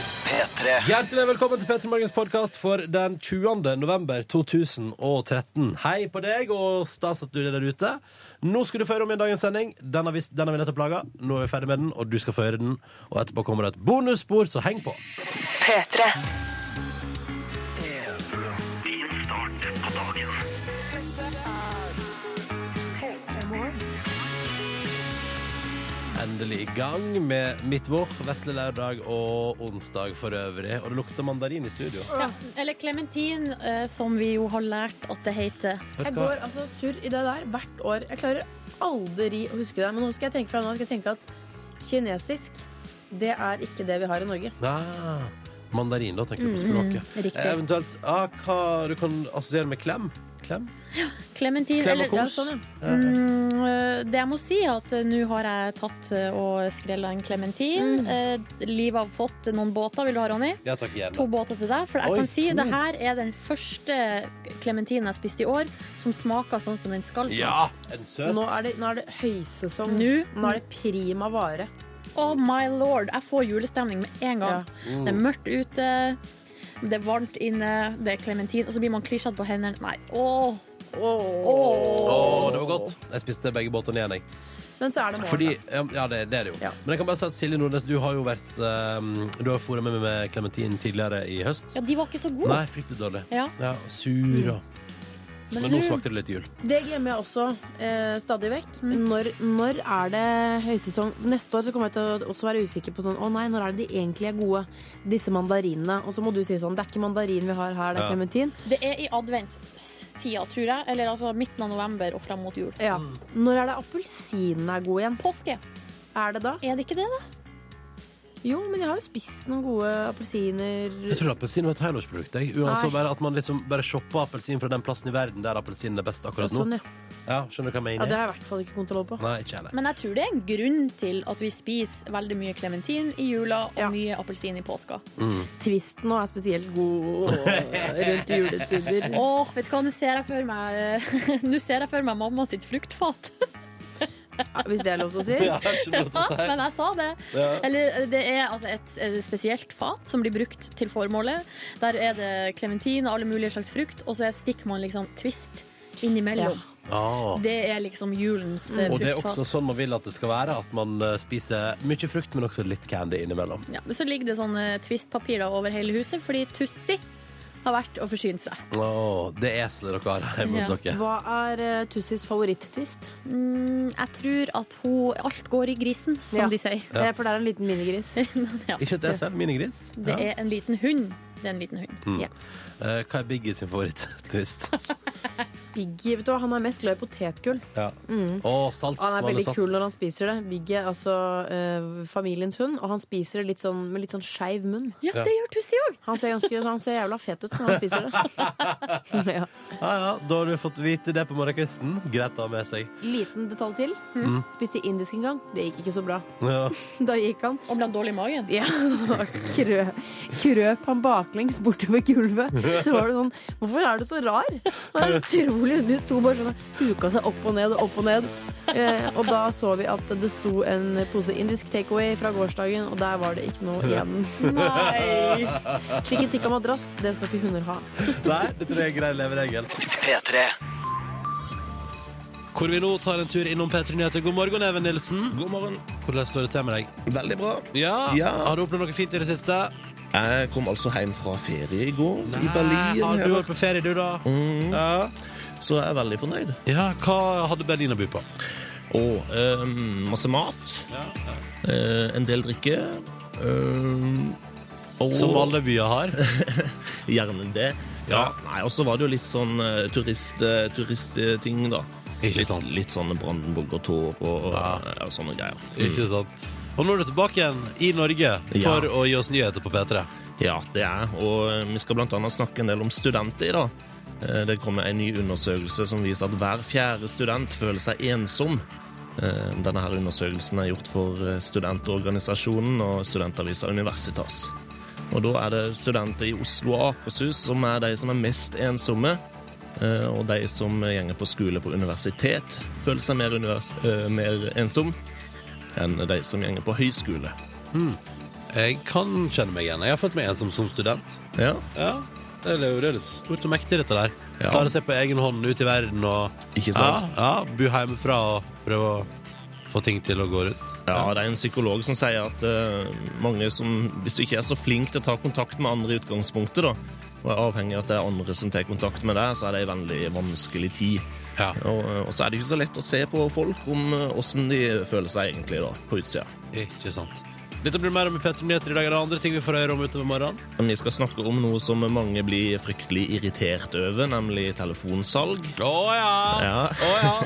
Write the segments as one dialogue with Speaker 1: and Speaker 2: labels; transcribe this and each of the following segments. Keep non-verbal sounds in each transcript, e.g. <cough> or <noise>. Speaker 1: P3.
Speaker 2: Hjertelig velkommen til Petter Morgens podkast for den 20. november 2013. Hei på deg, og stas at du er der ute. Nå skal du få høre om i dagens sending. Den har vi, den har vi nettopp laga. Nå er vi ferdig med den, og du skal få høre den. Og etterpå kommer det et bonusspor, så heng på.
Speaker 3: P3.
Speaker 2: Endelig i gang med Midtvår, vesle lørdag og onsdag for øvrig. Og det lukter mandarin i studio.
Speaker 4: Ja, eller klementin, eh, som vi jo har lært at det heter.
Speaker 2: Vet
Speaker 5: Jeg
Speaker 2: du hva?
Speaker 5: går altså surr i det der hvert år. Jeg klarer aldri å huske det. Men nå skal jeg tenke fra nå skal jeg tenke at kinesisk, det er ikke det vi har i Norge.
Speaker 2: Ah, mandarin, da tenker du
Speaker 5: Mm,
Speaker 2: på språket.
Speaker 4: riktig.
Speaker 2: Eh, Eventuelt ah, hva du kan assosiere med klem. Klem?
Speaker 4: Klementin,
Speaker 2: Klem og
Speaker 4: eller
Speaker 2: kos.
Speaker 5: Ja, sånn, ja.
Speaker 4: Mm, eh, det jeg må si er at eh, nå har jeg tatt eh, og skrella en klementin. Eh, Liv har fått noen båter, vil du ha, Ronny?
Speaker 2: Ja takk, gjerne.
Speaker 4: To båter til deg, for jeg
Speaker 2: Oi,
Speaker 4: kan si
Speaker 2: to.
Speaker 4: det her er den første klementinen jeg spiste i år som smaker sånn som den skal smake.
Speaker 2: Ja, en søt.
Speaker 5: Nå er det, nå er det høysesong.
Speaker 4: Nå?
Speaker 5: nå er det prima vare.
Speaker 4: Oh my lord, jeg får julestemning med en gang. Det
Speaker 2: Uh.
Speaker 4: er mørkt ute, det er varmt inne, det er klementin, og så blir man klissete på hendene. Nei, åh!
Speaker 2: Å, det var godt. Jeg spiste begge båtene igjen, jeg.
Speaker 5: Men så er det morgen.
Speaker 2: Fordi, ja, ja, det, det er det jo.
Speaker 5: Ja.
Speaker 2: Men jeg kan bare si at Silje Nordnes, du har jo vært ehm, Du har jo fôret med meg med klementin tidligere i høst.
Speaker 4: Ja, de var ikke så gode.
Speaker 2: Nei, fryktelig dårlig.
Speaker 4: Ja.
Speaker 2: og sur og Men, nå
Speaker 5: du-
Speaker 2: smakte det litt jul.
Speaker 5: Det glemmer jeg også eh, stadig vekk.
Speaker 2: Mm.
Speaker 5: Når, når er det høysesong? Neste år så kommer jeg til å også være usikker på sånn Å nei, når er det de egentlig er gode, disse mandarinene? Og så må du si sånn Det er ikke mandarin vi har her, det
Speaker 2: Ja.
Speaker 5: er klementin.
Speaker 4: Det er i advent-tida, tror jeg. Eller altså midten av november og frem mot jul.
Speaker 5: Ja.
Speaker 2: Mm.
Speaker 5: Når er det appelsinene er gode igjen?
Speaker 4: Påske,
Speaker 5: Er det da?
Speaker 4: er det ikke det, da?
Speaker 5: Jo, men jeg har jo spist noen gode appelsiner.
Speaker 2: Jeg tror appelsin var et helårsprodukt. jeg. Uansett
Speaker 5: Nei.
Speaker 2: bare at man liksom bare shopper appelsin fra den plassen i verden der appelsinen er best akkurat nå.
Speaker 5: Sånn, ja.
Speaker 2: Ja, skjønner du hva jeg
Speaker 5: ja,
Speaker 2: mener?
Speaker 5: det har jeg i hvert fall ikke kontroll på.
Speaker 2: Nei, ikke heller.
Speaker 4: Men jeg tror det er en grunn til at vi spiser veldig mye klementin i jula og
Speaker 5: Ja.
Speaker 4: mye appelsin i påska.
Speaker 5: Twisten nå er spesielt god rundt
Speaker 2: <laughs>
Speaker 5: juletider.
Speaker 4: Åh, vet du hva, nå ser jeg for meg <laughs> Nå ser jeg for meg mamma sitt fruktfat.
Speaker 5: Hvis det er lov til å si.
Speaker 2: <laughs> Ja, ikke noe til å si.
Speaker 4: <laughs> Men jeg sa det.
Speaker 2: Ja.
Speaker 4: Eller det er altså et eh, spesielt fat som blir brukt til formålet. Der er det klementin og alle mulige slags frukt, og så stikker man liksom twist innimellom.
Speaker 2: Ah.
Speaker 4: Det er liksom julens eh,
Speaker 2: Og det er
Speaker 4: fruktfat.
Speaker 2: også sånn man vil at det skal være. At man eh, spiser mye frukt, men også litt candy innimellom.
Speaker 4: Ja, men så ligger det sånn eh, twist-papir da over hele huset, fordi Tussi har vært og forsynt seg.
Speaker 2: Åh, det eselet dere har hjemme hos
Speaker 4: Ja.
Speaker 2: dere.
Speaker 5: Hva er eh, Tussis favoritt-twist?
Speaker 4: Mm, jeg tror at hun Alt går i grisen, som
Speaker 5: Ja.
Speaker 4: de sier. <laughs>
Speaker 5: Det er Eh, For det er en liten minigris.
Speaker 4: ja.
Speaker 2: Ikke et esel, minigris.
Speaker 4: Det
Speaker 2: Ja.
Speaker 4: er en liten hund. Det er en liten hund.
Speaker 2: Eh, hva er Biggie sin favoritt-twist?
Speaker 5: <laughs> Biggie, vet du hva, han er mest glad i potetgull.
Speaker 2: ja. salt.
Speaker 5: Mm. Han er
Speaker 2: vanlig
Speaker 5: veldig
Speaker 2: salt.
Speaker 5: kul når han spiser det. Biggie er altså eh, familiens hund, og han spiser det litt sånn, med litt sånn skeiv munn.
Speaker 4: Ja,
Speaker 2: Ja.
Speaker 4: det gjør Tussi òg!
Speaker 5: Han ser, ganske, han ser jævla fet ut når han spiser det.
Speaker 2: <laughs>
Speaker 5: <laughs> ja.
Speaker 2: Ja, ja, da har du fått vite det på morgenkvisten. Greit å ha med seg.
Speaker 5: Liten detalj til.
Speaker 2: Mm.
Speaker 5: Spiste indisk en gang. Det gikk ikke så bra.
Speaker 2: Ja.
Speaker 5: Da gikk han
Speaker 4: Og blant dårlig i magen.
Speaker 5: Ja, <laughs> da krø, krøp han baklengs bortover gulvet. Så var det sånn Hvorfor er du så rar? Det er utrolig underlig. Sto bare sånn og huka seg opp og ned og opp og ned. Eh, og da så vi at det sto en pose indisk takeaway fra gårsdagen, og der var det ikke noe igjen.
Speaker 4: Nei!
Speaker 5: Chicken tikka madrass, det skal ikke hunder ha.
Speaker 2: Nei, dette er en grei leveregel.
Speaker 1: P3.
Speaker 2: Hvor vi nå tar en tur innom P3 Nyheter. God morgen, Even Nilsen.
Speaker 6: God morgen.
Speaker 2: Hvordan står det til med deg?
Speaker 6: Veldig bra.
Speaker 2: Ja.
Speaker 6: Ja.
Speaker 2: Har du opplevd noe fint i det siste?
Speaker 6: Jeg kom altså hjem fra ferie i går i Berlin. Mm.
Speaker 2: Har du
Speaker 6: her.
Speaker 2: vært på ferie, du, da?
Speaker 6: Så jeg er veldig fornøyd.
Speaker 2: Ja, hva hadde Berlin å by på?
Speaker 6: Og eh, masse mat.
Speaker 2: Ja,
Speaker 6: eh, en del drikke. eh, og
Speaker 2: Som alle byer har.
Speaker 6: <laughs> Gjerne det. Ja, nei, Og så var det jo litt sånn eh, turist, eh, turistting, da.
Speaker 2: Ikke
Speaker 6: Litt,
Speaker 2: sant.
Speaker 6: litt sånn Brandenburger-tår og, og,
Speaker 2: Ja.
Speaker 6: eh, og sånne greier.
Speaker 2: Ikke sant? Og nå er du tilbake igjen i Norge for
Speaker 6: Ja.
Speaker 2: å gi oss nyheter på P3.
Speaker 6: Ja, det er. Og eh, vi skal blant annet snakke en del om studenter i dag. Eh, Det kommer en ny undersøkelse som viser at hver fjerde student føler seg ensom. Eh, Denne her undersøkelsen er gjort for eh, studentorganisasjonen og studentavisa Universitas. Og da er det studenter i Oslo og Akershus som er de som er mest ensomme. Eh, Og de som gjenger på skole på universitet, føler seg mer, univers eh, mer ensom enn de som gjenger på høyskole.
Speaker 2: Jeg kan kjenne meg igjen. Jeg har følt meg ensom som student.
Speaker 6: Ja.
Speaker 2: Ja, det er jo det er litt stort og mektig, dette der.
Speaker 6: Ja.
Speaker 2: Klare seg på egen hånd ut i verden og
Speaker 6: Ikke sant?
Speaker 2: Ja, ja, bo hjemmefra og prøve å få ting til å gå rundt.
Speaker 6: Ja, det er en psykolog som sier at eh, mange som, hvis du ikke er så flink til å ta kontakt med andre i utgangspunktet, da, og er avhengig av at det er andre som tar kontakt med deg, så er det en veldig vanskelig tid.
Speaker 2: Ja,
Speaker 6: Og, eh, og så er det ikke så lett å se på folk om åssen de føler seg egentlig da, på utsida.
Speaker 2: ikke sant. Dette blir mer om i P3 Nyheter i dag. Er det andre ting vi får høre om utover morgenen?
Speaker 6: Men Vi skal snakke om noe som mange blir fryktelig irritert over, nemlig telefonsalg.
Speaker 2: Å ja!
Speaker 6: Ja.
Speaker 2: Å ja!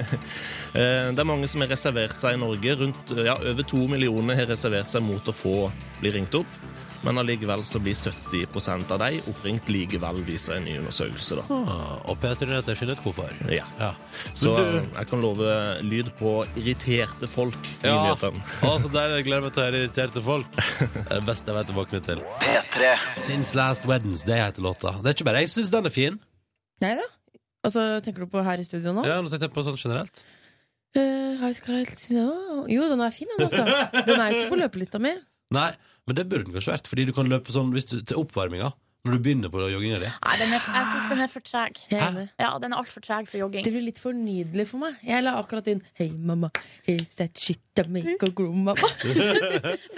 Speaker 6: Eh, Det er mange som har reservert seg i Norge. Rundt, eh, ja, over to millioner har reservert seg mot å få bli ringt opp. Men allikevel så blir 70 av de oppringt likevel, viser en ny undersøkelse. da.
Speaker 2: Ah, og P3 Nyheter finner ut hvorfor.
Speaker 6: Ja.
Speaker 2: Ja.
Speaker 6: Så
Speaker 2: Men du-
Speaker 6: eh, jeg kan love lyd på irriterte folk. i
Speaker 2: Ja,
Speaker 6: nyhetene.
Speaker 2: altså der jeg gleder meg til å høre irriterte <laughs> folk. Det er det beste jeg vet å våkne til.
Speaker 7: P3
Speaker 2: Since Last Wednesday heter låta. Det er ikke bare jeg syns den er fin.
Speaker 5: Nei da. Altså, tenker du på her i studio nå?
Speaker 2: Ja, nå tenkte jeg på sånn generelt.
Speaker 5: Eh, har jeg ikke helt Å, Jo, den er fin, den, altså. Den er jo ikke på løpelista mi.
Speaker 2: Nei, men det burde den kanskje vært, fordi du kan løpe sånn hvis du, til oppvarminga. Når du begynner på jogginga di.
Speaker 4: Nei, den er, jeg syns den er for treg.
Speaker 5: Jeg er enig.
Speaker 4: Ja, den er altfor treg for jogging.
Speaker 5: Det blir litt for nydelig for meg. Jeg la akkurat inn Hei, mamma. Here's that shit I make a grow, mamma.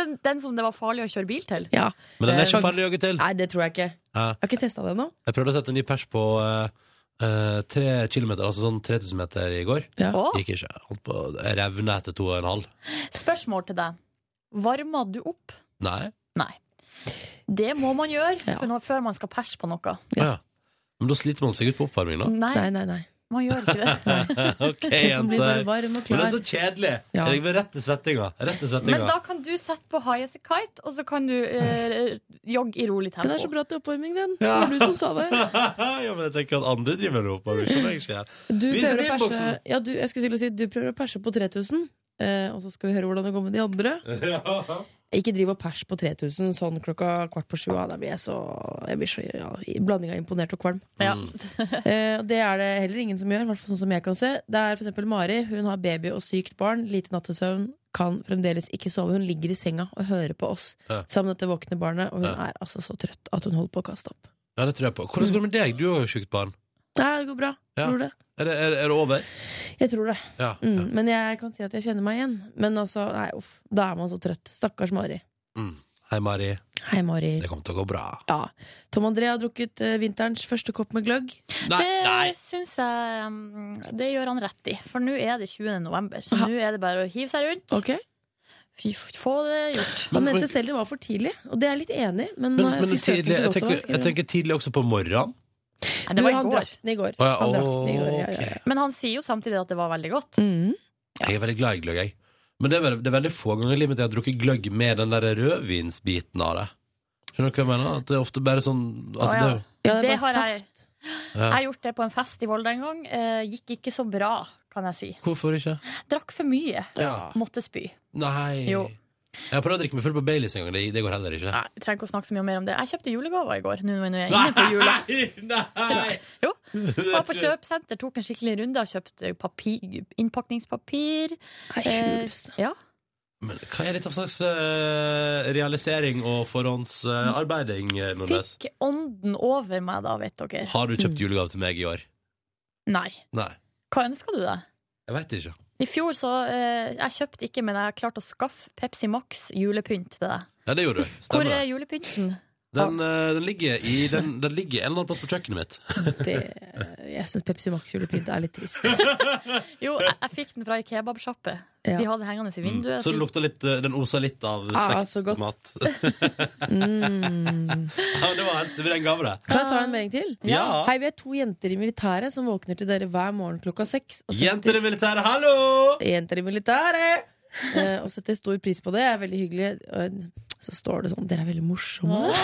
Speaker 4: Den, den som det var farlig å kjøre bil til.
Speaker 5: Ja.
Speaker 2: Men den er
Speaker 5: Eh,
Speaker 2: ikke farlig å jogge til.
Speaker 5: Nei, det tror jeg ikke.
Speaker 2: Ja.
Speaker 5: Jeg har ikke testa det ennå.
Speaker 2: Jeg prøvde å sette en ny pers på eh, eh, tre kilometer, altså sånn 3000 meter i går.
Speaker 5: Ja.
Speaker 4: Å,
Speaker 2: Gikk ikke. Jeg Holdt på jeg revne etter to og en halv.
Speaker 4: spørsmål til deg. Varmer du opp?
Speaker 2: Nei.
Speaker 4: Nei. Det må man gjøre
Speaker 5: Ja.
Speaker 4: for når, før man skal perse på noe.
Speaker 2: Å Ja. Men da sliter man seg ut på oppvarminga.
Speaker 4: Nei,
Speaker 5: Nei, nei, nei.
Speaker 4: man gjør ikke det.
Speaker 2: OK,
Speaker 5: Den blir bare
Speaker 2: jenter.
Speaker 5: varm
Speaker 2: Men
Speaker 5: og
Speaker 2: det
Speaker 5: klar.
Speaker 2: er så kjedelig.
Speaker 5: Ja.
Speaker 2: Jeg vil rett til svettinga. Rett til
Speaker 4: Men
Speaker 2: svettinga.
Speaker 4: da kan du sette på highest kite, og så kan du eh, jogge i rolig
Speaker 5: Den er så
Speaker 4: tempo.
Speaker 5: bra til oppvarming, den.
Speaker 2: Ja.
Speaker 5: Det var du som sa
Speaker 2: <laughs>
Speaker 5: det.
Speaker 2: ja, men jeg tenker at andre driver med oppvarming. Skjønner jeg ikke her.
Speaker 5: Du
Speaker 2: Vi skal
Speaker 5: prøver å
Speaker 2: til
Speaker 5: perse
Speaker 2: innboksen.
Speaker 5: ja, du, jeg skulle til å si, du prøver å perse på 3000, eh, og så skal vi høre hvordan det går med de andre. Ikke driv og pers på 3000 sånn klokka kvart på sju. ah, Da blir jeg så, jeg blir så ja, i blanding av imponert og kvalm.
Speaker 4: Ja.
Speaker 5: Eh, og det er det heller ingen som gjør, i hvert fall sånn som jeg kan se. Det er for eksempel Mari. Hun har baby og sykt barn, lite nattesøvn, kan fremdeles ikke sove. Hun ligger i senga og hører på oss
Speaker 2: Ja.
Speaker 5: sammen med dette våkne barnet, og hun
Speaker 2: Ja.
Speaker 5: er altså så trøtt at hun holder på å kaste opp.
Speaker 2: Ja, det tror jeg på. Hvordan går det med deg? Du har jo sjukt barn.
Speaker 5: Nei, det går bra.
Speaker 2: Ja.
Speaker 5: Tror det.
Speaker 2: Er det, er, er det over?
Speaker 5: Jeg tror det.
Speaker 2: Ja.
Speaker 5: Mm,
Speaker 2: ja.
Speaker 5: Men jeg kan si at jeg kjenner meg igjen. Men altså, nei, uff, da er man så trøtt. Stakkars Mari.
Speaker 2: Mm. Hei, Mari.
Speaker 5: Hei, Mari.
Speaker 2: Det kommer til å gå bra.
Speaker 5: Ja. Tom André har drukket eh, vinterens første kopp med gløgg.
Speaker 2: Nei! nei.
Speaker 4: Det
Speaker 5: sånn
Speaker 4: syns jeg mm, Det gjør han rett i. For nå er det 20. november, så
Speaker 5: Aha.
Speaker 4: nå er det bare å hive seg rundt. Fy, f- få det gjort.
Speaker 2: Men-
Speaker 5: Han mente
Speaker 2: men-
Speaker 5: selv det var for tidlig, og det er jeg litt enig i. Men,
Speaker 2: Men,
Speaker 5: eh,
Speaker 2: men
Speaker 5: fy søren,
Speaker 2: tidlig,
Speaker 5: så
Speaker 2: jeg,
Speaker 5: godt det var,
Speaker 2: tenker,
Speaker 5: skriver
Speaker 2: jeg
Speaker 5: han.
Speaker 2: tenker tidlig også på morgenen.
Speaker 4: Nei, det var
Speaker 5: du,
Speaker 4: i
Speaker 5: han
Speaker 4: går.
Speaker 5: drakk den i går.
Speaker 2: Å, ja,
Speaker 5: Han drakk den i går, ja,
Speaker 2: ok.
Speaker 5: ja, ja.
Speaker 4: Men han sier jo samtidig at det var veldig godt.
Speaker 5: Mm.
Speaker 2: Jeg er veldig glad i gløgg, jeg. Men det er, veldig, det er veldig få ganger i livet mitt jeg har drukket gløgg med den der rødvinsbiten av det. Skjønner du hva jeg mener? At det er ofte bare sånn altså,
Speaker 4: Å, ja.
Speaker 2: det,
Speaker 5: Ja, det,
Speaker 4: Det
Speaker 5: var
Speaker 4: har jeg-
Speaker 5: saft.
Speaker 2: Ja.
Speaker 4: Jeg har gjort det på en fest i Volda en gang. Eh, gikk ikke så bra, kan jeg si.
Speaker 2: Hvorfor ikke?
Speaker 4: Drakk for mye.
Speaker 2: Ja.
Speaker 4: Måtte spy.
Speaker 2: Nei.
Speaker 4: Jo.
Speaker 2: Jeg har prøvd å drikke meg full på Baileys en gang. Det, det går heller ikke.
Speaker 4: Nei, jeg trenger ikke å snakke så mye mer om det. Jeg kjøpte julegaver i går. Nå nå er jeg inne på jula.
Speaker 2: Nei!
Speaker 4: Jo. Var på kjøpesenter, tok en skikkelig runde og kjøpte papir, innpakningspapir.
Speaker 5: Nei,
Speaker 4: Eh,
Speaker 5: huleste.
Speaker 4: ja.
Speaker 2: Men hva er dette for slags eh, realisering og forhåndsarbeiding, uh, Nordnes?
Speaker 4: Fikk ånden over meg da, vet dere.
Speaker 2: Har du kjøpt julegave til meg i år?
Speaker 4: Nei.
Speaker 2: Nei.
Speaker 4: Hva ønska du deg?
Speaker 2: Jeg veit ikke.
Speaker 4: I fjor så eh, Jeg kjøpte ikke, men jeg klarte å skaffe Pepsi Max julepynt til deg.
Speaker 2: Ja, det gjorde du.
Speaker 4: Hvor
Speaker 2: Stemmer
Speaker 4: er
Speaker 2: det.
Speaker 4: julepynten?
Speaker 2: Den, eh, den, ligger i, den, den ligger en eller annen plass på kjøkkenet mitt.
Speaker 5: Det, jeg syns Pepsi Max julepynt er
Speaker 2: <laughs>
Speaker 5: litt trist.
Speaker 4: Jo, jeg, jeg fikk den fra ei kebabsjappe.
Speaker 5: Ja.
Speaker 4: De hadde den hengende i vinduet.
Speaker 2: Så den, lukta litt, eh, den osa litt av
Speaker 5: Ah,
Speaker 2: stekt
Speaker 5: så godt.
Speaker 2: mat. <laughs>
Speaker 5: Mm.
Speaker 2: ja, det var helt suveren gave, det.
Speaker 5: Kan jeg ta en melding til?
Speaker 2: Ja.
Speaker 5: Hei, vi er to jenter i militæret som våkner til dere hver morgen klokka seks. og
Speaker 2: Jenter i militæret, hallo!
Speaker 5: Jenter i militæret! Eh, og setter stor pris på det. er veldig hyggelig. Og så står det sånn Dere er veldig morsomme.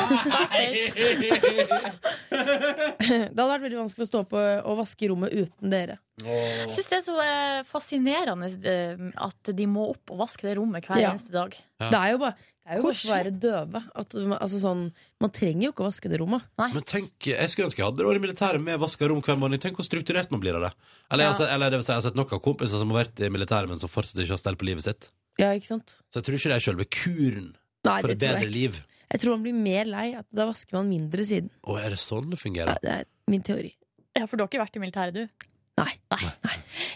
Speaker 4: <laughs>
Speaker 5: Det hadde vært veldig vanskelig å stå opp og og vaske rommet uten dere.
Speaker 4: Jeg syns det er så eh, fascinerende eh, at de må opp og vaske det rommet hver
Speaker 5: Ja.
Speaker 4: eneste dag.
Speaker 2: Ja.
Speaker 5: Det er jo bare det er jo godt å
Speaker 4: Koselig.
Speaker 5: være døve. At, man- altså sånn, man trenger jo ikke å vaske det rommet.
Speaker 4: Nei.
Speaker 2: Men tenk, Jeg skulle ønske jeg hadde råd i militæret med vaska rom hver morgen. Tenk hvor strukturert man blir av det. Eller, jeg, har
Speaker 4: Ja.
Speaker 2: sett- eller det vil si, jeg har sett nok av kompiser som har vært i militæret, men som fortsatt ikke har stell på livet sitt.
Speaker 5: Ja, ikke sant?
Speaker 2: Så jeg tror ikke det er selve kuren
Speaker 8: Nei, det
Speaker 2: for et
Speaker 8: tror
Speaker 2: bedre
Speaker 8: jeg ikke.
Speaker 2: liv.
Speaker 8: Jeg tror man blir mer lei. At da vasker man mindre siden.
Speaker 2: Å, er det sånn det fungerer?
Speaker 8: Ja, det er min teori.
Speaker 4: Ja, for du har ikke vært i militæret, du?
Speaker 8: Nei.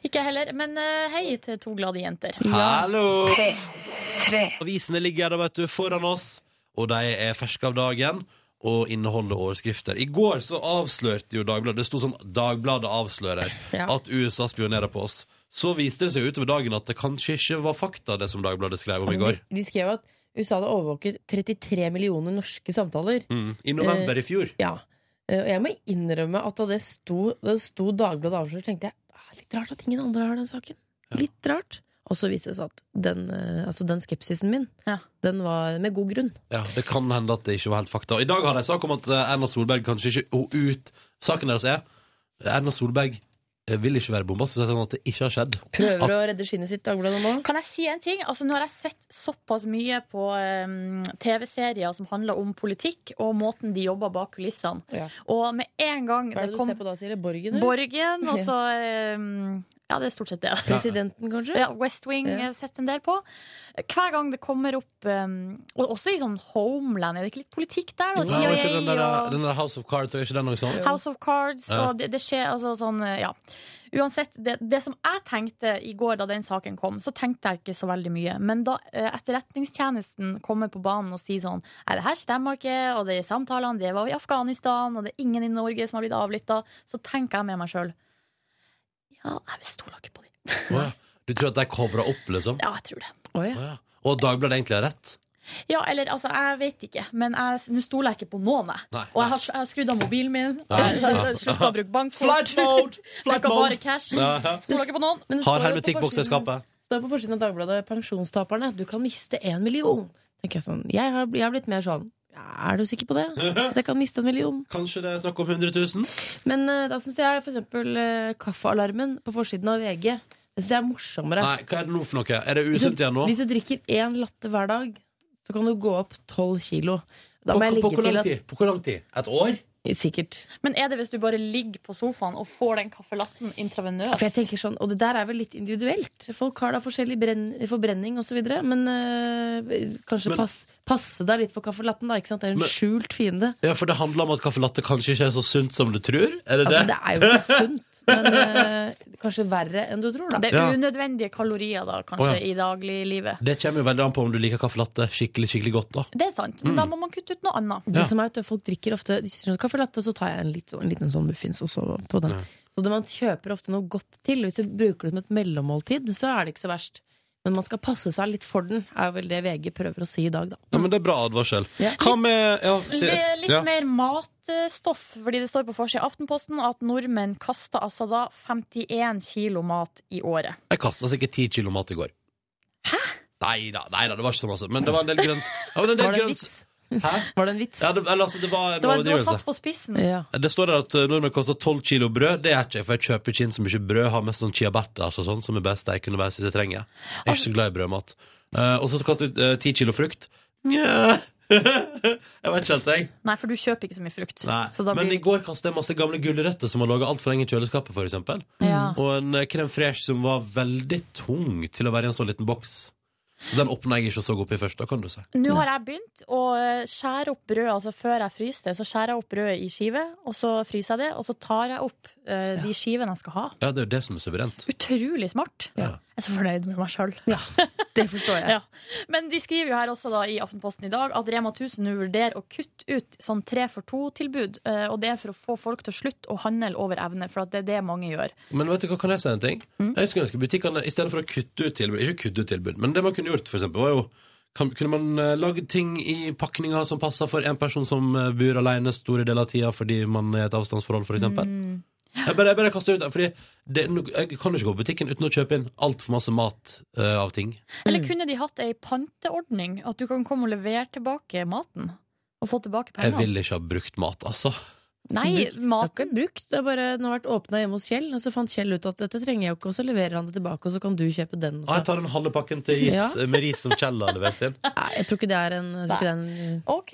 Speaker 4: Ikke jeg heller. Men eh, hei til to glade jenter.
Speaker 2: Hallo! Avisene ligger da, vet du, foran oss, og de er ferske av dagen og inneholder overskrifter. I går så avslørte jo Dagbladet Det sto sånn 'Dagbladet avslører'
Speaker 4: Ja.
Speaker 2: at USA spionerer på oss. Så viste det seg utover dagen at det kanskje ikke var fakta, det som Dagbladet skrev om i
Speaker 5: De,
Speaker 2: går.
Speaker 5: de skrev at USA hadde overvåket 33 millioner norske samtaler.
Speaker 2: Mm. I november i fjor.
Speaker 5: Ja. Eh, Og jeg må innrømme at da det sto, da det sto Dagbladet avslørt, tenkte jeg "Ah, litt rart at ingen andre har den saken. Litt rart. Og så viste det seg at den, eh, altså den skepsisen min,
Speaker 4: Ja.
Speaker 5: den var med god grunn.
Speaker 2: Ja, Det kan hende at det ikke var helt fakta. Og I dag har de sak om at eh, Erna Solberg kanskje ikke hun ut Saken deres er Erna Solberg eh, vil ikke være bomba, så det er sånn at det ikke har skjedd.
Speaker 5: Prøver å redde skinnet sitt, Dagbladet nå.
Speaker 4: Kan jeg si en ting? Altså, nå har jeg sett såpass mye på em, TV-serier som handler om politikk og måten de jobber bak kulissene.
Speaker 5: Ja.
Speaker 4: Og med en gang
Speaker 5: Hva er
Speaker 4: det
Speaker 5: det du
Speaker 4: kom
Speaker 5: ser på da, Siri? Borgen? eller?
Speaker 4: Borgen, og <laughs> så em, Ja, det er stort sett det.
Speaker 5: Presidenten, kanskje?
Speaker 4: Ja, West Wing
Speaker 5: Ja.
Speaker 4: ja. sett en del på. Hver gang det kommer opp em, Og også i sånn Homeland, er det ikke litt politikk der? Og
Speaker 2: Nei, var ikke
Speaker 4: CIA
Speaker 2: den, der, eh,
Speaker 4: og
Speaker 2: den der House of Cards, var ikke den noe sånn?
Speaker 4: House of Cards,
Speaker 2: Ja.
Speaker 4: og det, det skjer altså sånn Ja. Uansett, det, det som jeg tenkte i går da den saken kom, så tenkte jeg ikke så veldig mye. Men da eh, Etterretningstjenesten kommer på banen og sier sånn Nei, det her stemmer ikke, og de samtalene, det var i Afghanistan, og det er ingen i Norge som har blitt avlytta, så tenker jeg med meg sjøl Ja, jeg stoler ikke på dem.
Speaker 2: Å, ja. Du tror at de covra opp, liksom?
Speaker 4: Ja, jeg tror det.
Speaker 5: Å, ja.
Speaker 2: Å, ja. Og Dagbladet egentlig har rett?
Speaker 4: Ja, eller altså, jeg vet ikke, men jeg- nå stoler jeg ikke på noen, jeg.
Speaker 2: Nei,
Speaker 4: Og jeg har, jeg har skrudd av mobilen min,
Speaker 2: Ja.
Speaker 4: <laughs> jeg har slutta å bruke bankkort,
Speaker 2: Flight
Speaker 4: <laughs>
Speaker 2: mode!
Speaker 4: jeg
Speaker 2: Flight
Speaker 4: kan bare
Speaker 2: mode!
Speaker 4: cash.
Speaker 2: Ja.
Speaker 4: Stoler ikke på noen.
Speaker 5: Men det står
Speaker 2: Har
Speaker 5: jo på
Speaker 2: hermetikkboks i
Speaker 5: forsiden-
Speaker 2: skapet.
Speaker 5: står på forsiden av Dagbladet 'Pensjonstaperne'. Du kan miste en million. Tenker Jeg sånn, jeg har, jeg har blitt mer sånn «Ja, Er du sikker på det?
Speaker 2: <laughs>
Speaker 5: At jeg kan miste en million?
Speaker 2: Kanskje det er snakk om 100 000?
Speaker 5: Men eh, da syns jeg f.eks. Uh, kaffealarmen på forsiden av VG Det synes jeg er morsommere.
Speaker 2: Nei, hva er det nå for noe? Er det
Speaker 5: Hvis du-
Speaker 2: usunt igjen nå?
Speaker 5: Hvis du drikker én latte hver dag, så kan du gå opp tolv kilo. Da
Speaker 2: På,
Speaker 5: må
Speaker 2: på,
Speaker 5: jeg legge
Speaker 2: hvor
Speaker 5: til
Speaker 2: lang
Speaker 5: at
Speaker 2: tid? på hvor lang tid? Et år?
Speaker 5: Sikkert.
Speaker 4: Men er det hvis du bare ligger på sofaen og får den kaffelatten intravenøst?
Speaker 5: For jeg tenker sånn, Og det der er vel litt individuelt. Folk har da forskjellig brenn, forbrenning osv. Men eh, kanskje
Speaker 2: Men-
Speaker 5: pass, passe deg litt for kaffelatten, da. ikke sant? Det er en
Speaker 2: Men-
Speaker 5: skjult fiende.
Speaker 2: Ja, For det handler om at kaffe latte kanskje ikke er så sunt som du tror? Er det det?
Speaker 5: Altså, det er jo ikke sunt, men eh, kanskje verre enn du tror, da.
Speaker 4: Det er
Speaker 2: Ja.
Speaker 4: unødvendige kalorier, da, kanskje,
Speaker 2: Å, ja.
Speaker 4: i dagliglivet.
Speaker 2: Det kommer jo veldig an på om du liker kaffe latte skikkelig skikkelig godt. da
Speaker 4: Det er sant,
Speaker 2: Mm.
Speaker 4: men da må man kutte ut noe annet.
Speaker 5: De som er ute, folk drikker ofte De sier sånn, kaffe latte, så tar jeg en, litt, sånn- en liten sånn muffins også på den. Så det, man kjøper ofte noe godt til. Hvis du bruker det som et mellommåltid, så er det ikke så verst. Men man skal passe seg litt for den, er vel det VG prøver å si i dag, da.
Speaker 2: Ja, men Det er bra advarsel.
Speaker 5: Ja.
Speaker 2: Hva med ja,
Speaker 4: Det
Speaker 2: si-
Speaker 4: er litt
Speaker 2: ja.
Speaker 4: mer matstoff, fordi det står på forsida av Aftenposten at nordmenn kaster altså da 51 kilo mat i året.
Speaker 2: Jeg kasta sikkert ti kilo mat i går. Hæ? Nei da, nei da, det var ikke så masse. Men det var en del
Speaker 4: <laughs>
Speaker 2: grønt. Ja, men en del
Speaker 5: Var det en
Speaker 2: grønt-
Speaker 5: vits?
Speaker 2: Hæ?
Speaker 5: Var det en vits?
Speaker 2: Ja, det, eller, altså, det var en
Speaker 4: Det var, det var
Speaker 2: overdrivelse.
Speaker 4: satt på spissen.
Speaker 5: Ja.
Speaker 2: Det står der at eh, nordmenn koster 12 kilo brød. Det gjør ikke jeg, for jeg kjøper ikke inn så mye brød. Har mest sånn ciabatta, altså sånn, som er bare steik underveis hvis jeg trenger. Jeg er ikke så glad i brødmat. Eh, og så kaster jeg ut eh, 10 kilo frukt. Nja <laughs> Jeg vet ikke helt, jeg.
Speaker 4: Nei, for du kjøper ikke så mye frukt.
Speaker 2: Nei.
Speaker 4: Så da
Speaker 2: Men i
Speaker 4: blir...
Speaker 2: går kastet jeg masse gamle gulrøtter som har laget alt for lenge i kjøleskapet, for eksempel.
Speaker 4: Ja.
Speaker 2: Og en eh, crème fraîche som var veldig tung til å være i en så liten boks. Den åpna jeg ikke og så oppi først, da kan du si.
Speaker 4: Nå har jeg begynt å eh, skjære opp brød, altså før jeg fryser det, så skjærer jeg opp brødet i skive, og så fryser jeg det, og så tar jeg opp eh, de skivene jeg skal ha.
Speaker 2: Ja, det er jo det som er suverent.
Speaker 4: Utrolig smart.
Speaker 2: Ja.
Speaker 4: Jeg er så fornøyd med meg sjøl.
Speaker 5: Det forstår jeg.
Speaker 4: Ja. Men de skriver jo her også da i Aftenposten i dag at Rema 1000 nå vurderer å kutte ut sånn tre for to-tilbud. eh, Og det er for å få folk til å slutte å handle over evne, for at det er det mange gjør.
Speaker 2: Men vet du hva, kan jeg si en ting? Jeg skulle ønske butikkene, i stedet for å kutte ut tilbud, ikke kutte ut tilbud, men det man kunne gjort, for eksempel, var jo kan, kunne man eh, lagd ting i pakninger som passer for en person som eh, bor alene store deler av tida fordi man er i et avstandsforhold, for eksempel? Jeg bare, jeg bare kaster ut det, fordi det, jeg kan jo ikke gå på butikken uten å kjøpe inn altfor masse mat eh, av ting.
Speaker 4: Eller kunne de hatt ei panteordning? At du kan komme og levere tilbake maten? Og få tilbake
Speaker 2: Jeg
Speaker 4: pengene?
Speaker 2: vil ikke ha brukt mat, altså.
Speaker 4: Nei,
Speaker 5: Det er ikke
Speaker 4: maten
Speaker 5: brukt, det er bare, den har vært åpna hjemme hos Kjell, og så fant Kjell ut at dette trenger jeg jo ikke, og så leverer han det tilbake, og så kan du kjøpe den.
Speaker 2: Ah,
Speaker 5: Så.
Speaker 2: jeg tar den halve pakken til is eh,
Speaker 5: Ja.
Speaker 2: med ris som Kjell har levert inn.
Speaker 5: Nei, jeg tror ikke det er en, jeg tror ikke det er en
Speaker 4: OK.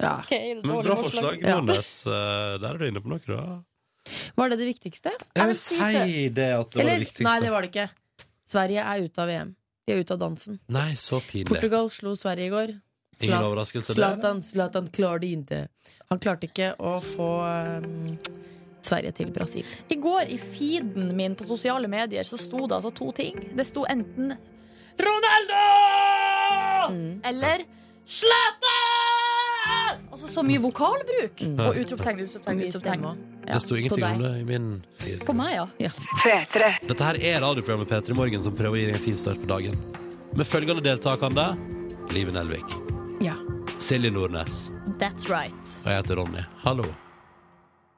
Speaker 5: ja.
Speaker 4: ok, dårlig
Speaker 2: Men bra forslag,
Speaker 5: Ja.
Speaker 2: Nordnes. Eh, Der er du inne på noe, da.
Speaker 5: Var det det viktigste?
Speaker 2: Jeg vil
Speaker 4: vil si det.
Speaker 2: si det at det var det
Speaker 5: Eller?
Speaker 2: viktigste.
Speaker 5: Nei, det var det ikke. Sverige er ute av VM. De er ute av dansen.
Speaker 2: Nei, så pinlig.
Speaker 5: Portugal slo Sverige i går.
Speaker 2: Ingen
Speaker 5: Zlatan-
Speaker 2: overraskelse der.
Speaker 5: Zlatan, Zlatan klarte ikke Han klarte ikke å få um, Sverige til Brasil.
Speaker 4: I går i feeden min på sosiale medier så sto det altså to ting. Det sto enten Ronaldo!
Speaker 2: Mm.
Speaker 4: Eller Zlatan! Altså så mye vokalbruk. Og utropstegn, utropstegn,
Speaker 5: Mye
Speaker 4: utropstegn.
Speaker 5: stemme.
Speaker 4: Ja.
Speaker 2: Mm. Det sto ingenting
Speaker 5: På
Speaker 2: om
Speaker 5: deg.
Speaker 2: det i min feed.
Speaker 4: På meg, ja.
Speaker 5: Ja.
Speaker 2: Dette her er radioprogrammet P3 Morgen som prøver å gi deg en fin start på dagen. Med følgende deltakende Live Nelvik,
Speaker 5: ja.
Speaker 2: Silje Nordnes
Speaker 4: That's right.
Speaker 2: og jeg heter Ronny. Hallo.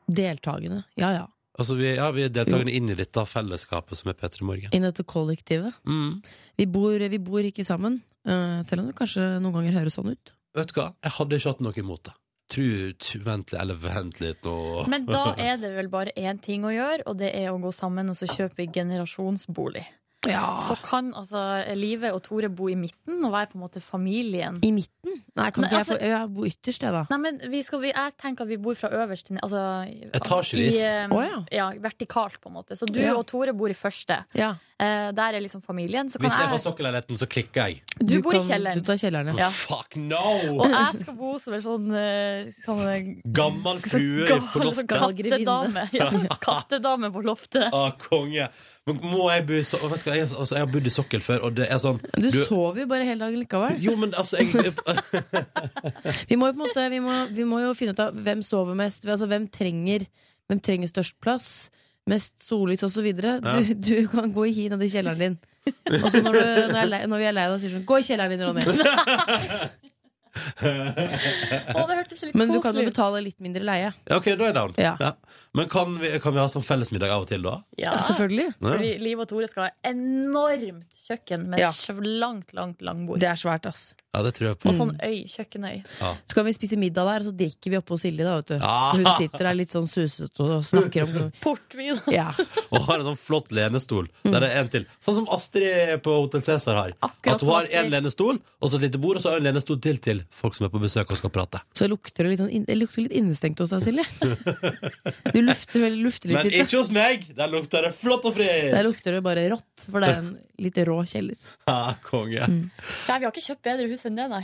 Speaker 5: Deltakende. Ja ja.
Speaker 2: Altså, vi, ja, vi er deltakende inn i dette fellesskapet som er P3 Morgen.
Speaker 5: Inn i dette kollektivet.
Speaker 2: Mm.
Speaker 5: Vi bor, vi bor ikke sammen, eh, selv om det kanskje noen ganger høres sånn ut.
Speaker 2: Vet du hva, jeg hadde ikke hatt noe imot det. Tru, tru, vent litt, eller vent litt nå.
Speaker 4: Men
Speaker 2: <laughs>
Speaker 4: da er det vel bare én ting å gjøre, og det er å gå sammen og så kjøpe generasjonsbolig.
Speaker 2: Ah.
Speaker 4: Så kan altså Live og Tore bo i midten og være på en måte familien.
Speaker 5: I midten? Nei, kan
Speaker 4: Nei,
Speaker 5: ikke
Speaker 4: altså-
Speaker 5: jeg, få, jeg bor ytterst, jeg, da.
Speaker 4: Nei, men vi skal, vi, jeg tenker at vi bor fra øverst til ned- altså,
Speaker 2: Etasjevis.
Speaker 4: i, eh,
Speaker 5: Å, ja.
Speaker 4: vertikalt, på en måte. Så du
Speaker 5: Ja.
Speaker 4: og Tore bor i første.
Speaker 5: Ja.
Speaker 4: Eh, der er liksom familien. Så kan
Speaker 2: Hvis jeg
Speaker 4: jeg,
Speaker 2: får sokkelleiligheten, så klikker jeg.
Speaker 4: Du bor i
Speaker 5: kan-
Speaker 4: kjelleren.
Speaker 5: Du tar kjelleren, ja.
Speaker 4: Ja.
Speaker 2: Fuck no!
Speaker 4: og jeg skal bo som en sånn, eh, sånn eh, sånn
Speaker 2: Gammel frue på
Speaker 4: gal-
Speaker 2: loftet.
Speaker 5: Gal grevinne.
Speaker 4: kattedame. Ja, kattedame på loftet.
Speaker 2: Ah, konge. Men må jeg bo i so vet du hva, jeg, altså, jeg har bodd i sokkel før, og det er sånn
Speaker 5: Du
Speaker 2: du-
Speaker 5: sover jo bare hele dagen likevel.
Speaker 2: Jo, men altså jeg,
Speaker 5: Vi må jo, på en måte, vi må, vi må jo finne ut av hvem sover mest, altså hvem trenger, hvem trenger størst plass, mest sollys osv. Du, du kan gå i hi nede i kjelleren din. Og så når, du, når, jeg er lei- når vi er lei deg, sier du sånn Gå i kjelleren din, <laughs> Ronny.
Speaker 4: Å, det hørtes litt
Speaker 5: Men du kan jo
Speaker 4: koselig ut.
Speaker 5: betale litt mindre leie.
Speaker 2: Ja, OK, da er jeg down.
Speaker 5: Ja.
Speaker 2: Men kan vi, kan vi ha sånn fellesmiddag av og til, da?
Speaker 4: Ja.
Speaker 5: Selvfølgelig.
Speaker 4: Fordi Liv og Tore skal ha enormt kjøkken med
Speaker 5: Ja.
Speaker 4: langt, langt langbord.
Speaker 5: Det er svært, ass.
Speaker 2: Ja, det tror jeg på.
Speaker 4: Og sånn øy, kjøkkenøy.
Speaker 5: Så kan vi spise middag der, og så drikker vi oppe hos Silje, da, vet du.
Speaker 2: Ah.
Speaker 5: Hun sitter der litt sånn susete og snakker om
Speaker 4: Portvin.
Speaker 5: Ja.
Speaker 2: Og har en sånn flott lenestol. Der er en til. Sånn som Astrid på Hotell Cæsar har.
Speaker 4: Akkurat
Speaker 2: At hun har
Speaker 4: som Astrid.
Speaker 2: én lenestol, og så et lite bord, og så har hun en lenestol til til folk som er på besøk og skal prate.
Speaker 5: Så lukter det litt, sånn, inn- det lukter litt innestengt hos deg, Silje. Du lufter, vel- lufter litt.
Speaker 2: Men
Speaker 5: litt da.
Speaker 2: ikke hos meg! Der lukter det flott og
Speaker 5: Der
Speaker 2: fritt!
Speaker 5: lukter det bare rått, for det er en litt rå kjeller.
Speaker 2: Ja, Ah, konge.
Speaker 4: Nei, vi har ikke kjøpt bedre hus enn det, nei.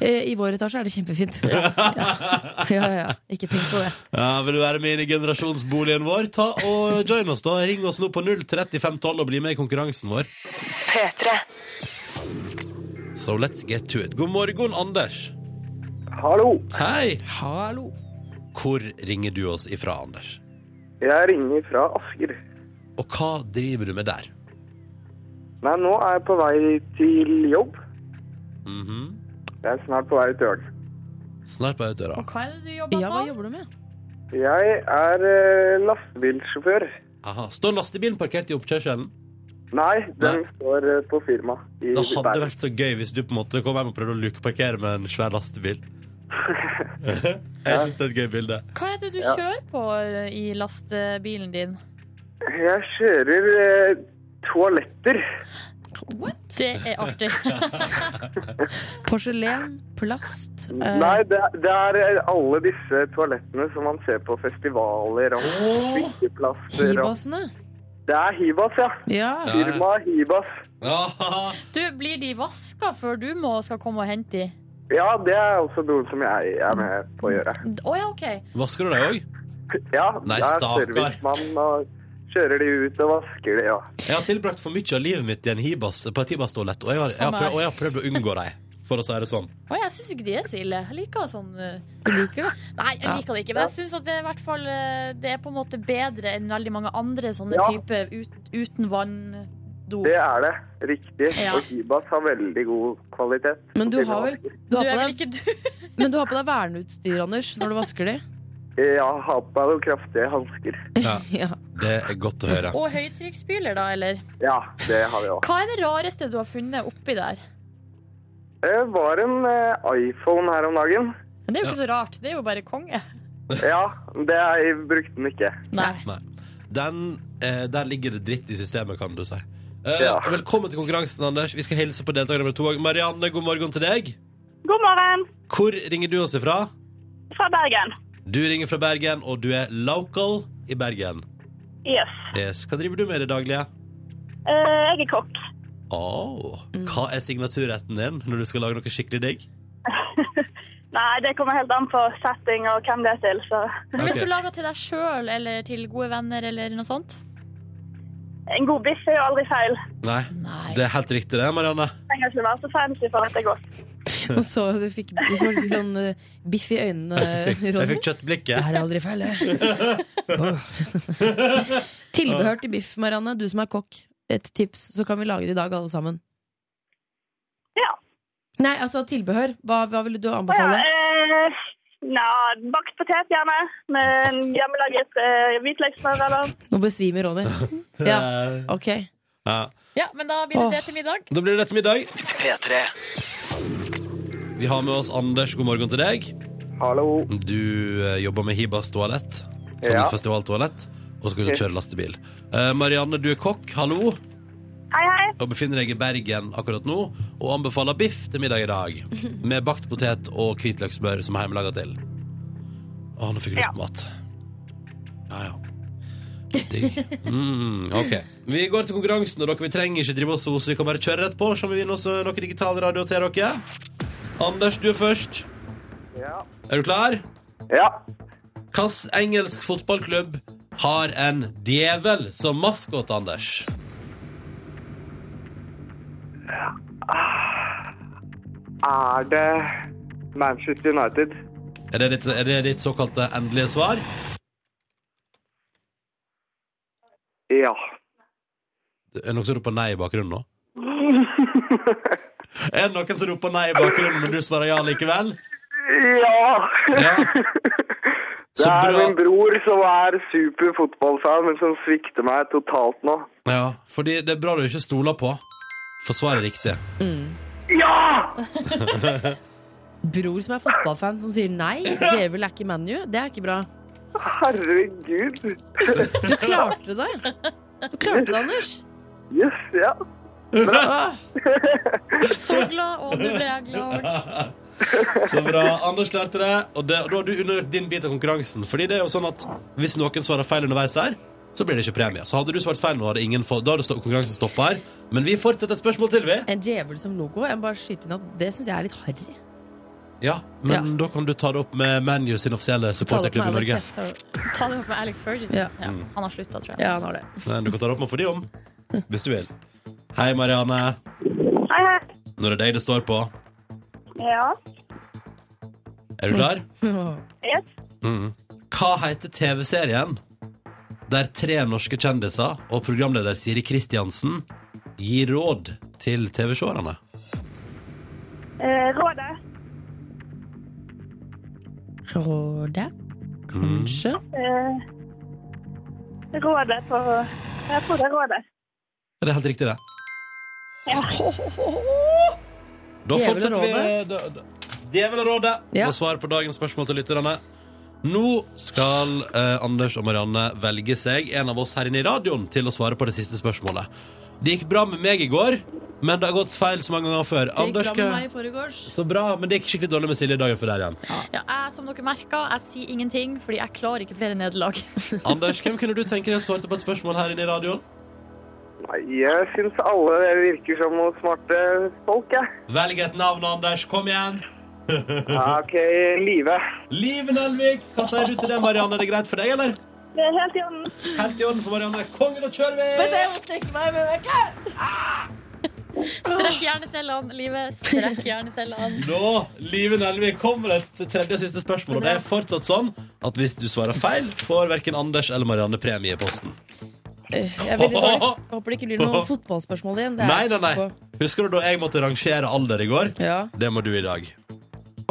Speaker 5: Eh, I vår etasje er det kjempefint. Ja, ja, ja, ja. Ikke tenk på det.
Speaker 2: Ja, Vil du være med inn i generasjonsboligen vår? Ta og Join oss, da. Ring oss nå på 03512 og bli med i konkurransen vår. So let's get to it. God morgen, Anders.
Speaker 9: Hallo.
Speaker 2: Hei!
Speaker 5: Hallo.
Speaker 2: Hvor ringer du oss ifra, Anders?
Speaker 9: Jeg ringer fra Asker.
Speaker 2: Og hva driver du med der?
Speaker 9: Nei, nå er jeg på vei til jobb.
Speaker 2: Mhm.
Speaker 9: Jeg er snart på vei til jobb.
Speaker 2: Snart på utdøra.
Speaker 4: Og hva er det du jobber
Speaker 5: Ja, hva
Speaker 4: som?
Speaker 5: jobber du med?
Speaker 9: Jeg er eh, lastebilsjåfør.
Speaker 2: Aha. Står lastebilen parkert i oppkjørselen?
Speaker 9: Nei, den
Speaker 2: Nei.
Speaker 9: står eh, på firma. I
Speaker 2: Det hadde
Speaker 9: Bergen.
Speaker 2: vært så gøy hvis du på en måte kom hjem og prøvde å lukeparkere med en svær lastebil. Jeg syns det er et gøy bilde.
Speaker 4: Hva er det du kjører på eh, i lastebilen din?
Speaker 9: Jeg kjører eh, toaletter.
Speaker 4: Det er
Speaker 5: <laughs>
Speaker 4: artig.
Speaker 5: Porselen, plast eh,
Speaker 9: Nei, det, er- det er eh, alle disse toalettene som man ser på festivaler og byggeplasser. Og...
Speaker 5: Hibasene.
Speaker 9: Det er Hibas, ja.
Speaker 5: Ja.
Speaker 2: Ja, ja.
Speaker 9: Firma Hibas.
Speaker 2: Ah,
Speaker 4: Du, blir de vaska før du må, skal komme og hente de?
Speaker 9: Ja, det er også noe som jeg er med på å gjøre.
Speaker 4: Å ja, OK.
Speaker 2: Vasker du deg òg?
Speaker 9: Ja,
Speaker 2: Nei,
Speaker 9: jeg er
Speaker 2: stakkar.
Speaker 9: servicemann og kjører de ut og vasker de. Ja.
Speaker 2: Jeg har tilbrakt for mye av livet mitt i en hibas, på et hibas-toalett, og, jeg har- jeg har
Speaker 4: Samme
Speaker 2: prøvd-
Speaker 4: her.
Speaker 2: og jeg har prøvd å unngå dem, for å si det sånn.
Speaker 4: Å, jeg syns ikke de er så ille. Jeg liker sånn eh,
Speaker 5: Du liker det?
Speaker 4: Nei, jeg
Speaker 5: Ja.
Speaker 4: liker det ikke. Men jeg syns at det er i hvert fall eh, Det er på en måte bedre enn veldig mange andre sånne
Speaker 9: Ja.
Speaker 4: typer ut, uten vann-do.
Speaker 9: Det er det. Riktig.
Speaker 4: Ja.
Speaker 9: Og Hibas har veldig god kvalitet.
Speaker 5: Men du har vel du
Speaker 4: Du
Speaker 5: har
Speaker 4: er
Speaker 5: på
Speaker 4: vel
Speaker 5: deg,
Speaker 4: ikke du? <laughs>
Speaker 5: men du har på deg verneutstyr, Anders, når du vasker de?
Speaker 9: Ja, har på deg noen kraftige hansker.
Speaker 5: Ja.
Speaker 2: Det er godt å høre.
Speaker 4: Og høytrykksspyler, da, eller?
Speaker 9: Ja, det har vi òg.
Speaker 4: Hva er det rareste du har funnet oppi der?
Speaker 9: Det var en eh, iPhone her om dagen.
Speaker 2: <laughs>
Speaker 4: Men Det er jo ikke så rart. Det er jo bare konge.
Speaker 9: Ja, det jeg brukte den ikke.
Speaker 4: Nei.
Speaker 2: Nei. Den, eh, der ligger det dritt i systemet, kan du si. Eh,
Speaker 9: Ja.
Speaker 2: Velkommen til konkurransen, Anders. Vi skal hilse på deltaker nummer to. Marianne, god morgen til deg.
Speaker 10: God morgen
Speaker 2: Hvor ringer du oss ifra?
Speaker 10: fra Bergen.
Speaker 2: Du ringer fra Bergen, og du er local i Bergen.
Speaker 10: Yes.
Speaker 2: Yes. Hva driver du med i det daglige?
Speaker 10: Eh, jeg er kokk. <laughs>
Speaker 2: Åh, hva er signaturretten din når du skal lage noe skikkelig digg?
Speaker 10: Nei, det kommer helt an på setting og hvem det er til, så
Speaker 4: Men
Speaker 2: Ok.
Speaker 4: Hvis du lager til deg sjøl eller til gode venner eller noe sånt
Speaker 10: En god biff er jo aldri feil.
Speaker 2: Nei, det er helt riktig det, Marianne.
Speaker 10: Det trenger ikke være så fancy for at det er godt.
Speaker 5: <laughs> Og så fikk vi får litt sånn eh, biff i øynene,
Speaker 2: Jeg
Speaker 5: Ronny.
Speaker 2: fikk kjøttblikket.
Speaker 5: Det
Speaker 4: <laughs>
Speaker 5: her er aldri feil, det. Tilbehør til biff, Marianne, du som er kokk. Et tips, så kan vi lage det i dag, alle sammen.
Speaker 10: Ja.
Speaker 5: Nei, altså tilbehør. Hva, hva ville du
Speaker 10: Ja,
Speaker 5: anbefale?
Speaker 10: eh, Nja, bakt potet gjerne, med en hjemmelaget eh, hvitløkssmør eller
Speaker 5: Nå besvimer Ronny. Ja, ok.
Speaker 2: Ja.
Speaker 4: Ja, men da blir det
Speaker 5: Åh.
Speaker 4: det til middag.
Speaker 2: Da blir det til middag. Vi har med oss Anders. God morgen til deg.
Speaker 9: Hallo.
Speaker 2: Du eh, jobber med Hibas toalett. Sånn
Speaker 9: Ja.
Speaker 2: festivaltoalett. Og skal kjøre lastebil. Eh, Marianne, du er kokk. Hallo.
Speaker 10: Hei, hei.
Speaker 2: Og befinner deg i Bergen akkurat nå og anbefaler biff til middag i dag.
Speaker 10: <laughs>
Speaker 2: Med bakt potet og hvitløkssmør som er hjemmelaga til. Å, nå fikk jeg lyst på mat. Ja, ja. Digg. Mm, OK. Vi går til konkurransen, og dere vi trenger ikke drive oss hos. Vi kan bare kjøre rett på, så må vi vinne oss eh, noe digital radio til dere. Anders, du er først.
Speaker 9: Ja.
Speaker 2: Er du klar?
Speaker 9: ja.
Speaker 2: Hvilken engelsk fotballklubb har en djevel som maskot, Anders?
Speaker 9: Er det Manchester United?
Speaker 2: Er det ditt, er det ditt såkalte endelige svar?
Speaker 9: Ja.
Speaker 2: Er det noen som roper nei i bakgrunnen nå? Er det noen som roper nei i bakgrunnen, men du svarer ja likevel?
Speaker 9: Ja! <laughs>
Speaker 2: Ja.
Speaker 9: Det
Speaker 2: Så
Speaker 9: er
Speaker 2: bra.
Speaker 9: min bror som er super fotballfan, men som svikter meg totalt nå.
Speaker 2: Ja, fordi det er bra du ikke stoler på. For svaret er riktig.
Speaker 9: Ja!
Speaker 5: Bror som er fotballfan, som sier nei. Djevel er ikke ManU. Det er ikke bra.
Speaker 9: Herregud.
Speaker 5: Du klarte det. Du klarte det, Anders.
Speaker 9: Yes, ja.
Speaker 5: Åh,
Speaker 4: Så glad, og nå ble jeg glad.
Speaker 2: Så bra. Anders klarte det. Og det, og da har du undergjort din bit av konkurransen. Fordi det er jo sånn at hvis noen svarer feil underveis her, så blir det ikke premie. Så hadde du svart feil nå, hadde ingen fått Da hadde stå- konkurransen stoppa her. Men vi fortsetter et spørsmål til, vi.
Speaker 5: en djevel som logo. Jeg må bare skyter inn at det syns jeg er litt harry.
Speaker 2: Ja, men da kan du ta det opp med ManU sin offisielle
Speaker 5: Ta det opp
Speaker 2: supporterklubb i
Speaker 5: med
Speaker 2: Norge.
Speaker 5: Alex, jeg tar-
Speaker 4: Ta det opp med Alex Ferguson.
Speaker 5: Ja.
Speaker 4: Ja. han har slutta, tror jeg.
Speaker 5: Ja, han har det.
Speaker 2: Men du kan ta det opp med for de om, hvis du vil. Hei, Marianne.
Speaker 10: Hei, hei.
Speaker 2: Nå er det deg det står på.
Speaker 10: Ja.
Speaker 2: Er du klar? Mm.
Speaker 10: Yes.
Speaker 2: Mhm. Hva heter TV-serien der tre norske kjendiser og programleder Siri Kristiansen gir råd til TV-seerne?
Speaker 10: Eh, rådet.
Speaker 5: Rådet, kanskje.
Speaker 10: Eh, rådet på Jeg tror det er rådet.
Speaker 2: Er det helt riktig, det?
Speaker 10: Ja.
Speaker 2: Da
Speaker 5: Djevel og
Speaker 2: fortsetter vi da- da- Djevel og rådet
Speaker 5: Ja.
Speaker 2: og svar på dagens spørsmål til lytterne. Nå skal eh, Anders og Marianne velge seg en av oss her inne i radioen til å svare på det siste spørsmålet. Det gikk bra med meg i går, men det har gått feil så mange ganger før.
Speaker 5: Det gikk
Speaker 2: Anders,
Speaker 5: bra med
Speaker 2: hva-
Speaker 5: meg i forgårs.
Speaker 2: Så bra, men det gikk skikkelig dårlig med Silje dagen før der igjen.
Speaker 4: Ja, jeg, som dere merker, jeg sier ingenting, fordi jeg klarer ikke
Speaker 2: <laughs>
Speaker 4: flere nederlag.
Speaker 2: Anders, hvem kunne du tenke deg at svarte på et spørsmål her inne i radioen?
Speaker 9: Nei, jeg syns alle virker som noen smarte folk, jeg.
Speaker 2: Velg et navn, Anders. Kom igjen.
Speaker 9: Ja. OK, Live.
Speaker 2: Liv Nelvik, hva sier du til det, Marianne? Er det greit for deg, eller?
Speaker 10: Det er helt i orden.
Speaker 2: Helt i orden for Marianne. Kongen, nå kjører vi!
Speaker 4: Jeg må strekke meg, men jeg er klar! Strekk hjernecellene, livet. Strekk hjernecellene.
Speaker 2: Nå, Live Nelvik, kommer det et tredje og siste spørsmål. Og det er fortsatt sånn at hvis du svarer feil, får verken Anders eller Marianne premie i posten.
Speaker 5: Eh, Jeg er veldig dårlig. Jeg håper det ikke blir noe fotballspørsmål igjen. Det er
Speaker 2: Nei, nei,
Speaker 5: jeg
Speaker 2: nei.
Speaker 5: sikker på.
Speaker 2: Husker du da jeg måtte rangere alder i går?
Speaker 5: Ja.
Speaker 2: Det må du i dag.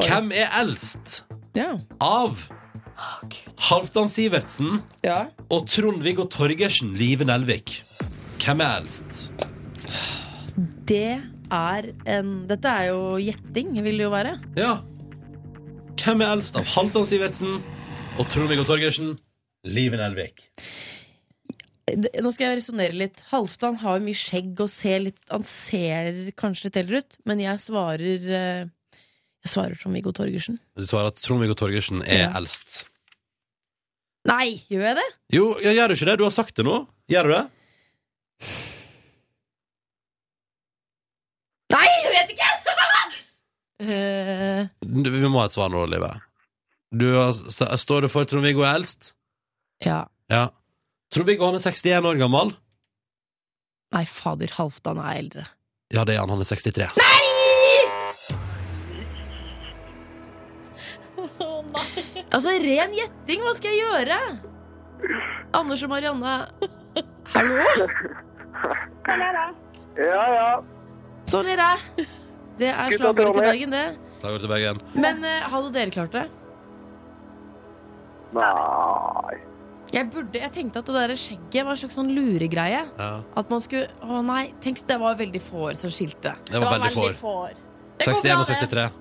Speaker 2: Hvem er eldst
Speaker 5: Ja.
Speaker 2: av Halvdan Sivertsen?
Speaker 5: ja.
Speaker 2: og Trond-Viggo Torgersen Live Nelvik. Hvem er eldst?
Speaker 5: Det er en Dette er jo gjetting, vil det jo være.
Speaker 2: Ja. Hvem er eldst av Halvdan Sivertsen og Trond-Viggo Torgersen Live Nelvik?
Speaker 5: Det- Nå skal jeg resonnere litt. Halvdan har jo mye skjegg og ser litt Han ser kanskje litt eldre ut, men jeg svarer eh, Jeg svarer som Viggo Torgersen.
Speaker 2: Du svarer at Trond-Viggo Torgersen er
Speaker 5: Ja.
Speaker 2: eldst.
Speaker 5: Nei, gjør jeg det?
Speaker 2: Jo, ja, gjør du ikke det? Du har sagt det nå. Gjør du det?
Speaker 5: Nei, jeg vet ikke!
Speaker 11: Eh,
Speaker 2: Du, Vi må ha et svar nå, Live. Du, har- s- står du for Trond-Viggo Elst?
Speaker 5: Ja.
Speaker 2: Ja. Trond-Viggo han er 61 år gammel.
Speaker 5: Nei, fader, Halvdan er eldre.
Speaker 2: Ja, det er han. Han er 63.
Speaker 5: Altså, ren gjetting! Hva skal jeg gjøre? Anders og Marianne, hallo?
Speaker 12: Sånn er det.
Speaker 9: Ja, ja.
Speaker 5: Sånn er det. Det er
Speaker 9: Gutta
Speaker 5: slagordet til
Speaker 9: Trondheim.
Speaker 5: Bergen, det.
Speaker 2: Slagord til Bergen.
Speaker 5: Men eh, hadde dere klart det?
Speaker 9: Nei.
Speaker 5: Jeg, burde, jeg tenkte at det der skjegget var en slags sånn luregreie.
Speaker 2: Ja.
Speaker 5: At man skulle Å nei, tenk, det var veldig få år som skilte.
Speaker 2: Det var veldig få år.
Speaker 4: får.
Speaker 2: 61 og 63.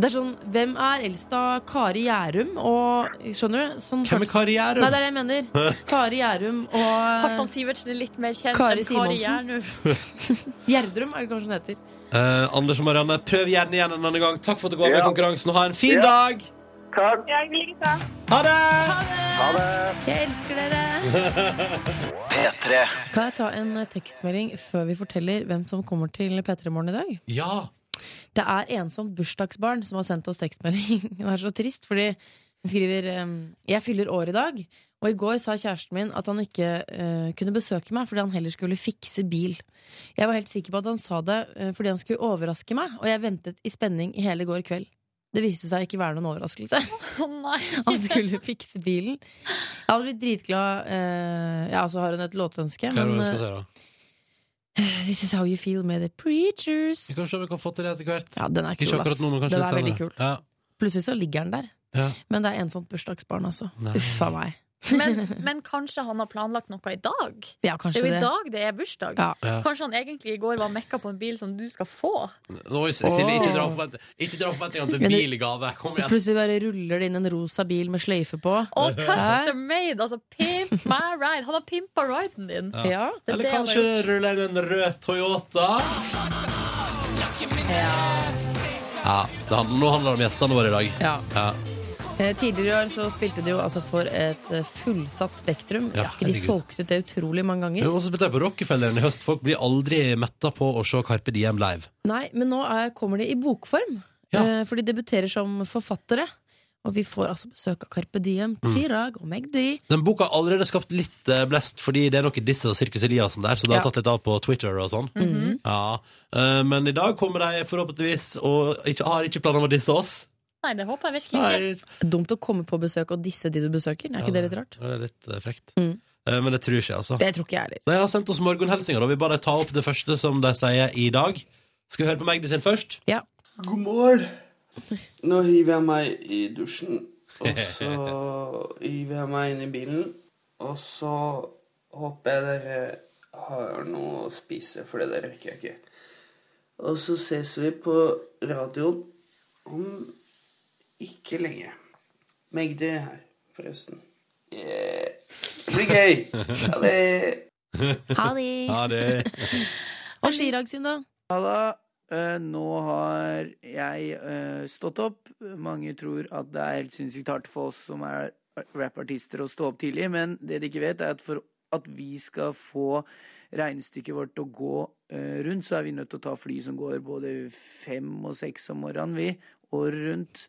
Speaker 5: Det er sånn Hvem er eldst av Kari Gjærum og Skjønner du? Sånn
Speaker 2: Hvem er Kari
Speaker 5: Nei, det
Speaker 2: Gjærum?
Speaker 5: er det jeg
Speaker 2: <laughs>
Speaker 5: mener. Kari Gjærum
Speaker 4: Halvdan
Speaker 5: og
Speaker 4: Sivertsen er litt mer kjent
Speaker 5: Kari
Speaker 4: enn Kari
Speaker 5: Simonsen.
Speaker 2: <laughs>
Speaker 4: Gjernum.
Speaker 5: Gjerdrum, er det kanskje hun heter.
Speaker 2: Eh, Anders og Marianne, prøv gjerne igjen en annen gang. Takk for at dere var med i
Speaker 9: Ja.
Speaker 2: konkurransen, og ha en fin
Speaker 9: Ja.
Speaker 2: dag!
Speaker 9: Takk.
Speaker 12: Jeg liker det.
Speaker 2: Ha det!
Speaker 9: Ha det.
Speaker 5: Jeg elsker dere! Kan jeg ta en eh, tekstmelding før vi forteller hvem som kommer til P3 Morgen i dag?
Speaker 2: Ja.
Speaker 5: Det er en som bursdagsbarn som har sendt oss tekstmelding. <laughs> Hun er så trist, fordi hun skriver ehm, Jeg fyller år i dag, og i går sa kjæresten min at han ikke eh, kunne besøke meg fordi han heller skulle fikse bil. Jeg var helt sikker på at han sa det eh, fordi han skulle overraske meg, og jeg ventet i spenning i hele går kveld. Det viste seg ikke være noen overraskelse. <laughs>
Speaker 4: Å nei.
Speaker 5: Han skulle fikse bilen. Jeg hadde blitt dritglad. eh, ja, så har hun et låtønske,
Speaker 2: Hva er det
Speaker 5: men
Speaker 2: du skal
Speaker 5: eh,
Speaker 2: si, da?
Speaker 5: This is how you feel med The Preachers.
Speaker 2: Vi kan se om vi kan få til det etter hvert.
Speaker 5: Ja, den er kul,
Speaker 2: Ikke
Speaker 5: ass.
Speaker 2: akkurat nå, men
Speaker 5: Den
Speaker 2: kanskje
Speaker 5: er veldig
Speaker 2: litt
Speaker 5: kul.
Speaker 2: senere. Ja.
Speaker 5: Plutselig så ligger den der.
Speaker 2: Ja.
Speaker 5: Men det er ensomt bursdagsbarn, altså.
Speaker 2: Nei.
Speaker 5: Uff a meg.
Speaker 4: Men, men kanskje han har planlagt noe i dag?
Speaker 5: Ja,
Speaker 4: Det
Speaker 5: kanskje
Speaker 4: er jo
Speaker 5: det.
Speaker 4: i dag det er bursdag.
Speaker 5: Ja.
Speaker 2: Ja.
Speaker 4: Kanskje han egentlig i går var mekka på en bil som du skal få?
Speaker 2: Oi, Silje, ikke dra opp forvent- ikke dra opp forventningene til
Speaker 5: Men det-
Speaker 2: bil i gave. Kom igjen.
Speaker 5: Plutselig bare ruller det inn en rosa bil med sløyfe på.
Speaker 4: Og custom made! Altså pimp my ride! Han har pimpa riden din!
Speaker 5: Ja.
Speaker 2: Eller
Speaker 4: Det er det han har
Speaker 2: kanskje
Speaker 4: gjort.
Speaker 2: rulle inn en rød Toyota? Ja, det handler, Nå handler det om gjestene våre i dag.
Speaker 5: ja.
Speaker 2: Ja.
Speaker 5: Eh, Tidligere i år så spilte de jo altså for et eh, fullsatt Spektrum.
Speaker 2: Ja,
Speaker 5: Ja, ikke de
Speaker 2: herregud.
Speaker 5: solgte ut det utrolig mange
Speaker 2: Jeg
Speaker 5: ganger.
Speaker 2: har også spilt på Rockefelleren i høst. Folk blir aldri metta på å se Carpe Diem live.
Speaker 5: Nei, men nå er, kommer de i bokform.
Speaker 2: Ja.
Speaker 5: Eh, For de debuterer som forfattere. Og vi får altså besøk av Carpe Diem,
Speaker 2: Mm.
Speaker 5: Chirag og Meg Dy.
Speaker 2: Den boka har allerede skapt litt eh, blest, fordi det er noe diss av Sirkus Eliassen der, så det har
Speaker 5: Ja. Mhm.
Speaker 2: tatt litt av på Twitter og sånn. ja. Eh, men i dag kommer de forhåpentligvis og ikke, har ikke planer om å disse oss.
Speaker 4: Nei, det håper jeg virkelig ikke.
Speaker 2: Nei.
Speaker 5: Dumt å komme på besøk og disse de du besøker. Er ikke det litt rart?
Speaker 2: Ja, Det er litt eh, frekt.
Speaker 5: Mm.
Speaker 2: Eh, men det tror ikke jeg, altså.
Speaker 5: Det tror ikke jeg heller.
Speaker 2: De har sendt oss morgenhilsinger, og vi bare tar opp det første som de sier i dag. Skal vi høre på Magdi sin først?
Speaker 5: Ja.
Speaker 13: God morgen. Nå hiver jeg meg i dusjen, og så hiver jeg meg inn i bilen. Og så håper jeg dere har noe å spise, for det rekker jeg ikke. Og så ses vi på radioen om ikke lenge. Magdi er her, forresten. Yeah. Det blir gøy. Ha det.
Speaker 5: Ha det!
Speaker 2: Ja, det
Speaker 5: Og Chirag sin, da?
Speaker 14: Halla. Eh, nå har jeg eh, stått opp. Mange tror at det er helt sinnssykt hardt for oss som er rappartister å stå opp tidlig, men det de ikke vet, er at for at vi skal få regnestykket vårt til å gå eh, rundt, så er vi nødt til å ta fly som går både fem og seks om morgenen, vi, året rundt.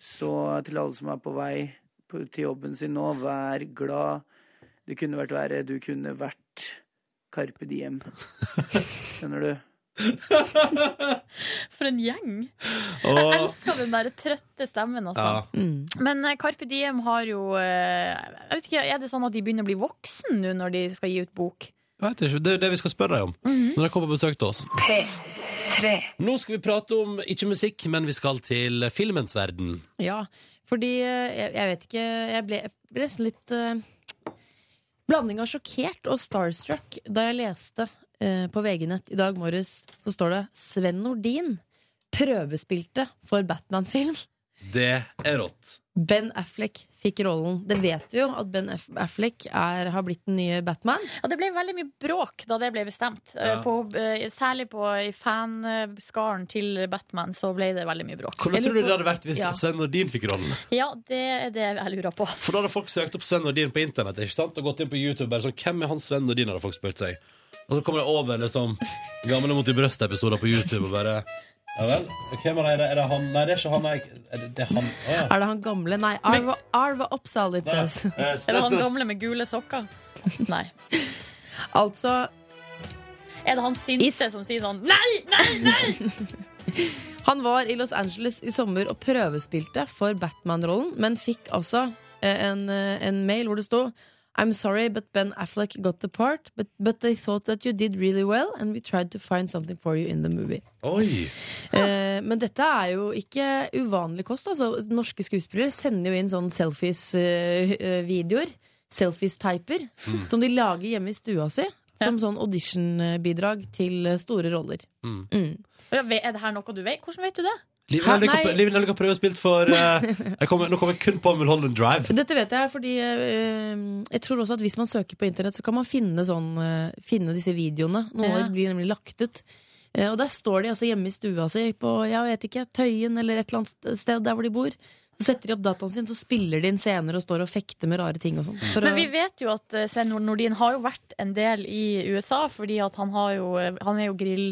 Speaker 14: Så til alle som er på vei på, til jobben sin nå, vær glad. Du kunne vært verre. Du kunne vært Carpe Diem. Skjønner du?
Speaker 4: <laughs> For en gjeng! Jeg
Speaker 2: Åh.
Speaker 4: elsker den der trøtte stemmen, altså.
Speaker 2: Ja.
Speaker 5: Mm.
Speaker 4: Men eh, Carpe Diem har jo eh, Jeg vet ikke, Er det sånn at de begynner å bli voksen nå når de skal gi ut bok?
Speaker 2: Jeg vet ikke, Det er det vi skal spørre deg om
Speaker 5: Mhm.
Speaker 2: når de kommer på besøk til oss. Nå skal vi prate om ikke musikk, men vi skal til filmens verden.
Speaker 5: Ja, fordi eh, jeg, jeg vet ikke Jeg ble, jeg ble nesten litt eh, Blanding av sjokkert og starstruck da jeg leste eh, på VG-nett i dag morges, så står det Sven Nordin prøvespilte for Batman-film.
Speaker 2: Det er rått.
Speaker 5: Ben Affleck fikk rollen. Det vet vi jo, at Ben Aff- Affleck er, har blitt den nye Batman.
Speaker 4: Ja, det ble veldig mye bråk da det ble bestemt. Eh,
Speaker 2: Ja.
Speaker 4: På, eh, særlig på i fanskaren til Batman så ble det veldig mye bråk.
Speaker 2: Hvordan
Speaker 5: Jeg
Speaker 2: tror du
Speaker 5: lurer på-
Speaker 2: det hadde vært hvis
Speaker 5: Ja.
Speaker 2: Sven Nordin fikk rollen?
Speaker 4: Ja, det er det jeg lurer på.
Speaker 2: For da hadde folk søkt opp Sven Nordin på internett ikke sant? og gått inn på YouTube. bare sånn, Hvem er han Sven Nordin? hadde folk spurt seg. Og så kommer det over liksom gamle Mot i brøstet-episoder på YouTube og bare Ja vel. Hvem er det? Er det han? Nei, det er ikke han. Jeg. Er det, det er han? Å,
Speaker 5: <laughs>
Speaker 2: ja.
Speaker 5: Er det han gamle? Nei, Arva, Arva Oppsal, it says.
Speaker 4: Er
Speaker 2: Eh,
Speaker 4: det han gamle med gule sokker? Nei.
Speaker 5: Altså,
Speaker 4: Er det han
Speaker 5: Is.
Speaker 4: sinte som sier sånn Nei, nei, nei!
Speaker 5: han var i Los Angeles i sommer og prøvespilte for Batman-rollen, men fikk altså eh, en, eh, en mail hvor det sto I'm sorry, but Ben Affleck got the part, but, but they thought that you did really well, and we tried to find something for you in the movie.
Speaker 2: Oi!
Speaker 5: Eh, men dette er jo ikke uvanlig kost. Altså, norske skuespillere sender jo inn sånn eh, selfies-videoer. Selfies-teiper. Som de lager hjemme i stua si. Som sånn audition-bidrag til eh, store roller.
Speaker 4: Og ja, Er det her noe du vet? Hvordan vet du det?
Speaker 2: Liv
Speaker 5: Hæ?
Speaker 2: Nelvik har-
Speaker 5: Nei.
Speaker 2: Liv Nelvik har prøvd å spille for
Speaker 5: <laughs>
Speaker 2: eh, jeg kommer, Nå kommer jeg kun på Mulholland Drive.
Speaker 5: Dette vet jeg fordi eh, jeg tror også at hvis man søker på internett, så kan man finne, sånn, eh, finne disse videoene. Noen av
Speaker 4: Ja.
Speaker 5: dem blir nemlig lagt ut. Eh, og der står de altså hjemme i stua si på jeg vet ikke, Tøyen eller et eller annet sted der hvor de bor. Så setter de opp dataen sin, så spiller de inn scener og står og fekter med rare ting og sånn. for
Speaker 4: Men
Speaker 5: å-
Speaker 4: vi vet jo at eh, Sven Nordin har jo vært en del i USA, fordi at han, har jo, han er jo grill.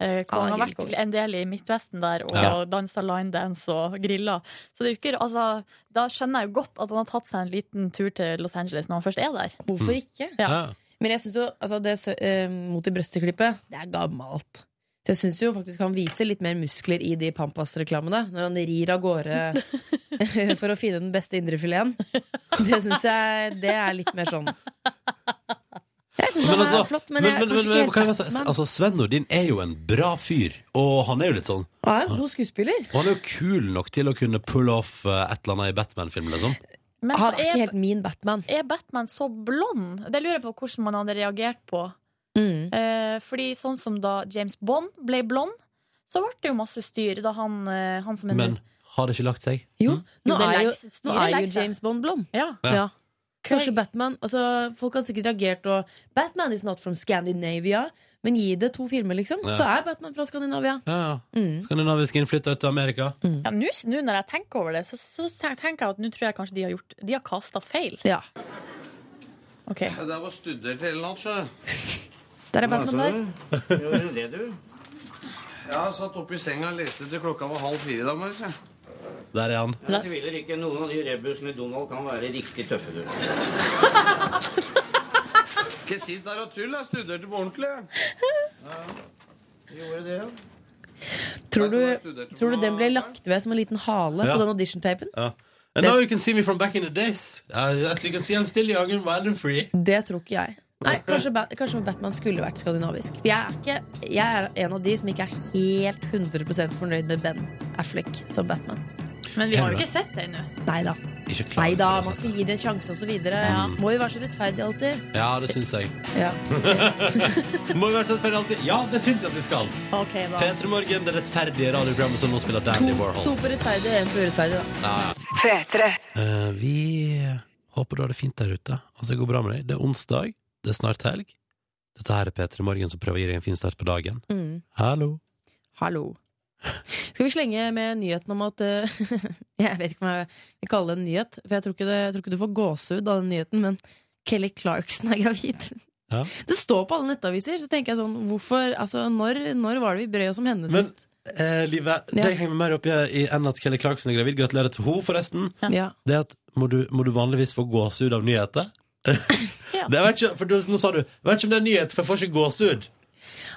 Speaker 4: eh,
Speaker 5: Ja,
Speaker 4: Han har vært
Speaker 5: grillkonge.
Speaker 4: en del i Midtvesten der og
Speaker 2: Ja.
Speaker 4: dansa linedance og grilla. Så det er jo ikke, altså, da skjønner jeg jo godt at han har tatt seg en liten tur til Los Angeles når han først er der.
Speaker 5: Hvorfor ikke?
Speaker 4: Ja.
Speaker 2: Ja.
Speaker 5: Men jeg synes jo altså det sø- eh, mot i brøsteklippet, det er gammelt. Så jeg syns jo faktisk han viser litt mer muskler i de Pampas-reklamene. Når han rir av gårde for å finne den beste indrefileten. Det syns jeg det er litt mer sånn Jeg syns
Speaker 2: Men
Speaker 5: han
Speaker 2: altså,
Speaker 5: er flott, men
Speaker 2: men,
Speaker 5: jeg
Speaker 2: men,
Speaker 5: er
Speaker 2: men,
Speaker 5: kanskje
Speaker 2: men,
Speaker 5: ikke
Speaker 2: kan jeg
Speaker 5: helt
Speaker 2: bare si- altså, Sven Nordin er jo en bra fyr, og han er jo litt sånn
Speaker 5: Han er en god skuespiller.
Speaker 2: Og han er jo kul nok til å kunne pull off eh, et eller annet i Batman-film, liksom.
Speaker 4: Men
Speaker 5: Han er ikke
Speaker 4: er,
Speaker 5: helt min Batman.
Speaker 4: er Batman så blond? Det lurer jeg på hvordan man hadde reagert på.
Speaker 5: Mm.
Speaker 4: Eh, fordi sånn som da James Bond ble blond, så ble det jo masse styr da han, eh, han som er
Speaker 2: Men har det ikke lagt seg?
Speaker 5: Jo, nå
Speaker 4: det
Speaker 5: er jo,
Speaker 4: legges-
Speaker 5: nå
Speaker 4: styret
Speaker 5: er jo
Speaker 4: legges.
Speaker 5: James Bond blond.
Speaker 4: Ja.
Speaker 5: Ja. Kanskje
Speaker 4: Craig.
Speaker 5: Batman altså, Folk har sikkert reagert og Batman is not from Scandinavia Men gi det to filmer liksom
Speaker 2: Ja.
Speaker 5: Så er Batman fra Skandinavia
Speaker 2: Ja, ja.
Speaker 5: mm.
Speaker 2: Skandinavisk innflytter til Amerika.
Speaker 4: Ja, Nå s- nå når jeg tenker over det, så, så tenker jeg at nå tror jeg kanskje de har gjort De har kasta feil.
Speaker 5: Ja,
Speaker 4: Ok.
Speaker 15: Det var studert hele natt, sjø.
Speaker 5: der er Batman der
Speaker 15: Gjorde du det, du? Ja, satt oppe i senga og leste til klokka var halv fire i dag morges. jeg.
Speaker 2: Der er han.
Speaker 16: Jeg tviler ikke. Noen av de rebusene Donald kan være riktig tøffe, du.
Speaker 15: <laughs> Ikke sitt der og tull, jeg studerte på ordentlig. jeg.
Speaker 16: Gjorde det, ja.
Speaker 5: Tror
Speaker 15: Jeg tror
Speaker 5: du,
Speaker 15: jeg studerte
Speaker 5: tror du
Speaker 15: på-
Speaker 5: den ble lagt ved som en liten hale
Speaker 2: Ja.
Speaker 5: På den audition-tapen?
Speaker 2: Ja. And now you can see me from back in the days. Uh, as you can see, I'm still young and wild and free.
Speaker 5: Det tror ikke jeg Nei, kanskje, Ba- kanskje Batman skulle vært skandinavisk For jeg er, ikke, jeg er en av de som ikke er helt 100% fornøyd med Ben Affleck som Batman
Speaker 4: Men vi har jo ikke sett det ennå.
Speaker 5: Neida,
Speaker 2: Ikke klar
Speaker 5: Neida
Speaker 2: for
Speaker 5: man
Speaker 2: å si
Speaker 5: skal gi det altså. en sjanse og så videre Må jo være så rettferdig alltid
Speaker 2: det. Ja, det syns jeg.
Speaker 5: ja.
Speaker 2: <laughs> Må vi være rettferdige alltid? Ja, det syns jeg at vi skal.
Speaker 4: Ok, da.
Speaker 2: P3 Morgen, det rettferdige radioprogrammet som nå spiller Dandy
Speaker 5: To
Speaker 2: Warhols.
Speaker 5: på rettferdig, en på urettferdig da
Speaker 2: Eh, vi håper du har det fint der ute. Altså, det går bra med deg. Det er onsdag, det er snart helg. Dette her er P3 Morgen som prøver å gi deg en fin start på dagen.
Speaker 5: mm.
Speaker 2: Hallo.
Speaker 5: Hallo. Skal vi slenge med nyheten om at eh, <laughs> Jeg vet ikke om jeg vil kalle det en nyhet, for jeg tror ikke, det, jeg tror ikke du får gåsehud av den nyheten, men Kelly Clarkson er gravid.
Speaker 2: Ja.
Speaker 5: Det står på alle nettaviser, så tenker jeg sånn hvorfor, altså, når, når var det vi brød oss om henne
Speaker 2: Men-
Speaker 5: sist?
Speaker 2: Eh, Live,
Speaker 5: Ja.
Speaker 2: det jeg henger meg mer opp i i enn at Kelly Clarkson er gravid. Gratulerer til henne, forresten.
Speaker 5: Ja.
Speaker 2: Det er at må du, må du vanligvis få gåsehud av nyheter?
Speaker 4: Ja.
Speaker 2: Det vet ikke, for du, nå sa du Jeg vet ikke om det er nyhet, for jeg får ikke gåsehud.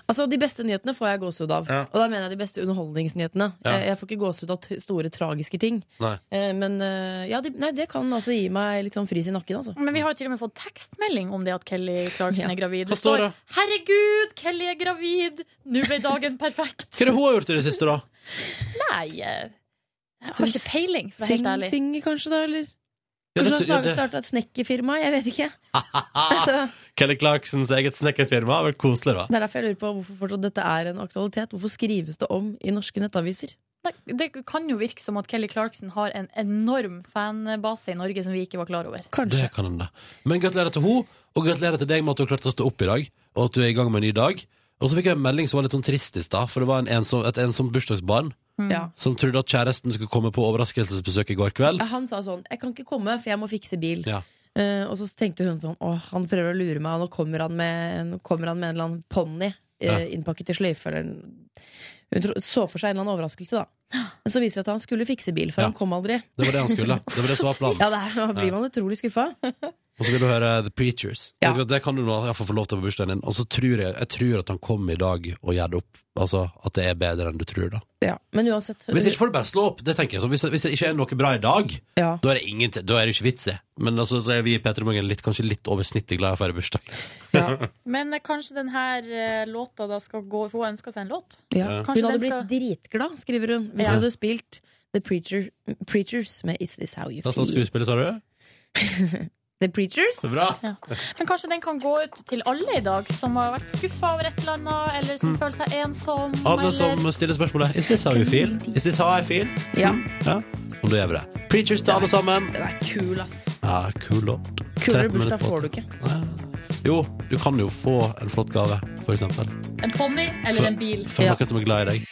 Speaker 5: Altså, de beste nyhetene får jeg gåsehud av.
Speaker 2: Ja.
Speaker 5: Og da mener jeg de beste underholdningsnyhetene.
Speaker 2: Ja.
Speaker 5: Eh, Jeg får ikke gåsehud av t store, tragiske ting.
Speaker 2: Nei.
Speaker 5: Eh, Men eh, ja, de, nei, det kan altså gi meg litt sånn frys i nakken, altså.
Speaker 4: Men vi har jo til og med fått tekstmelding om det at Kelly Clarkson
Speaker 5: Ja.
Speaker 4: er gravid.
Speaker 2: Hva står det?
Speaker 4: 'Herregud, Kelly er gravid! Nå ble dagen perfekt'.
Speaker 2: Hva er det hun har gjort i det siste, da?
Speaker 4: Nei, eh, jeg har ikke peiling, for å være
Speaker 5: Syng,
Speaker 4: helt ærlig.
Speaker 5: synger kanskje, da, eller?
Speaker 2: Ja, det-
Speaker 5: Kanskje han
Speaker 2: ja,
Speaker 5: snart
Speaker 2: det-
Speaker 5: starta et snekkerfirma? Jeg vet
Speaker 2: <laughs>
Speaker 5: ikke. altså,
Speaker 2: Kelly Clarksons eget snekkerfirma har vært koselig, da.
Speaker 5: det er derfor jeg lurer på hvorfor fortsatt dette er en aktualitet. Hvorfor skrives det om i norske nettaviser?
Speaker 4: Nei, Det kan jo virke som at Kelly Clarkson har en enorm fanbase i Norge som vi ikke var klar over.
Speaker 5: Kanskje.
Speaker 2: Det kan hende. Men gratulerer til henne, og gratulerer til deg med at du har klart å stå opp i dag, og at du er i gang med en ny dag. Og så fikk jeg en melding som var litt sånn trist i stad, for det var en ensom, et ensomt bursdagsbarn
Speaker 5: Ja.
Speaker 2: som trodde at kjæresten skulle komme på overraskelsesbesøk i går kveld.
Speaker 5: Han sa sånn 'Jeg kan ikke komme, for jeg må fikse bil'.
Speaker 2: Ja.
Speaker 5: Eh, og så tenkte hun sånn 'Å, han prøver å lure meg, og nå kommer han med, nå kommer han med en eller annen ponni eh,
Speaker 2: Ja.
Speaker 5: innpakket i sløyfe', eller en- Hun tro- så for seg en eller annen overraskelse, da. Men så viser det at han skulle fikse bil, for
Speaker 2: Ja.
Speaker 5: han kom aldri.
Speaker 2: Det var det han
Speaker 5: <laughs>
Speaker 2: skulle. Det var det som var planen.
Speaker 5: Ja, det er, Da blir man utrolig skuffa.
Speaker 2: Og så vil du høre The Preachers.
Speaker 5: Ja.
Speaker 2: Vet du hva, Det kan du nå iallfall få lov til på bursdagen din. Og så tror jeg, jeg tror at han kom i dag og gjør det opp. Altså at det er bedre enn du tror, da.
Speaker 5: Ja, men uansett
Speaker 2: Hvis ikke får du bare slå opp. Det tenker jeg sånn. Hvis, hvis det ikke er noe bra i dag,
Speaker 5: Ja.
Speaker 2: da er det ingen, da er det ikke vits i. Men altså, så er vi i P3 Morgen litt, kanskje litt over snittet glad i å feire bursdag.
Speaker 4: Men eh, kanskje denne låta da skal gå For hun har ønska seg en låt.
Speaker 5: Ja.
Speaker 2: Ja.
Speaker 5: Hun
Speaker 4: Kanskje
Speaker 5: hadde
Speaker 4: den skal-
Speaker 5: blitt dritglad, skriver hun, hvis
Speaker 4: Ja.
Speaker 5: hun hadde spilt The Preacher, Preachers med Is This How You
Speaker 2: Da sånn
Speaker 5: Feel.
Speaker 2: skuespillet, sa du?
Speaker 5: The Preachers?
Speaker 2: Så bra.
Speaker 4: Men kanskje den kan gå ut til alle i dag som har vært skuffa over et eller annet, eller som føler seg ensom.
Speaker 2: Mm. Alle
Speaker 4: eller...
Speaker 2: som stiller spørsmålet Is this how you feel? Is this how I feel?
Speaker 5: Ja.
Speaker 2: Ja, og da gjør vi det. Preachers til alle sammen.
Speaker 5: Den er kul, ass.
Speaker 2: Ja, kul låt.
Speaker 5: Kulere
Speaker 2: 13 minutter
Speaker 5: bursdag
Speaker 2: på.
Speaker 5: får du ikke.
Speaker 2: Jo, du kan jo få en flott gave, for eksempel.
Speaker 4: En ponni eller en bil.
Speaker 2: Fra
Speaker 5: Ja.
Speaker 2: noen som er glad i deg.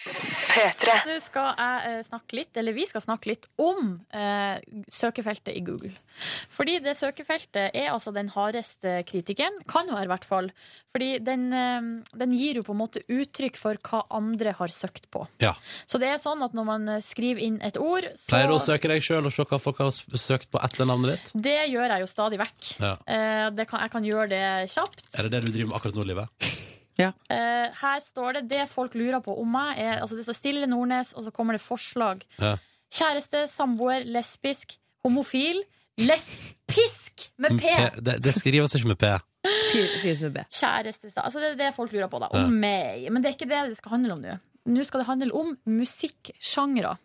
Speaker 4: Nå skal jeg eh, snakke litt, eller vi skal snakke litt om eh, søkefeltet i Google. Fordi det søkefeltet er altså den hardeste kritikeren, kan jo være i hvert fall. Fordi den, eh, den gir jo på en måte uttrykk for hva andre har søkt på.
Speaker 2: Ja.
Speaker 4: Så det er sånn at når man eh, skriver inn et ord, så
Speaker 2: Pleier du å søke deg sjøl og se hva folk har s- søkt på etter navnet ditt?
Speaker 4: Det gjør jeg jo stadig vekk.
Speaker 2: Ja.
Speaker 4: Eh, det kan, jeg kan gjøre det kjapt.
Speaker 2: Er det det du driver med akkurat nå, Live?
Speaker 4: Eh, her står det det folk lurer på om meg. Er, altså det står Stille Nordnes, og så kommer det forslag.
Speaker 2: Ja.
Speaker 4: Kjæreste, samboer, lesbisk, homofil. Lesbisk med P!
Speaker 2: Mm, P- Det, det skrives ikke med P.
Speaker 5: Sier- Sies med B.
Speaker 4: Kjæreste sa Altså det er det folk lurer på, da. Om meg. Men det er ikke det det skal handle om nå. Nå skal det handle om musikksjangre.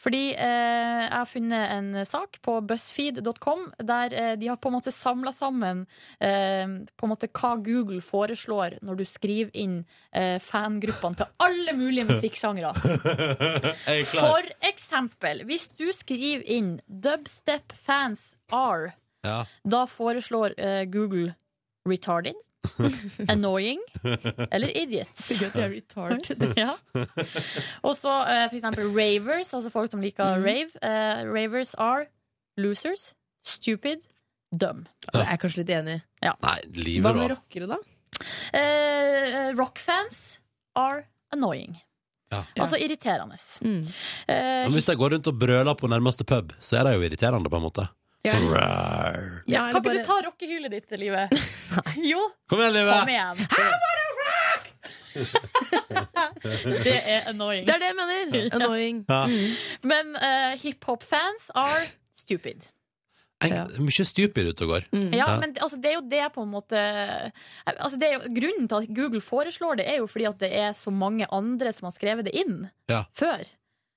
Speaker 4: Fordi eh, jeg har funnet en sak på buzzfeed.com der eh, de har på en måte samla sammen eh, på en måte hva Google foreslår når du skriver inn eh, fangruppene til alle mulige musikksjangre.
Speaker 2: Jeg er klar.
Speaker 4: For eksempel, hvis du skriver inn dubstep fans are,
Speaker 2: Ja.
Speaker 4: da foreslår eh, Google
Speaker 2: <laughs>
Speaker 4: retarded, annoying eller idiot.
Speaker 5: Gud, jeg er retarded.
Speaker 4: <laughs> ja. Og så eh, for eksempel ravers, altså folk som liker
Speaker 5: Mm.
Speaker 4: rave. eh, ravers are losers, stupid, dumb.
Speaker 5: Jeg er kanskje litt enig.
Speaker 2: Nei,
Speaker 5: Hva
Speaker 2: livet,
Speaker 5: med
Speaker 2: da.
Speaker 5: rockere, da?
Speaker 4: Eh, rockfans are annoying.
Speaker 2: Ja.
Speaker 4: Altså irriterende.
Speaker 5: Mm.
Speaker 4: Eh,
Speaker 2: Men hvis de går rundt og brøler på nærmeste pub, så er de jo irriterende, på en måte. Rar.
Speaker 5: Ja, eller
Speaker 4: kan ikke du ta rockehylet ditt,
Speaker 5: <laughs>
Speaker 4: Livet? jo,
Speaker 2: Kom igjen, Live!
Speaker 4: Kom igjen.
Speaker 2: <laughs>
Speaker 4: det er annoying.
Speaker 5: Det er det jeg mener! Annoying.
Speaker 4: Mm. Men eh, hiphop-fans are stupid.
Speaker 2: Jeg, mye stupid ute og går.
Speaker 4: Ja,
Speaker 2: Ja.
Speaker 4: men altså, det er jo det på en måte altså, det er jo, Grunnen til at Google foreslår det, er jo fordi at det er så mange andre som har skrevet det inn
Speaker 2: Ja.
Speaker 4: før.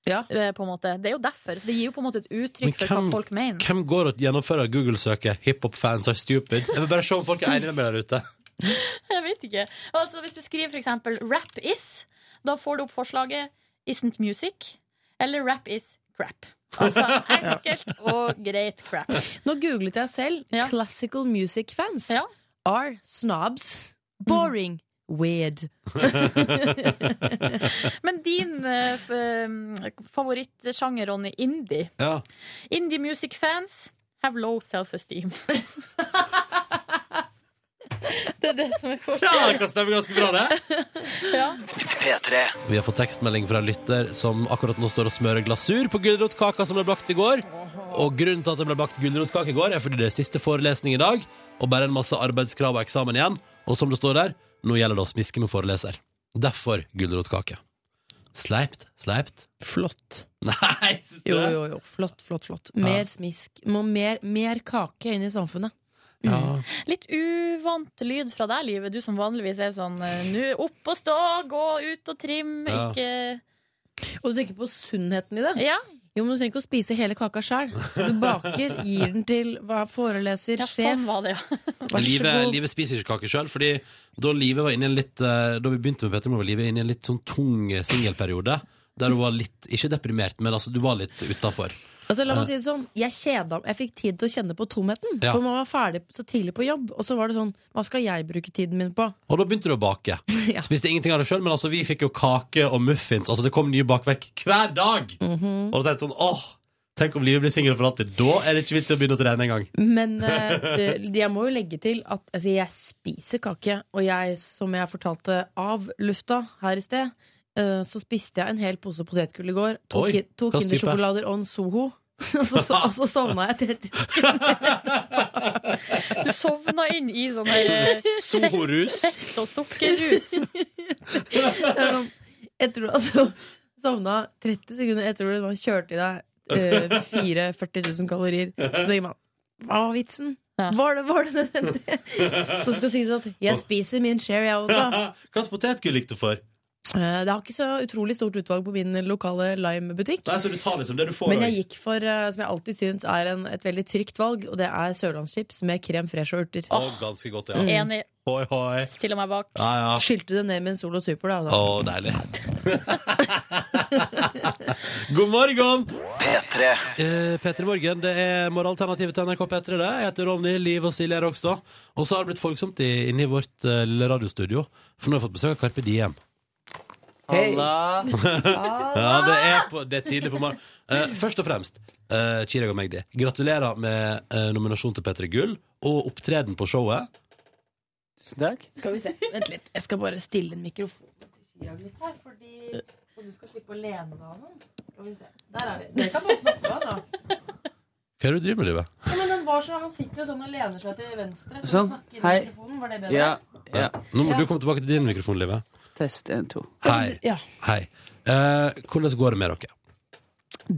Speaker 5: Ja.
Speaker 4: eh, På en måte. Det er jo derfor. Så det gir jo på en måte et
Speaker 2: Men
Speaker 4: uttrykk for
Speaker 2: hvem-
Speaker 4: hva folk mener.
Speaker 2: Hvem går og gjennomfører Google-søket 'hiphop-fans are stupid'? Jeg vil bare se om folk er enige med meg der ute.
Speaker 4: <laughs> Jeg vet ikke. Altså, hvis du skriver for eksempel 'rap is', da får du opp forslaget 'isn't music' eller 'rap is crap'. Altså enkelt og greit crap.
Speaker 5: Nå googlet jeg selv.
Speaker 4: Ja.
Speaker 5: Classical music fans
Speaker 4: Ja.
Speaker 5: are snobs. Boring. Weird.
Speaker 4: Men din eh, f- um, favorittsjanger, Ronny, indie.
Speaker 2: Ja.
Speaker 4: Indie music fans have low self-esteem. <laughs> det er det som er
Speaker 2: Ja,
Speaker 4: forskjellen.
Speaker 2: det kan stemme ganske bra, det.
Speaker 4: <laughs> Ja.
Speaker 2: Vi har fått tekstmelding fra en lytter som akkurat nå står og smører glasur på gulrotkaka som ble bakt i går. Og grunnen til at det ble bakt gulrotkake i går, er fordi det er siste forelesning i dag, og bare en masse arbeidskrav og eksamen igjen. Og som det står der, nå gjelder det å smiske med foreleser. Derfor gulrotkake. Sleipt, sleipt.
Speaker 5: Flott.
Speaker 2: <laughs> Nei, syns du
Speaker 5: Jo,
Speaker 2: det?
Speaker 5: jo, jo. Flott, flott, flott. Mer smisk. Må mer, mer kake inn i samfunnet.
Speaker 2: Ja.
Speaker 4: Litt uvant lyd fra deg, Livet. Du som vanligvis er sånn eh, Nå opp og stå, gå ut og trim,
Speaker 2: Ja.
Speaker 4: ikke
Speaker 5: Og du tenker på sunnheten i det.
Speaker 4: Ja.
Speaker 5: Jo, men Du trenger ikke å spise hele kaka sjøl. Du baker, gir den til hva, foreleser,
Speaker 4: ja,
Speaker 5: sjef.
Speaker 4: sånn var det, ja.
Speaker 5: Vær så
Speaker 2: Live,
Speaker 5: god.
Speaker 2: Live spiser ikke kake sjøl, fordi da, Live var inne i en litt, eh, da vi begynte med Petter Moe, var Live inne i en litt sånn tung singelperiode. Der hun var litt, ikke deprimert, men altså, du var litt utafor.
Speaker 5: Altså, la meg si det sånn, Jeg kjeda meg. Jeg fikk tid til å kjenne på tomheten.
Speaker 2: Ja.
Speaker 5: For man var ferdig så tidlig på jobb. Og så var det sånn Hva skal jeg bruke tiden min på?
Speaker 2: Og da begynte du å bake.
Speaker 5: <laughs> Ja.
Speaker 2: Spiste ingenting av det sjøl, men altså, vi fikk jo kake og muffins. Altså, det kom nye bakverk hver dag!
Speaker 5: Mhm.
Speaker 2: Og da tenkte jeg sånn, åh, tenk om livet blir singel for alltid. Da er det ikke vits i å begynne å trene
Speaker 5: <laughs>
Speaker 2: engang.
Speaker 5: Men eh,
Speaker 2: <laughs>
Speaker 5: det- jeg må jo legge til at altså, jeg spiser kake, og jeg, som jeg fortalte av lufta her i sted, eh, så spiste jeg en hel pose potetgull i går. To,
Speaker 2: Oi,
Speaker 5: ki to
Speaker 2: hva slags type?
Speaker 5: Kindersjokolader og en Soho. <laughs> og, så, so- og så sovna jeg 30
Speaker 4: Du sovna inn i sånn der eh,
Speaker 2: <laughs>
Speaker 17: Sohorus.
Speaker 4: fett og sukkerrus.
Speaker 5: Det er sånn, jeg tror, altså, sovna 30 sekunder etter at man kjørte i deg eh, 4 40 000 kalorier. Så tenker man hva var vitsen?
Speaker 4: Ja.
Speaker 5: Var det, var det nødvendig? Så skal sies at jeg spiser min share, jeg også.
Speaker 2: Hvilken potetgull gikk du for?
Speaker 5: Eh, Det har ikke så utrolig stort utvalg på min lokale Lime-butikk.
Speaker 2: Nei, så du tar liksom det du får.
Speaker 5: Men
Speaker 2: og-
Speaker 5: jeg gikk for, eh, som jeg alltid syns er en, et veldig trygt valg, og det er sørlandschips med krem fresh og urter.
Speaker 2: Å, ganske godt,
Speaker 5: Mm.
Speaker 2: ja.
Speaker 4: Enig.
Speaker 2: Hoi, hoi.
Speaker 4: Stiller meg bak.
Speaker 2: Ja, ja.
Speaker 5: Skylte det ned med en Solo Super, da.
Speaker 2: Å,
Speaker 5: Altså.
Speaker 2: deilig. <laughs> God morgen! P3. P3 Morgen, det er morgenalternativet til NRK P3. det. Jeg heter Ronny, Liv og Silje er også. Og så har det blitt folksomt i- inne i vårt eh, lille radiostudio, for nå har vi fått besøk av Carpe Diem.
Speaker 14: Halla!
Speaker 2: Ja, det er, på, det er tidlig på morgen. Eh, først og fremst, eh, Chirag og Magdi, gratulerer med eh, nominasjon til P3 Gull og opptreden på showet.
Speaker 14: Tusen takk.
Speaker 5: Skal vi se. Vent litt. Jeg skal bare stille en mikrofon til Chirag litt her, fordi Og du skal slippe å lene deg av noen. Skal vi se. Der er vi. Dere kan bare snakke, altså.
Speaker 2: Hva er det du driver med, Live?
Speaker 5: Ja, men den var så, han sitter jo sånn og lener seg til venstre. for å
Speaker 14: Sånn.
Speaker 5: snakke inn i
Speaker 14: Hei.
Speaker 5: mikrofonen. Var det bedre?
Speaker 14: Ja, ja.
Speaker 2: Nå må
Speaker 5: Ja.
Speaker 2: du komme tilbake til din mikrofon, Live.
Speaker 14: Test en, to.
Speaker 2: Hei.
Speaker 5: Ja.
Speaker 2: Hei. Eh, hvordan går det med dere?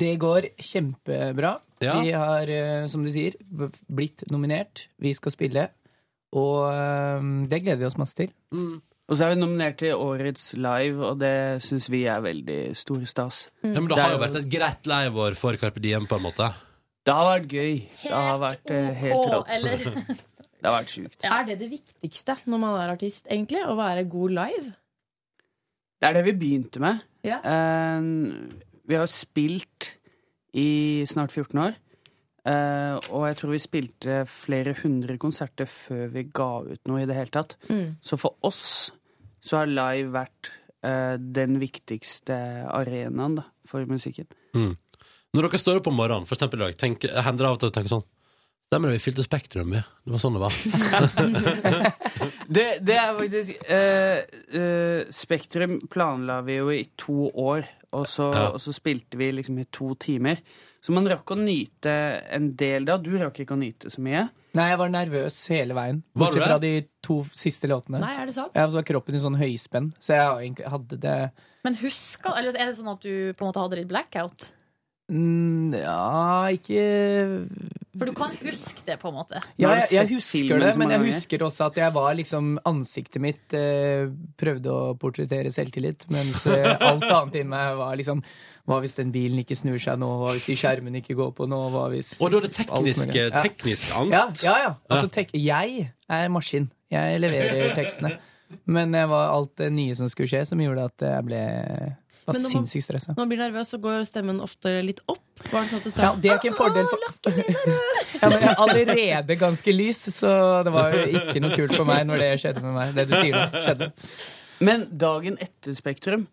Speaker 14: Det går kjempebra.
Speaker 2: Ja.
Speaker 14: Vi har, eh, som du sier, b- blitt nominert. Vi skal spille. Og eh, det gleder vi oss masse til.
Speaker 13: Mm. Og så er vi nominert til Årets Live, og det syns vi er veldig stor stas.
Speaker 2: Ja, men det
Speaker 14: Mm. Det
Speaker 2: har
Speaker 14: er
Speaker 2: jo vært et greit leiveår for Carpe Diem, på en måte.
Speaker 13: Det har vært gøy. det har vært eh, helt
Speaker 4: OK,
Speaker 13: rått.
Speaker 4: eller
Speaker 13: Det har vært sjukt.
Speaker 5: Er det det viktigste når man er artist, egentlig? Å være god live?
Speaker 13: Det er det vi begynte med.
Speaker 5: Ja.
Speaker 13: Eh, vi har jo spilt i snart 14 år. eh, og jeg tror vi spilte flere hundre konserter før vi ga ut noe i det hele tatt.
Speaker 5: Mm.
Speaker 13: Så for oss så har live vært eh, den viktigste arenaen da, for musikken.
Speaker 2: Når dere står opp om morgenen, for eksempel i dag, tenker- hender det av og til å tenke sånn Stemmer det, vi fylte Spektrum, vi. Det var sånn det var.
Speaker 14: <laughs>
Speaker 13: Det, det er faktisk eh, eh, Spektrum planla vi jo i to år, og så,
Speaker 2: Ja.
Speaker 13: og så spilte vi liksom i to timer. Så man rakk å nyte en del da. Du rakk ikke å nyte så mye.
Speaker 14: Nei, jeg var nervøs hele veien.
Speaker 2: Var du
Speaker 14: Bortsett fra de to siste låtene.
Speaker 5: Nei, er det sant?
Speaker 14: Jeg var kroppen i sånn høyspenn, så jeg egentlig hadde det
Speaker 4: Men husker Eller er det sånn at du på en måte hadde litt blackout?
Speaker 14: mm, Ja, ikke
Speaker 4: For du kan huske det, på en måte.
Speaker 14: Ja,
Speaker 13: Har du
Speaker 14: jeg, jeg
Speaker 13: sett
Speaker 14: husker
Speaker 13: filmen
Speaker 14: det,
Speaker 13: så
Speaker 14: men
Speaker 13: mange
Speaker 14: jeg
Speaker 13: ganger?
Speaker 14: husker også at jeg var liksom Ansiktet mitt eh, prøvde å portrettere selvtillit, mens eh, alt annet inni meg var liksom Hva hvis den bilen ikke snur seg nå? Hva hvis de skjermene ikke går på nå? Hva hvis
Speaker 2: Og da er det
Speaker 14: alt mulig.
Speaker 2: teknisk, eh,
Speaker 14: Ja.
Speaker 2: teknisk
Speaker 14: Ja,
Speaker 2: angst.
Speaker 14: ja. ja. Altså, tek jeg er maskin. Jeg leverer tekstene. Men det var alt det nye som skulle skje, som gjorde at jeg ble var
Speaker 5: Men når man-
Speaker 14: sinnssykt stressa.
Speaker 5: Når man blir nervøs, så går stemmen ofte litt opp. Var det sånn at du sa
Speaker 14: Ja, det er ikke en fordel for <laughs> ja, men Jeg er allerede ganske lys, så det var jo ikke noe kult for meg når det skjedde med meg. Det du sier nå, skjedde.
Speaker 13: Men dagen etter Spektrum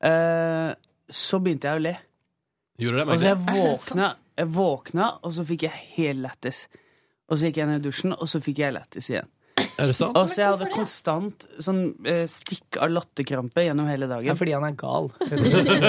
Speaker 13: eh, så begynte jeg å le.
Speaker 2: Gjorde du det,
Speaker 13: Altså,
Speaker 2: Magdi?
Speaker 13: jeg våkna, jeg våkna, og så fikk jeg hel lættis. Og så gikk jeg ned i dusjen, og så fikk jeg lættis igjen.
Speaker 2: Er det sant?
Speaker 13: Og så jeg hadde konstant sånn eh, stikk av latterkrampe gjennom hele
Speaker 14: Ja,
Speaker 13: dagen.
Speaker 14: fordi han er gal. rett og slett.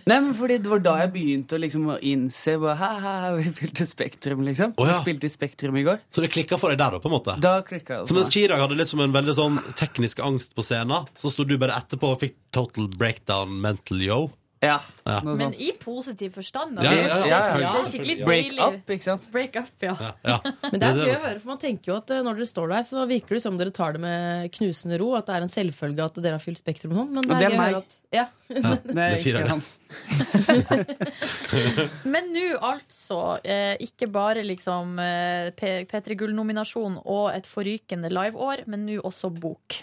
Speaker 13: <laughs> Nei, men fordi Det var da jeg begynte å liksom å innse bare, «Hæ, hæ, hæ, Vi spilte Spektrum, liksom.
Speaker 2: Å, ja.
Speaker 13: Vi spilte i Spektrum i går.
Speaker 2: Så det klikka for deg der, da, på en måte?
Speaker 13: Da klikka det.
Speaker 2: Så mens
Speaker 13: for meg.
Speaker 2: Chirag hadde litt som en veldig sånn teknisk angst på scenen, så sto du bare etterpå og fikk total breakdown mental yo.
Speaker 13: Ja,
Speaker 2: Ja.
Speaker 14: Sånn.
Speaker 13: noe
Speaker 4: Men
Speaker 13: sånt.
Speaker 4: i positiv forstand. Da.
Speaker 2: Ja, ja, ja,
Speaker 13: Ja,
Speaker 4: Det
Speaker 13: ja.
Speaker 4: er skikkelig
Speaker 13: Break
Speaker 4: deilig.
Speaker 13: up, ikke sant?
Speaker 4: Break up, ja.
Speaker 2: Ja, ja.
Speaker 5: Men det er
Speaker 2: Det-
Speaker 5: gøy å høre, for man tenker jo at eh, når dere står der, så virker det som dere tar det med knusende ro, at det er en selvfølge at dere har fylt Spektrum og sånn, men det
Speaker 13: Og
Speaker 5: er,
Speaker 13: det er
Speaker 5: gøy å
Speaker 13: meg.
Speaker 5: høre at ja.
Speaker 13: Nei,
Speaker 2: Det er fire,
Speaker 13: ikke
Speaker 2: det.
Speaker 13: han.
Speaker 4: Men nå altså, eh, ikke bare liksom eh, P- P3 Gull-nominasjon og et forrykende liveår, men nå også bok.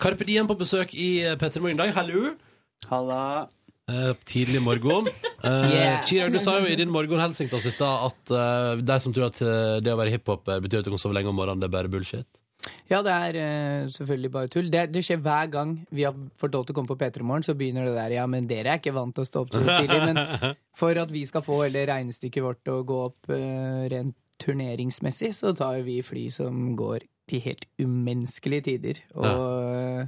Speaker 2: Carpe Diem på besøk i eh, P3 Morgen i dag. Hallo!
Speaker 13: Halla.
Speaker 2: Eh, tidlig morgen. Eh,
Speaker 14: Yeah.
Speaker 2: Chirag, du sa jo i din morgenhelsing til oss i stad at eh, de som tror at eh, det å være hiphop betyr at du kan sove lenge om morgenen, det er bare bullshit.
Speaker 14: Ja, det er eh, selvfølgelig bare tull. Det, det skjer hver gang vi har fått lov til å komme på P3 Morgen, så begynner det der Ja, men dere er ikke vant til å stå opp så tidlig. Men for at vi skal få hele regnestykket vårt til å gå opp eh, rent turneringsmessig, så tar vi fly som går i helt umenneskelige tider. Og eh,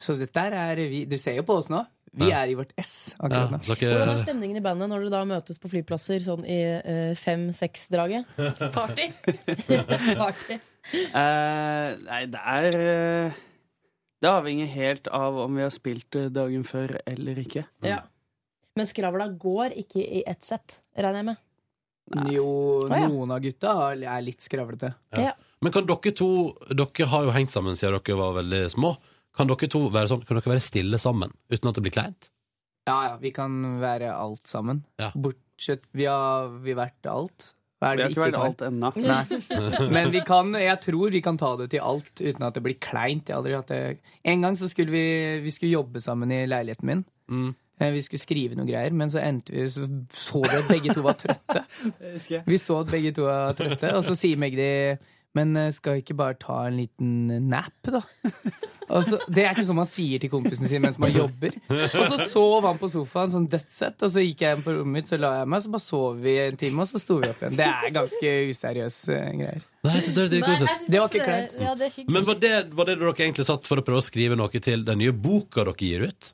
Speaker 14: Så dette er vi Du ser jo på oss nå. Vi
Speaker 2: Ja.
Speaker 14: er i vårt ess
Speaker 2: Ja,
Speaker 14: akkurat nå.
Speaker 5: Hvordan er
Speaker 15: Eh,
Speaker 2: dere,
Speaker 5: stemningen i bandet når dere da møtes på flyplasser sånn i
Speaker 15: <laughs>
Speaker 5: fem-seks-draget? Party? Party.
Speaker 15: Eh, nei, det er eh, Det avhenger helt av om vi har spilt eh, dagen før eller ikke.
Speaker 5: Ja. Men skravla går ikke i ett sett, regner jeg med.
Speaker 14: Jo,
Speaker 5: Å, ja.
Speaker 14: noen av gutta har- er litt skravlete.
Speaker 5: Ja.
Speaker 2: men kan dere to Dere har jo hengt sammen siden dere var veldig små. Kan dere to være sånn Kan dere være stille sammen uten at det blir kleint?
Speaker 14: Ja, ja, vi kan være alt sammen.
Speaker 2: Ja.
Speaker 14: Bortsett Vi har vi har vært alt. Hva
Speaker 15: Vi
Speaker 14: er det
Speaker 15: har ikke vært
Speaker 14: kan
Speaker 15: alt ennå.
Speaker 14: Nei. Men vi kan, jeg tror vi kan ta det til alt uten at det blir kleint. Jeg har aldri hatt det. En gang så skulle vi, vi skulle jobbe sammen i leiligheten min.
Speaker 2: Mm.
Speaker 14: Eh, Vi skulle skrive noen greier, men så endte vi så, så vi at begge to var
Speaker 15: <laughs>
Speaker 14: trøtte. Vi så at begge to var trøtte, og så sier Magdi men eh, skal vi ikke bare ta en liten nap, da? Og så, det er ikke sånn man sier til kompisen sin mens man jobber. Og så sov han på sofaen sånn dødssett, og så gikk jeg inn på rommet mitt, så la jeg meg, så bare sov vi en time, og så sto vi opp igjen. Det er ganske useriøse greier.
Speaker 2: Nei, jeg synes det er dritkoselig.
Speaker 14: Det var ikke kleint.
Speaker 4: Ja, det er hyggelig.
Speaker 2: Men var det, var det dere egentlig satt for å prøve å skrive noe til den nye boka dere gir ut?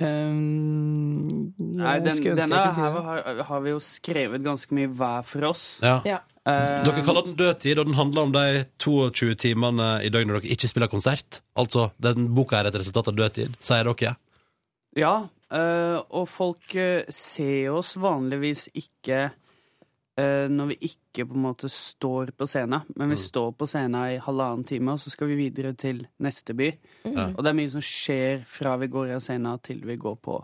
Speaker 14: Um,
Speaker 15: Ehm, Nei,
Speaker 14: jeg
Speaker 15: den,
Speaker 14: skulle ønske jeg
Speaker 15: denne
Speaker 14: kunne si
Speaker 15: her
Speaker 14: det.
Speaker 15: har, har vi jo skrevet ganske mye hver for oss.
Speaker 2: Ja.
Speaker 5: Ja.
Speaker 15: Eh,
Speaker 2: Dere kaller den dødtid, og den handler om de 22 timene i døgnet dere ikke spiller konsert. Altså, den boka er et resultat av dødtid, sier dere.
Speaker 15: Ja, eh, og folk eh, ser oss vanligvis ikke eh, når vi ikke på en måte står på scenen, men vi står på scenen i halvannen time, og så skal vi videre til neste by.
Speaker 2: Ja.
Speaker 15: Og det er mye som skjer fra vi går av scenen til vi går på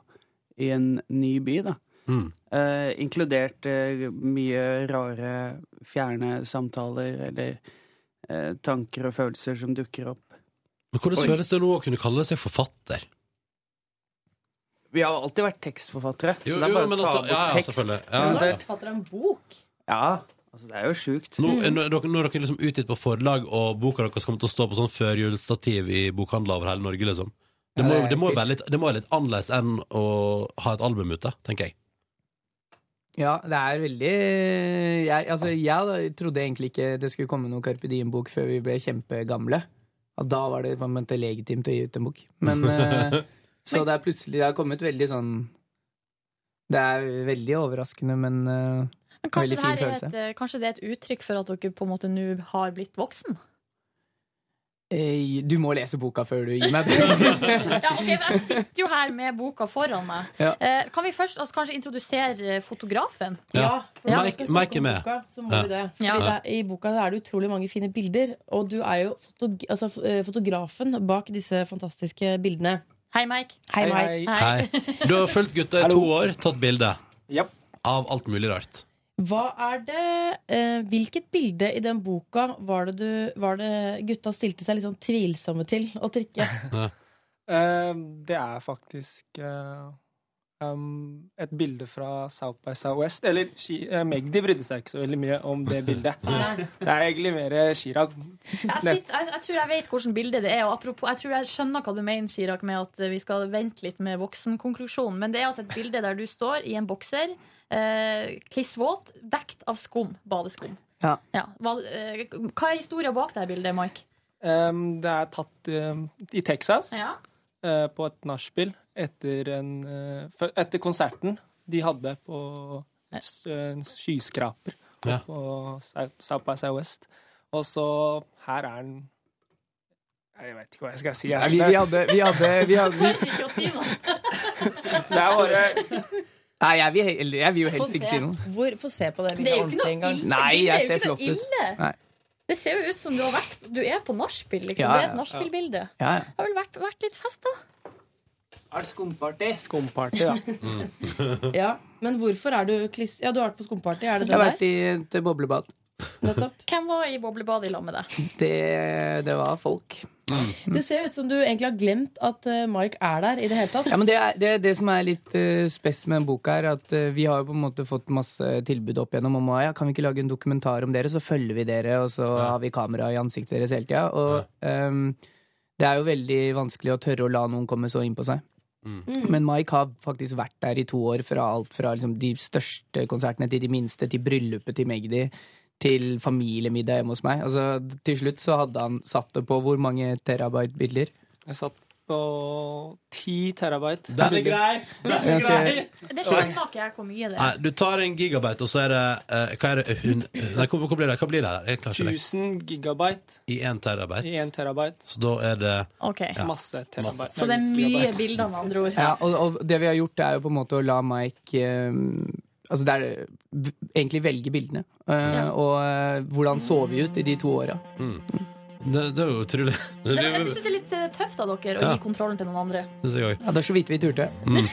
Speaker 15: i en ny by, da.
Speaker 2: Mm.
Speaker 15: Eh, inkludert eh, mye rare, fjerne samtaler eller eh, tanker og følelser som dukker opp.
Speaker 2: Men hvordan
Speaker 15: Oi.
Speaker 2: føles det nå å kunne kalle seg forfatter?
Speaker 15: Vi har alltid vært tekstforfattere,
Speaker 2: Jo,
Speaker 15: så det er
Speaker 2: jo,
Speaker 15: bare
Speaker 2: men
Speaker 15: å ta
Speaker 2: altså-
Speaker 15: bort
Speaker 2: ja, ja,
Speaker 15: tekst.
Speaker 2: selvfølgelig. Ja,
Speaker 5: Men da
Speaker 15: eventuelt.
Speaker 5: forfatter en bok.
Speaker 15: Ja, altså det er jo sjukt.
Speaker 2: Nå, når, dere, når dere liksom utgitt på forlag, og boka deres kommer til å stå på sånn førjulsstativ i bokhandler over hele Norge, liksom. Det må,
Speaker 14: Ja, det er
Speaker 2: det,
Speaker 15: Eh,
Speaker 2: må
Speaker 14: helt
Speaker 2: være litt, det må være litt annerledes enn å ha et album ute, tenker jeg.
Speaker 14: Ja, det er veldig Jeg, altså, jeg da, trodde egentlig ikke det skulle komme noen Carpe Diem-bok før vi ble kjempegamle. At da var det på en måte legitimt å gi ut en bok. <laughs> Men eh, Så det er plutselig Det har kommet veldig sånn Det er veldig overraskende, men eh,
Speaker 4: Men kanskje,
Speaker 14: Veldig
Speaker 4: det
Speaker 14: fin
Speaker 4: her er
Speaker 14: følelse.
Speaker 4: et, eh, kanskje det er et uttrykk for at dere på en måte nå har blitt voksen?
Speaker 14: eh, du må lese boka før du gir <laughs> meg den.
Speaker 4: <laughs> Ja, ok, men Jeg sitter jo her med boka foran meg.
Speaker 14: Ja.
Speaker 4: Eh, Kan vi først altså, kanskje introdusere eh, fotografen?
Speaker 5: Ja, for når
Speaker 2: Mike-
Speaker 5: vi skal snakke
Speaker 2: Mike er
Speaker 5: om
Speaker 2: med.
Speaker 5: Boka, så må
Speaker 2: Ja.
Speaker 5: vi det.
Speaker 4: Ja.
Speaker 5: Fordi det- I boka så er det utrolig mange fine bilder, og du er jo fotog altså, eh, fotografen bak disse fantastiske bildene.
Speaker 4: Hei, Mike.
Speaker 5: Hei,
Speaker 15: Hei,
Speaker 5: Mike.
Speaker 15: hei.
Speaker 2: Hei. Du har fulgt gutta i to år, tatt bilde
Speaker 15: Japp.
Speaker 2: av alt mulig rart.
Speaker 5: Hva er det, eh, hvilket bilde i den boka var det, du, var det gutta stilte seg litt sånn tvilsomme til å trykke?
Speaker 18: Eh, det er faktisk eh, um, et bilde fra South by Southwest. Eller Shi- eh, Magdi brydde seg ikke så veldig mye om det bildet. Det er egentlig mer eh, Chirag.
Speaker 4: Jeg, sitter, jeg, jeg tror jeg vet hvilket bilde det er. Og apropos, jeg tror jeg skjønner hva du mener, Chirag, med at eh, vi skal vente litt med voksenkonklusjonen. Men det er altså et bilde der du står i en bokser, eh, klissvåt, dekt av skum. Badeskum.
Speaker 14: Ja.
Speaker 4: Hva, eh, hva er historien bak det her bildet, Mike?
Speaker 18: Em, det er tatt eh, i Texas, eh, på et nachspiel, etter, en, eh, fø- etter konserten de hadde på et s- en skyskraper
Speaker 2: Ja.
Speaker 18: på South South by Southwest. Og så her er den Jeg vet ikke hva jeg skal si.
Speaker 14: Nei,
Speaker 18: Jeg,
Speaker 14: vi, vi hadde, vi hadde, vi hadde vi,
Speaker 4: Ikke å si noe.
Speaker 18: det er bare
Speaker 14: Nei, jeg vil, he- eller jeg vil jo
Speaker 5: Få
Speaker 14: helst ikke
Speaker 5: se.
Speaker 14: si noe.
Speaker 5: Hvor, få se på det
Speaker 4: Det
Speaker 5: bildet
Speaker 4: er jo ikke
Speaker 5: ordentlig
Speaker 4: noe
Speaker 5: en gang.
Speaker 4: ille.
Speaker 14: Nei,
Speaker 4: det er
Speaker 14: jeg
Speaker 4: jo
Speaker 14: ser
Speaker 4: ikke noe
Speaker 14: flott ut.
Speaker 4: ille.
Speaker 14: Nei.
Speaker 4: Det ser jo ut som du har vært Du er på nachspiel, liksom.
Speaker 14: Ja,
Speaker 4: det er
Speaker 14: ja,
Speaker 4: et nachspielbilde.
Speaker 14: Ja, ja.
Speaker 4: Det har vel vært, vært litt fest, da.
Speaker 14: Er det skumparty?
Speaker 18: skumparty, da.
Speaker 5: Ja, men hvorfor er du kliss... Ja, du har vært på skumparty, er det
Speaker 14: Jeg
Speaker 5: den
Speaker 14: har
Speaker 5: der?
Speaker 14: vært i et boblebad.
Speaker 5: Nettopp.
Speaker 4: Hvem var i boblebadet i lag med deg?
Speaker 14: Det, det var folk.
Speaker 5: Det ser ut som du egentlig har glemt at eh, Mike er der i det hele tatt.
Speaker 14: Ja, men det, er, det, det som er litt eh, spes med den boka, er at eh, vi har jo på en måte fått masse tilbud opp gjennom om ja, kan vi ikke lage en dokumentar om dere, så følger vi dere, og så har vi kamera i ansiktet deres hele tida. Og ehm, det er jo veldig vanskelig å tørre å la noen komme så innpå seg. Men Mike har faktisk vært der i to år, fra alt fra liksom, de største konsertene til de minste, til bryllupet til Magdi. Til familiemiddag hjemme hos meg. Altså, til slutt så hadde han satt det på hvor mange terabyte bilder?
Speaker 18: Jeg satt på 10 terabyte.
Speaker 2: Den er grei! Den er grei!
Speaker 4: Det skjønner ikke jeg hvor mye det
Speaker 2: Nei,
Speaker 4: er.
Speaker 2: du tar en gigabyte, og så er det eh, Hva er det? Hun, nei, hvor, hvor blir det? Hva blir det? her? Jeg klarer ikke det.
Speaker 18: 1000 gigabyte
Speaker 2: I én terabyte.
Speaker 18: i 1 terabyte.
Speaker 2: Så da er det
Speaker 4: Ok.
Speaker 18: Masse terabyte.
Speaker 4: Så det er mye bilder, med andre ord.
Speaker 14: Ja, og, og det vi har gjort, er jo på en måte å la Mike eh, Altså det er v- egentlig velge bildene. Eh, Og eh, hvordan så vi ut i de to åra.
Speaker 2: Det, det er jo utrolig. <laughs>
Speaker 4: Det, jeg synes det er litt eh, tøft av dere å
Speaker 2: Ja.
Speaker 4: gi kontrollen til noen andre.
Speaker 2: Synes jeg også.
Speaker 14: Ja, det er så vidt vi turte.
Speaker 2: Mm.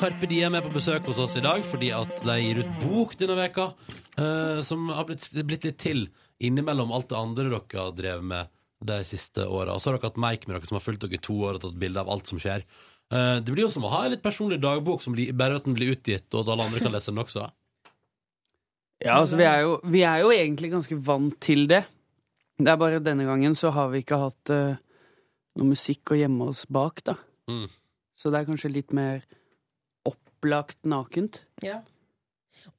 Speaker 2: Carpe Diem er på besøk hos oss i dag fordi at de gir ut bok denne veka eh, som har blitt, blitt litt til innimellom alt det andre dere har drevet med de siste åra. Og så har dere hatt Mike med dere som har fulgt dere i to år og tatt bilde av alt som skjer. Eh, det blir jo som å ha en litt personlig dagbok, som blir, bare at den blir utgitt, og at alle andre kan lese den også.
Speaker 13: Ja, altså vi er, jo, vi er jo egentlig ganske vant til det. Det er bare denne gangen så har vi ikke hatt eh, noe musikk å gjemme oss bak, da.
Speaker 2: Mm.
Speaker 13: Så det er kanskje litt mer opplagt nakent.
Speaker 5: Ja.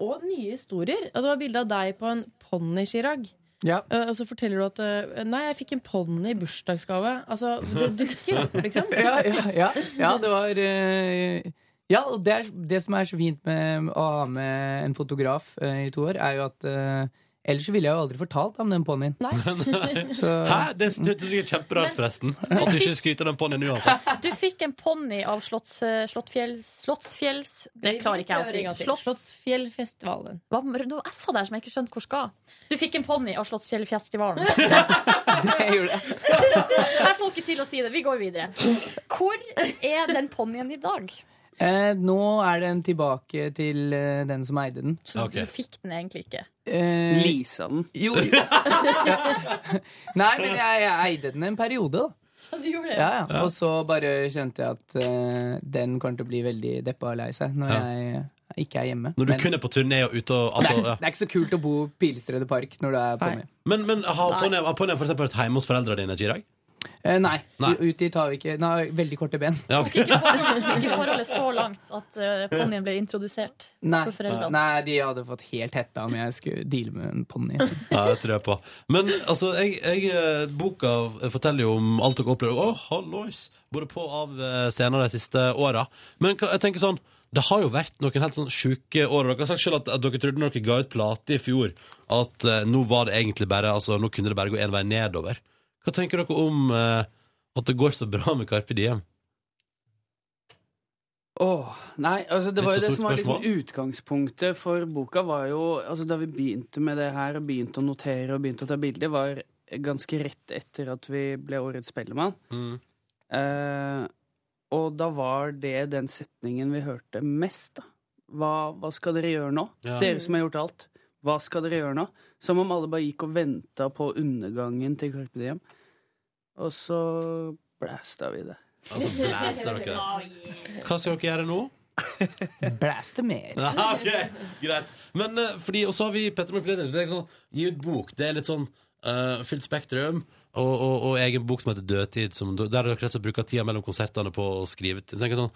Speaker 5: Og nye historier. Og det var bilde av deg på en ponni, Chirag.
Speaker 14: Ja.
Speaker 5: Eh, Og så forteller du at eh, 'nei, jeg fikk en ponni i bursdagsgave'. Altså, det dukker opp, liksom.
Speaker 14: ja, ja, ja, ja, det var eh, Ja, og det, er, det som er så fint med å ha med en fotograf eh, i to år, er jo at eh, Ellers så ville jeg jo aldri fortalt om den ponnien. <laughs>
Speaker 2: Hæ? Det syntes jeg er kjemperart, forresten. At du ikke skryter av den ponnien altså. uansett.
Speaker 4: Du fikk en ponni av Slotts, eh, Slottsfjells Slottsfjells Det <laughs> klarer ikke
Speaker 5: prøver en
Speaker 4: jeg å
Speaker 5: gang
Speaker 4: si.
Speaker 5: til.
Speaker 4: Slottsfjellfestivalen. Hva var det noe S-a der som jeg ikke skjønte hvor skal? Du fikk en ponni av Slottsfjellfestivalen. jeg får ikke til å si det. Vi går videre. Hvor er den ponnien i dag?
Speaker 14: Eh, nå er den tilbake til eh, den som eide den.
Speaker 4: Så du fikk den egentlig ikke.
Speaker 14: Eh,
Speaker 13: Lisa den.
Speaker 14: Jo. <laughs> Nei, men jeg, jeg eide den en periode, da.
Speaker 4: Du gjorde det?
Speaker 14: Ja, ja. Og så bare kjente jeg at eh, den kommer til å bli veldig deppa og lei seg når
Speaker 2: Ja.
Speaker 14: jeg eh, ikke er hjemme.
Speaker 2: Når du
Speaker 14: Men-
Speaker 2: kun er på turné og ute og
Speaker 14: det,
Speaker 2: altså,
Speaker 14: er,
Speaker 2: ja.
Speaker 14: det er ikke så kult å bo i Pilestredet Park når du er ponni.
Speaker 2: Men, men har ponnien har ponnien for eksempel vært hjemme hos foreldrene dine, Chirag?
Speaker 14: Eh, nei, u- ut dit har vi ikke Den har veldig korte ben.
Speaker 2: Ja, ok.
Speaker 4: Ikke forholdet, ikke forholdet så langt at eh, ponnien ble introdusert
Speaker 14: Nei.
Speaker 4: for foreldrene.
Speaker 14: nei, de hadde fått helt hetta om jeg skulle deale med en ponni.
Speaker 2: Ja, det tror jeg på. Men altså, jeg, jeg, eh, boka forteller jo om alt dere opplever. Å, hallois! Både på og av eh, scener de siste åra. Men hva- jeg tenker sånn det har jo vært noen helt sånn sjuke år. og Dere har sagt selv at, at dere trodde når dere ga ut plate i fjor, at eh, nå var det egentlig bare Altså, nå kunne det bare gå én vei nedover. Hva tenker dere om eh, at det går så bra med Carpe Diem?
Speaker 13: <laughs> Åh, nei, altså det
Speaker 2: Litt
Speaker 13: var
Speaker 2: så
Speaker 13: jo det
Speaker 2: stort
Speaker 13: som var litt
Speaker 2: spørsmål.
Speaker 13: sånn utgangspunktet for boka var jo, altså da vi begynte med det her og begynte å notere og begynte å ta bilder, var ganske rett etter at vi ble årets Spellemann.
Speaker 2: Mm.
Speaker 13: Eh, og da var det den setningen vi hørte mest, da. Hva, hva skal dere gjøre nå?
Speaker 19: Ja.
Speaker 13: Dere som har gjort alt. Hva skal dere gjøre nå? Som om alle bare gikk og venta på undergangen til Carpe Diem. Og så blæsta vi
Speaker 14: <laughs>
Speaker 13: det.
Speaker 2: Altså, blæsta dere det? Hva skal dere gjøre nå?
Speaker 14: Blæste mer.
Speaker 2: <laughs> Ja, ok, greit Men eh, fordi, og så har vi Petter med flere Det er sånn, gi ut bok, det er litt sånn eh, Fylt spektrum og, og, og egen bok som heter Dødtid som, Der dere rett og slett bruker tida mellom konsertene på å skrive Jeg tenker sånn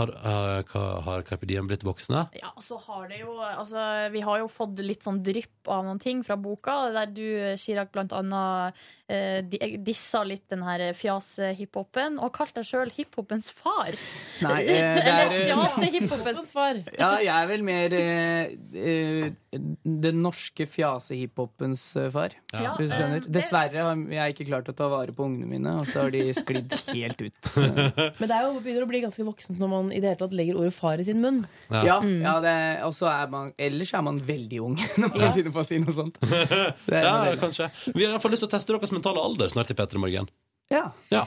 Speaker 2: Har, eh, hva- har Carpe Diem blitt voksne?
Speaker 4: Ja, og så har det jo altså, Vi har jo fått litt sånn drypp av noen ting fra boka, der du, eh, Chirag, blant annet eh, di- dissa litt den her fjas-hiphopen, og kalte deg sjøl hiphopens far.
Speaker 14: Nei, eh, <laughs> det er-
Speaker 4: Eller fjase-hiphopens far.
Speaker 14: Ja, jeg er vel mer eh, eh, den norske fjasehiphopens eh, far.
Speaker 4: Ja.
Speaker 14: Hvis du
Speaker 4: Ja, eh,
Speaker 14: skjønner.
Speaker 4: det-
Speaker 14: Dessverre har jeg ikke klart å ta vare på ungene mine, og så har de <laughs> sklidd helt ut.
Speaker 5: Men det er jo, begynner å bli ganske voksent når man i det hele tatt legger ordet far i sin munn.
Speaker 14: Ja,
Speaker 5: Mm.
Speaker 14: ja det, og så er man Ellers er man veldig ung <laughs> når man finner på å si noe sånt. er
Speaker 2: ja,
Speaker 14: veldig.
Speaker 2: kanskje Vi har i hvert fall lyst til å teste deres mentale alder Snart i Petter i morgen
Speaker 14: Ja.
Speaker 2: Ja.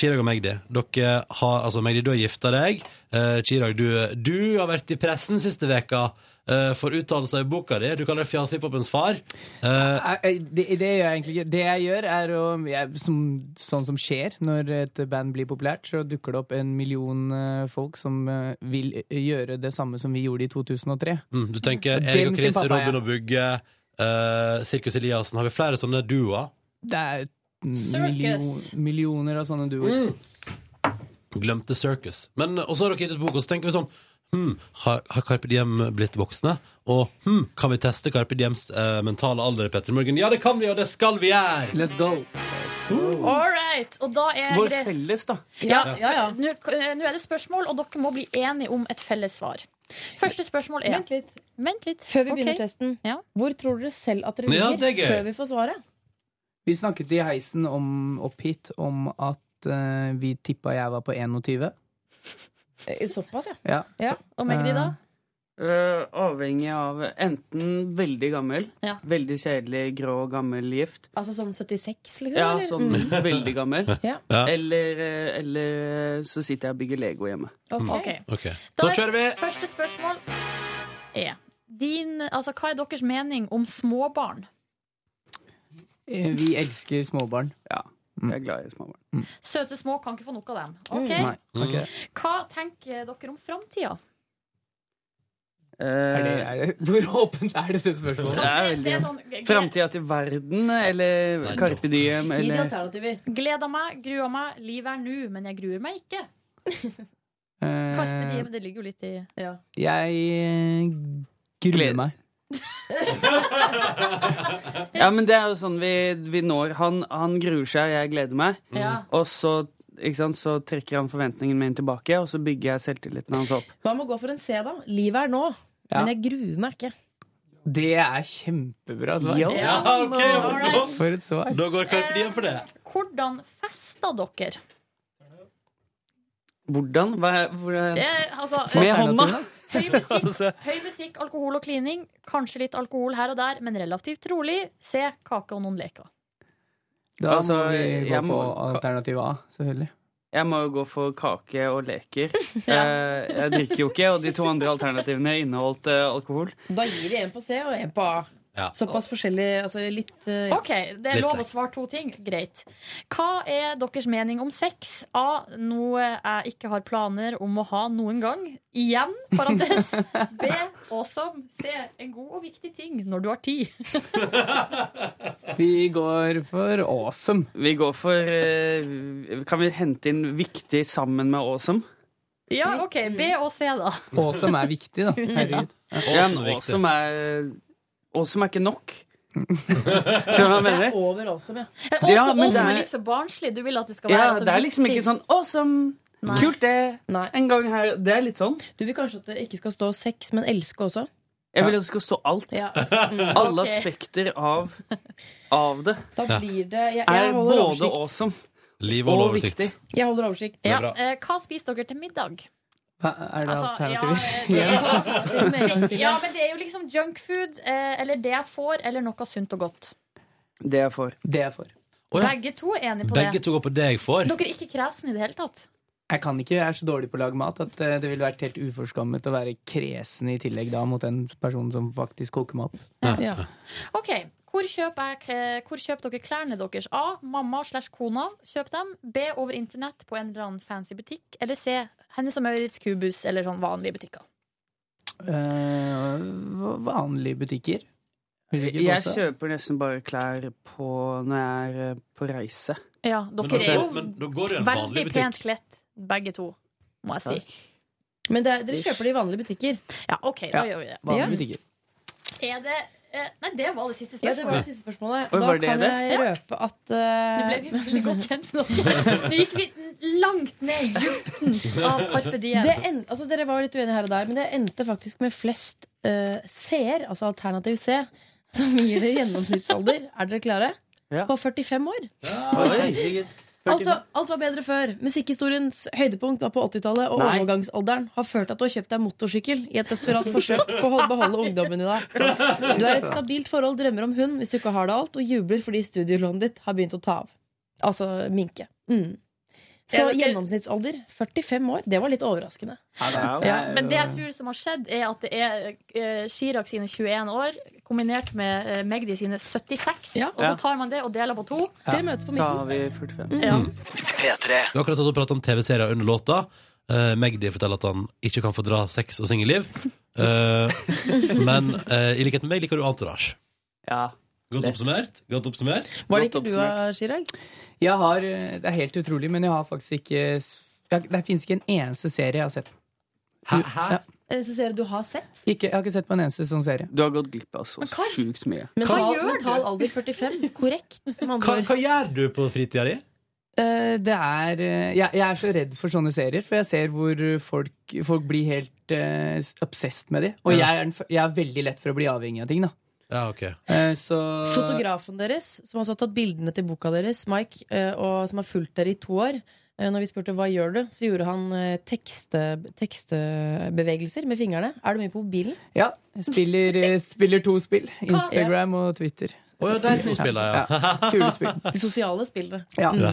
Speaker 2: Chirag og Magdi, dere har, altså Magdi, du har gifta deg. Eh, Chirag, du, du har vært i pressen siste veka eh, for uttalelser i boka di. Du kaller det fjasehiphopens far. Eh,
Speaker 14: Eh, eh, Det, det gjør jeg egentlig ikke. Det jeg gjør, er å jeg, som, Sånn som skjer når et band blir populært, så dukker det opp en million eh, folk som eh, vil eh, gjøre det samme som vi gjorde i 2003.
Speaker 2: mm, du tenker
Speaker 14: Dem
Speaker 2: Erik og
Speaker 14: sin
Speaker 2: Chris,
Speaker 14: pappa, ja.
Speaker 2: Robin og Bugge, eh, Sirkus Eliassen. Har vi flere sånne duoer?
Speaker 14: Det er
Speaker 2: Circus.
Speaker 14: milio- millioner av sånne duoer.
Speaker 2: Glemte Circus. Men eh, og så har dere gitt ut bok, og så tenker vi sånn hmm, har, har Carpe Diem blitt voksne? Og hmm, kan vi teste Carpe Diems eh, mentale alder? Petter Morgan? Ja, det kan vi, og det skal vi gjøre!
Speaker 14: Let's go
Speaker 4: All right. Og da er
Speaker 13: Vår
Speaker 4: gre-
Speaker 13: felles, da.
Speaker 4: Ja, ja, ja. Nå, eh, nå er det spørsmål, og dere må bli enige om et felles svar. Første spørsmål er
Speaker 5: Vent litt.
Speaker 4: Vent litt.
Speaker 5: Før vi
Speaker 4: Ok.
Speaker 5: begynner testen,
Speaker 4: Ja.
Speaker 5: hvor tror dere selv at dere
Speaker 14: Ja,
Speaker 5: ligger
Speaker 14: det er gøy.
Speaker 5: før vi får svaret?
Speaker 14: Vi snakket i heisen om, opp hit om at eh, vi tippa jeg var på 21.
Speaker 5: Eh, Såpass, ja.
Speaker 14: Ja.
Speaker 4: Og Magdi, da?
Speaker 13: Eh, avhengig av enten veldig gammel,
Speaker 4: Ja.
Speaker 13: veldig kjedelig, grå, gammel gift.
Speaker 5: Altså sånn 76, liksom?
Speaker 13: Ja,
Speaker 5: eller?
Speaker 13: sånn
Speaker 5: Mm.
Speaker 13: <laughs> veldig gammel.
Speaker 5: Ja.
Speaker 13: Ja. Eller, eh, eller så sitter jeg og bygger Lego hjemme.
Speaker 4: Ok.
Speaker 2: Ok.
Speaker 4: Da kjører vi! Første spørsmål er din, altså, Hva er deres mening om småbarn?
Speaker 14: Eh, Vi elsker småbarn.
Speaker 13: Ja, jeg er glad i småbarn.
Speaker 4: Søte små kan ikke få nok av dem. Ok.
Speaker 5: Mm,
Speaker 13: Nei, Mm. kan ikke det.
Speaker 4: Hva tenker dere om framtida?
Speaker 14: Er det, er det, <laughs> hvor åpent er dette spørsmålet?
Speaker 13: Det er veldig
Speaker 4: sånn-
Speaker 13: Framtida til verden, eller Carpe Diem,
Speaker 5: Gi
Speaker 14: eh,
Speaker 5: de
Speaker 13: eller
Speaker 5: alternativer.
Speaker 4: Gleder meg, gruer meg, livet er nå, men jeg gruer meg ikke. Karpe
Speaker 14: Eh,
Speaker 4: Diem, det ligger jo litt i
Speaker 14: Jeg eh, gruer meg.
Speaker 13: Ja, men det er jo sånn vi, vi når. Han, han gruer seg, jeg gleder meg.
Speaker 5: Ja.
Speaker 13: Mm. Og så, ikke sant, så trekker han forventningen min tilbake, og så bygger jeg selvtilliten hans opp.
Speaker 5: Hva med å gå for en C, da? Livet er nå,
Speaker 13: Ja.
Speaker 5: men jeg gruer meg ikke.
Speaker 14: Det er kjempebra svar.
Speaker 13: Ja.
Speaker 2: Ja, ok,
Speaker 4: Alright.
Speaker 14: For et svar.
Speaker 2: <laughs> Da går Carpe Diem for det.
Speaker 4: Hvordan fester dere?
Speaker 13: Hvordan? Hva, er- hvordan?
Speaker 4: Det, er, altså,
Speaker 13: Med
Speaker 4: eh, <laughs>
Speaker 13: hånda?
Speaker 4: Høy
Speaker 13: <laughs> Altså.
Speaker 4: musikk, høy musikk, alkohol og klining. Kanskje litt alkohol her og der, men relativt rolig. Se kake og noen leker.
Speaker 14: Da
Speaker 13: Altså,
Speaker 14: må vi gå
Speaker 13: jeg må-
Speaker 14: for alternativ A, selvfølgelig.
Speaker 13: Jeg må jo gå for kake og leker. Eh, Jeg drikker jo ikke, og de to andre alternativene inneholdt eh, alkohol.
Speaker 5: Da gir de en på C og en på A. Såpass forskjellig, altså litt eh, ja.
Speaker 4: Ok, Det er
Speaker 5: Litt
Speaker 4: lov å
Speaker 5: lek.
Speaker 4: svare to ting. Greit. Hva er deres mening om sex? A. Noe jeg ikke har planer om å ha noen gang. Igjen, parentes. B. Awesome. C. En god og viktig ting når du har tid.
Speaker 13: Vi går for awesome. Vi går for eh, Kan vi hente inn viktig sammen med awesome?
Speaker 4: Ja, OK. B og C, da.
Speaker 14: Awesome er viktig,
Speaker 13: <laughs>
Speaker 14: da. Herregud.
Speaker 13: Ja, men awesome er Awesome er ikke nok. Skjønner du hva jeg mener?
Speaker 5: Over awesome, ja.
Speaker 13: Eh, Ja, også- men
Speaker 4: Awesome
Speaker 13: det
Speaker 4: er
Speaker 13: er-
Speaker 4: litt for barnslig. Du vil at det skal være
Speaker 13: Ja,
Speaker 4: altså,
Speaker 13: det er liksom
Speaker 4: viktig.
Speaker 13: ikke sånn awesome, kult det, en gang her Det er litt sånn.
Speaker 5: Du vil kanskje at det ikke skal stå sex, men elske også?
Speaker 13: Jeg vil at det skal stå alt. Alle
Speaker 5: ok.
Speaker 13: aspekter av, av det
Speaker 5: Da blir det Jeg, jeg
Speaker 13: er
Speaker 5: holder
Speaker 13: både
Speaker 5: oversikt.
Speaker 13: awesome
Speaker 2: Liv
Speaker 13: og,
Speaker 2: holder oversikt.
Speaker 13: viktig.
Speaker 5: Jeg holder oversikt.
Speaker 13: Det er bra.
Speaker 4: eh, hva spiser dere til middag?
Speaker 14: Hva er det
Speaker 4: Altså,
Speaker 14: alternativer?
Speaker 4: <laughs> ja, eh,
Speaker 14: Igjen?
Speaker 4: Ja, men det er jo liksom junkfood, eh, eller det jeg får, eller noe sunt og godt.
Speaker 13: Det jeg får.
Speaker 14: <laughs> Det jeg får.
Speaker 4: Begge to er enige på
Speaker 2: Begge to går på det jeg
Speaker 4: det.
Speaker 2: får.
Speaker 4: Dere er ikke kresne i det hele tatt.
Speaker 14: Jeg kan ikke, jeg er så dårlig på å lage mat at eh, det ville vært helt uforskammet å være kresen i tillegg da mot den personen som faktisk koker meg opp.
Speaker 5: Ja.
Speaker 4: Ok, hvor kjøper, jeg, eh, hvor kjøper dere klærne deres? A. Mamma slash kona. Kjøp dem. B. Over internett på en eller annen fancy butikk. Eller C. Hennes og Maurits Kubus eller sånn vanlige butikker.
Speaker 14: Eh, vanlige butikker. Vil du ikke
Speaker 13: Jeg
Speaker 14: påstå?
Speaker 13: kjøper nesten bare klær på når jeg er eh, på reise.
Speaker 4: Ja, dere
Speaker 13: Men altså,
Speaker 4: er jo
Speaker 13: men da går du i en vanlig
Speaker 4: veldig
Speaker 13: butikk.
Speaker 4: pent kledd, begge to, må jeg si.
Speaker 5: Men det, er- dere kjøper det i vanlige butikker.
Speaker 4: Ja, ok, da gjør vi det.
Speaker 14: Vanlige
Speaker 5: Ja.
Speaker 14: butikker.
Speaker 4: Er det eh, Nei, det var det siste spørsmålet.
Speaker 5: Ja, det var det siste spørsmålet.
Speaker 14: Oi,
Speaker 5: Da
Speaker 14: var det
Speaker 5: kan
Speaker 14: det?
Speaker 5: jeg røpe at
Speaker 4: Nå
Speaker 5: eh,
Speaker 4: ble vi veldig
Speaker 5: <laughs>
Speaker 4: godt kjent med dere. Nå gikk vi langt ned i dybden av Carpe Diem.
Speaker 5: det en, altså Dere var litt uenige her og der, men det endte faktisk med flest eh, C-er, altså alternativ C, som gir det gjennomsnittsalder. Er dere klare?
Speaker 13: Ja.
Speaker 5: På 45 år.
Speaker 13: Oi.
Speaker 5: Alt var, alt var bedre før. Musikkhistoriens høydepunkt var på 80-tallet, og
Speaker 13: Nei.
Speaker 5: overgangsalderen har ført til at du har kjøpt deg motorsykkel i et desperat forsøk på å hol- beholde ungdommen i deg. Du er i et stabilt forhold, drømmer om hund hvis du ikke har det alt, og jubler fordi studielånet ditt har begynt å ta av. Altså minke. Mm. Så
Speaker 4: Jeg vet ikke-
Speaker 5: gjennomsnittsalder 45 år. Det var litt overraskende.
Speaker 4: Ja, men det jeg tror som har skjedd, er at det er eh, Chirag sine 21 år kombinert med eh, Magdi sine 76. Og så
Speaker 13: Ja.
Speaker 4: tar man det og deler på to.
Speaker 13: Så har vi 45.
Speaker 4: Ja.
Speaker 2: Vi har akkurat satt og pratet om TV-serier under låta. Eh, Magdi forteller at han ikke kan fordra sex og singelliv. <laughs> Eh, men eh, i likhet med meg liker du entourage.
Speaker 13: Ja.
Speaker 2: Godt oppsummert. Godt oppsummert.
Speaker 5: Var det ikke du, eh, Chirag?
Speaker 14: Jeg har, eh, det er helt utrolig, men jeg har faktisk ikke s- Det, er- det finnes ikke en eneste serie jeg har sett.
Speaker 2: Hæ? Hæ?
Speaker 5: eneste serie Eh, du har sett?
Speaker 14: Ikke, jeg har ikke sett på en eneste sånn serie.
Speaker 13: Du har gått glipp av så sjukt mye.
Speaker 5: Men
Speaker 14: Hva
Speaker 5: tal,
Speaker 14: gjør du?
Speaker 5: mental alder 45. Korrekt. med andre
Speaker 2: Hva,
Speaker 5: ord.
Speaker 2: hva gjør du på fritida di?
Speaker 14: Eh, Det er eh, jeg, jeg er så redd for sånne serier, for jeg ser hvor folk, folk blir helt eh, obsessed med de. Og
Speaker 2: Ja.
Speaker 14: jeg, er den, f- jeg er veldig lett for å bli avhengig av ting, da.
Speaker 2: Ja, ok
Speaker 14: Eh, Så
Speaker 5: Fotografen deres, som altså har tatt bildene til boka deres, Mike, eh, og som har fulgt dere i to år eh, Når vi spurte hva gjør du, så gjorde han eh, tekste, tekstebevegelser med fingrene. Er du mye på mobilen?
Speaker 14: Ja. Jeg spiller, eh, spiller to spill. Instagram og Twitter.
Speaker 2: Å ja, de to spiller, ja. <laughs>
Speaker 14: Kule spill.
Speaker 5: De sosiale spillene.
Speaker 14: Ja.
Speaker 2: Ja.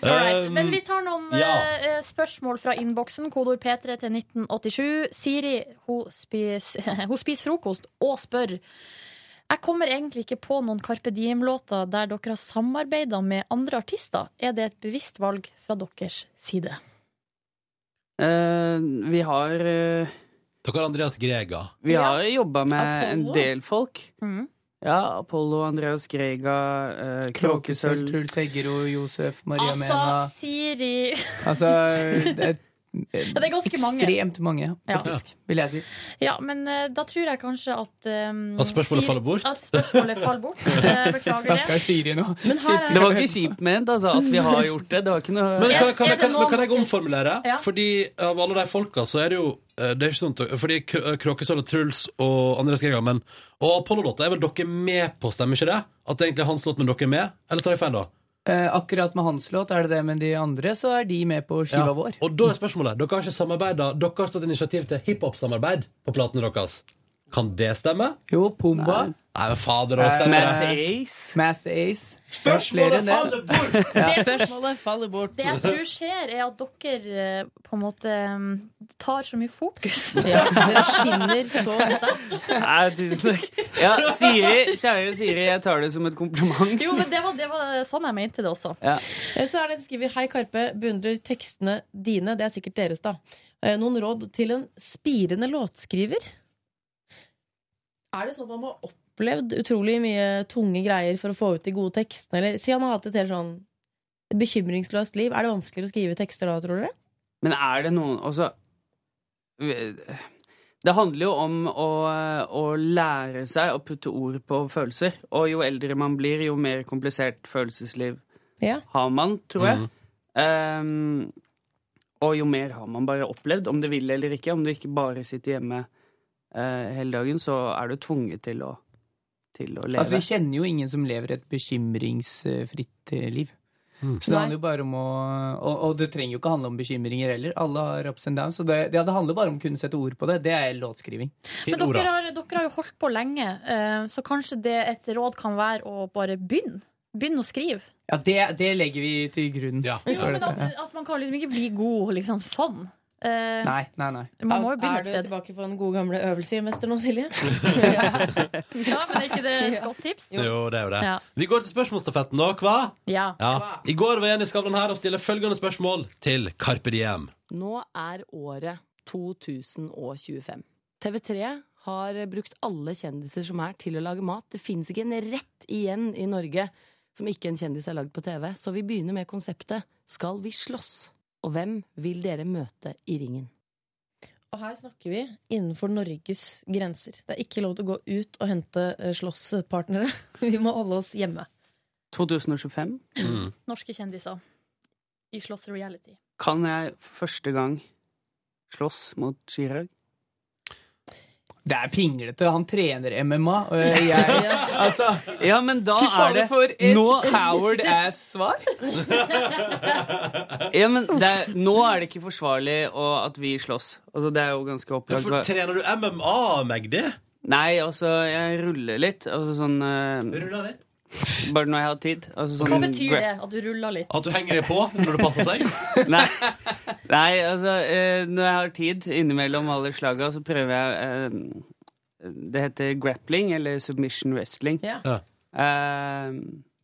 Speaker 4: Alright,
Speaker 2: Um,
Speaker 4: Men vi tar
Speaker 14: Ehm,
Speaker 4: noen
Speaker 2: ja.
Speaker 4: eh, eh, spørsmål fra innboksen. Kodord P3 til 1987. Siri hun <laughs> spiser, hun spiser frokost og spør. Jeg kommer egentlig ikke på noen Carpe Diem-låter der dere har samarbeida med andre artister. Er det et bevisst valg fra deres side?
Speaker 13: Eh, vi har eh,
Speaker 2: Dere har Andreas Grega.
Speaker 13: Vi har jobba med Eh, en
Speaker 4: Apollo.
Speaker 13: del folk.
Speaker 4: Mhm.
Speaker 13: Ja, Apollo, Andreas Grega, eh,
Speaker 14: Kråkesølv,
Speaker 13: Kråkesølv
Speaker 14: Truls Heggero, Josef, Maria
Speaker 4: Altså,
Speaker 14: Mena. <laughs>
Speaker 4: Siri
Speaker 14: Altså, det er,
Speaker 4: det er ganske mange.
Speaker 14: Ekstremt mange, ja,
Speaker 4: Ja.
Speaker 14: faktisk, vil jeg si.
Speaker 4: Ja, men eh, da tror jeg kanskje at um,
Speaker 14: At spørsmålet faller bort?
Speaker 4: At spørsmålet faller
Speaker 14: <laughs>
Speaker 4: bort. Eh, beklager det.
Speaker 14: Stakkars Siri nå.
Speaker 4: her er-
Speaker 13: Det var ikke kjipt ment, altså, at vi har gjort det. Det var ikke noe
Speaker 2: Men kan,
Speaker 4: Er-
Speaker 2: kan,
Speaker 4: er
Speaker 2: jeg-
Speaker 4: det
Speaker 2: kan,
Speaker 4: noen-
Speaker 2: men kan jeg omformulere?
Speaker 4: Ja.
Speaker 2: Fordi av alle de folka, så er det jo eh, Det er ikke sånn at- Fordi K- Kråkesølv og Truls og Andreas Grega, men Og Apollo-låta er vel dere med på, stemmer ikke det? At det egentlig er hans låt, men dere er med? Eller tar jeg feil, da?
Speaker 14: Eh, akkurat med hans låt er det det, men de andre så er de med på
Speaker 2: Ja.
Speaker 14: skiva vår.
Speaker 2: Og da er spørsmålet Dere har ikke samarbeidet Dere har ikke tatt initiativ til hiphop-samarbeid på platene deres. Kan det stemme?
Speaker 14: Jo, Pumba.
Speaker 2: Nei, men fader, det stemmer.
Speaker 14: Master
Speaker 13: Ace.
Speaker 14: Master Ace.
Speaker 2: Spørsmålet
Speaker 14: Det er flere enn det.
Speaker 2: faller
Speaker 14: Ja.
Speaker 5: Spørsmålet faller bort.
Speaker 4: Det jeg tror skjer, er at dere eh, på en måte eh, tar så mye fokus.
Speaker 5: Ja, dere skinner så sterkt.
Speaker 13: Nei, tusen takk. Ja, Siri, kjære Siri, jeg tar det som et kompliment.
Speaker 4: Jo, men det var, det var sånn jeg mente det også.
Speaker 13: Ja.
Speaker 5: Eh, Så er det en som skriver Hei Karpe, beundrer tekstene dine. Det er sikkert deres, da. Eh, Noen råd til en spirende låtskriver? Er det sånn at man må ha opplevd utrolig mye tunge greier for å få ut de gode tekstene? Eller si han har hatt et helt sånn bekymringsløst liv. Er det vanskeligere å skrive tekster da, tror dere?
Speaker 13: Men er det noen Altså Det handler jo om å, å lære seg å putte ord på følelser. Og jo eldre man blir, jo mer komplisert følelsesliv
Speaker 5: Ja.
Speaker 13: har man, tror jeg. Ehm, og jo mer har man bare opplevd, om du vil eller ikke. Om du ikke bare sitter hjemme eh, hele dagen, så er du tvunget til å, til å leve.
Speaker 14: Altså, vi kjenner jo ingen som lever et bekymringsfritt eh, liv. Så det
Speaker 13: Nei.
Speaker 14: handler jo bare om å og, og det trenger jo ikke handle om bekymringer heller. Alle har ups and downs. Så det, det handler bare om å kunne sette ord på det. Det er låtskriving.
Speaker 4: Men dere har, dere har jo holdt på lenge, eh, så kanskje det et råd kan være å bare begynne. Begynn å skrive.
Speaker 14: Ja, det, det legger vi til grunn.
Speaker 4: Jo,
Speaker 14: for
Speaker 4: men
Speaker 14: dette,
Speaker 4: at, at man kan liksom ikke bli god liksom sånn. Eh,
Speaker 14: ja. Nei, nei, nei.
Speaker 4: Man må jo
Speaker 5: er
Speaker 4: begynne et
Speaker 5: du
Speaker 4: sted.
Speaker 5: tilbake på den gode gamle øvelsesmester nå, Silje?
Speaker 4: <laughs> Ja, men er ikke det et godt tips?
Speaker 2: Jo, det er jo det.
Speaker 4: Ja.
Speaker 2: Vi går til spørsmålsstafetten nå, hva?
Speaker 4: Ja.
Speaker 2: Ja. I går var Jenny Skavlan her og stiller følgende spørsmål til Carpe Diem.
Speaker 19: Nå er året 2025. TV3 har brukt alle kjendiser som er, til å lage mat. Det fins ikke en rett igjen i Norge som ikke en kjendis er lagd på TV. Så vi begynner med konseptet Skal vi slåss? Og hvem vil dere møte i ringen?
Speaker 5: Og her snakker vi innenfor Norges grenser. Det er ikke lov til å gå ut og hente eh, slåsspartnere. <laughs> Vi må holde oss hjemme.
Speaker 13: 2025
Speaker 4: Norske kjendiser i Slåss Reality.
Speaker 13: kan jeg for første gang slåss mot Chirag.
Speaker 14: Det er pinglete. Han trener MMA, og jeg
Speaker 13: <laughs>
Speaker 14: Altså.
Speaker 13: Ja, men da
Speaker 14: Fy
Speaker 13: er
Speaker 14: faen,
Speaker 13: det
Speaker 14: for et-
Speaker 13: Nå Howard ass-svar. Ja, men det er, nå er det ikke forsvarlig å, at vi slåss. Altså, det er jo ganske opplagt.
Speaker 2: Hvorfor trener du MMA, Magdi?
Speaker 13: Nei, altså, jeg ruller litt. Altså sånn
Speaker 2: Ruller litt?
Speaker 13: Bare når jeg har tid. Altså,
Speaker 9: Mm.
Speaker 13: sånn,
Speaker 4: Hva betyr
Speaker 13: gra-
Speaker 4: det? At du ruller litt?
Speaker 2: At du henger deg på når det passer <laughs> seg?
Speaker 13: Nei, Nei altså, eh, når jeg har tid innimellom alle slaga, så prøver jeg eh, Det heter grappling, eller submission wrestling.
Speaker 14: Ja.
Speaker 13: Eh,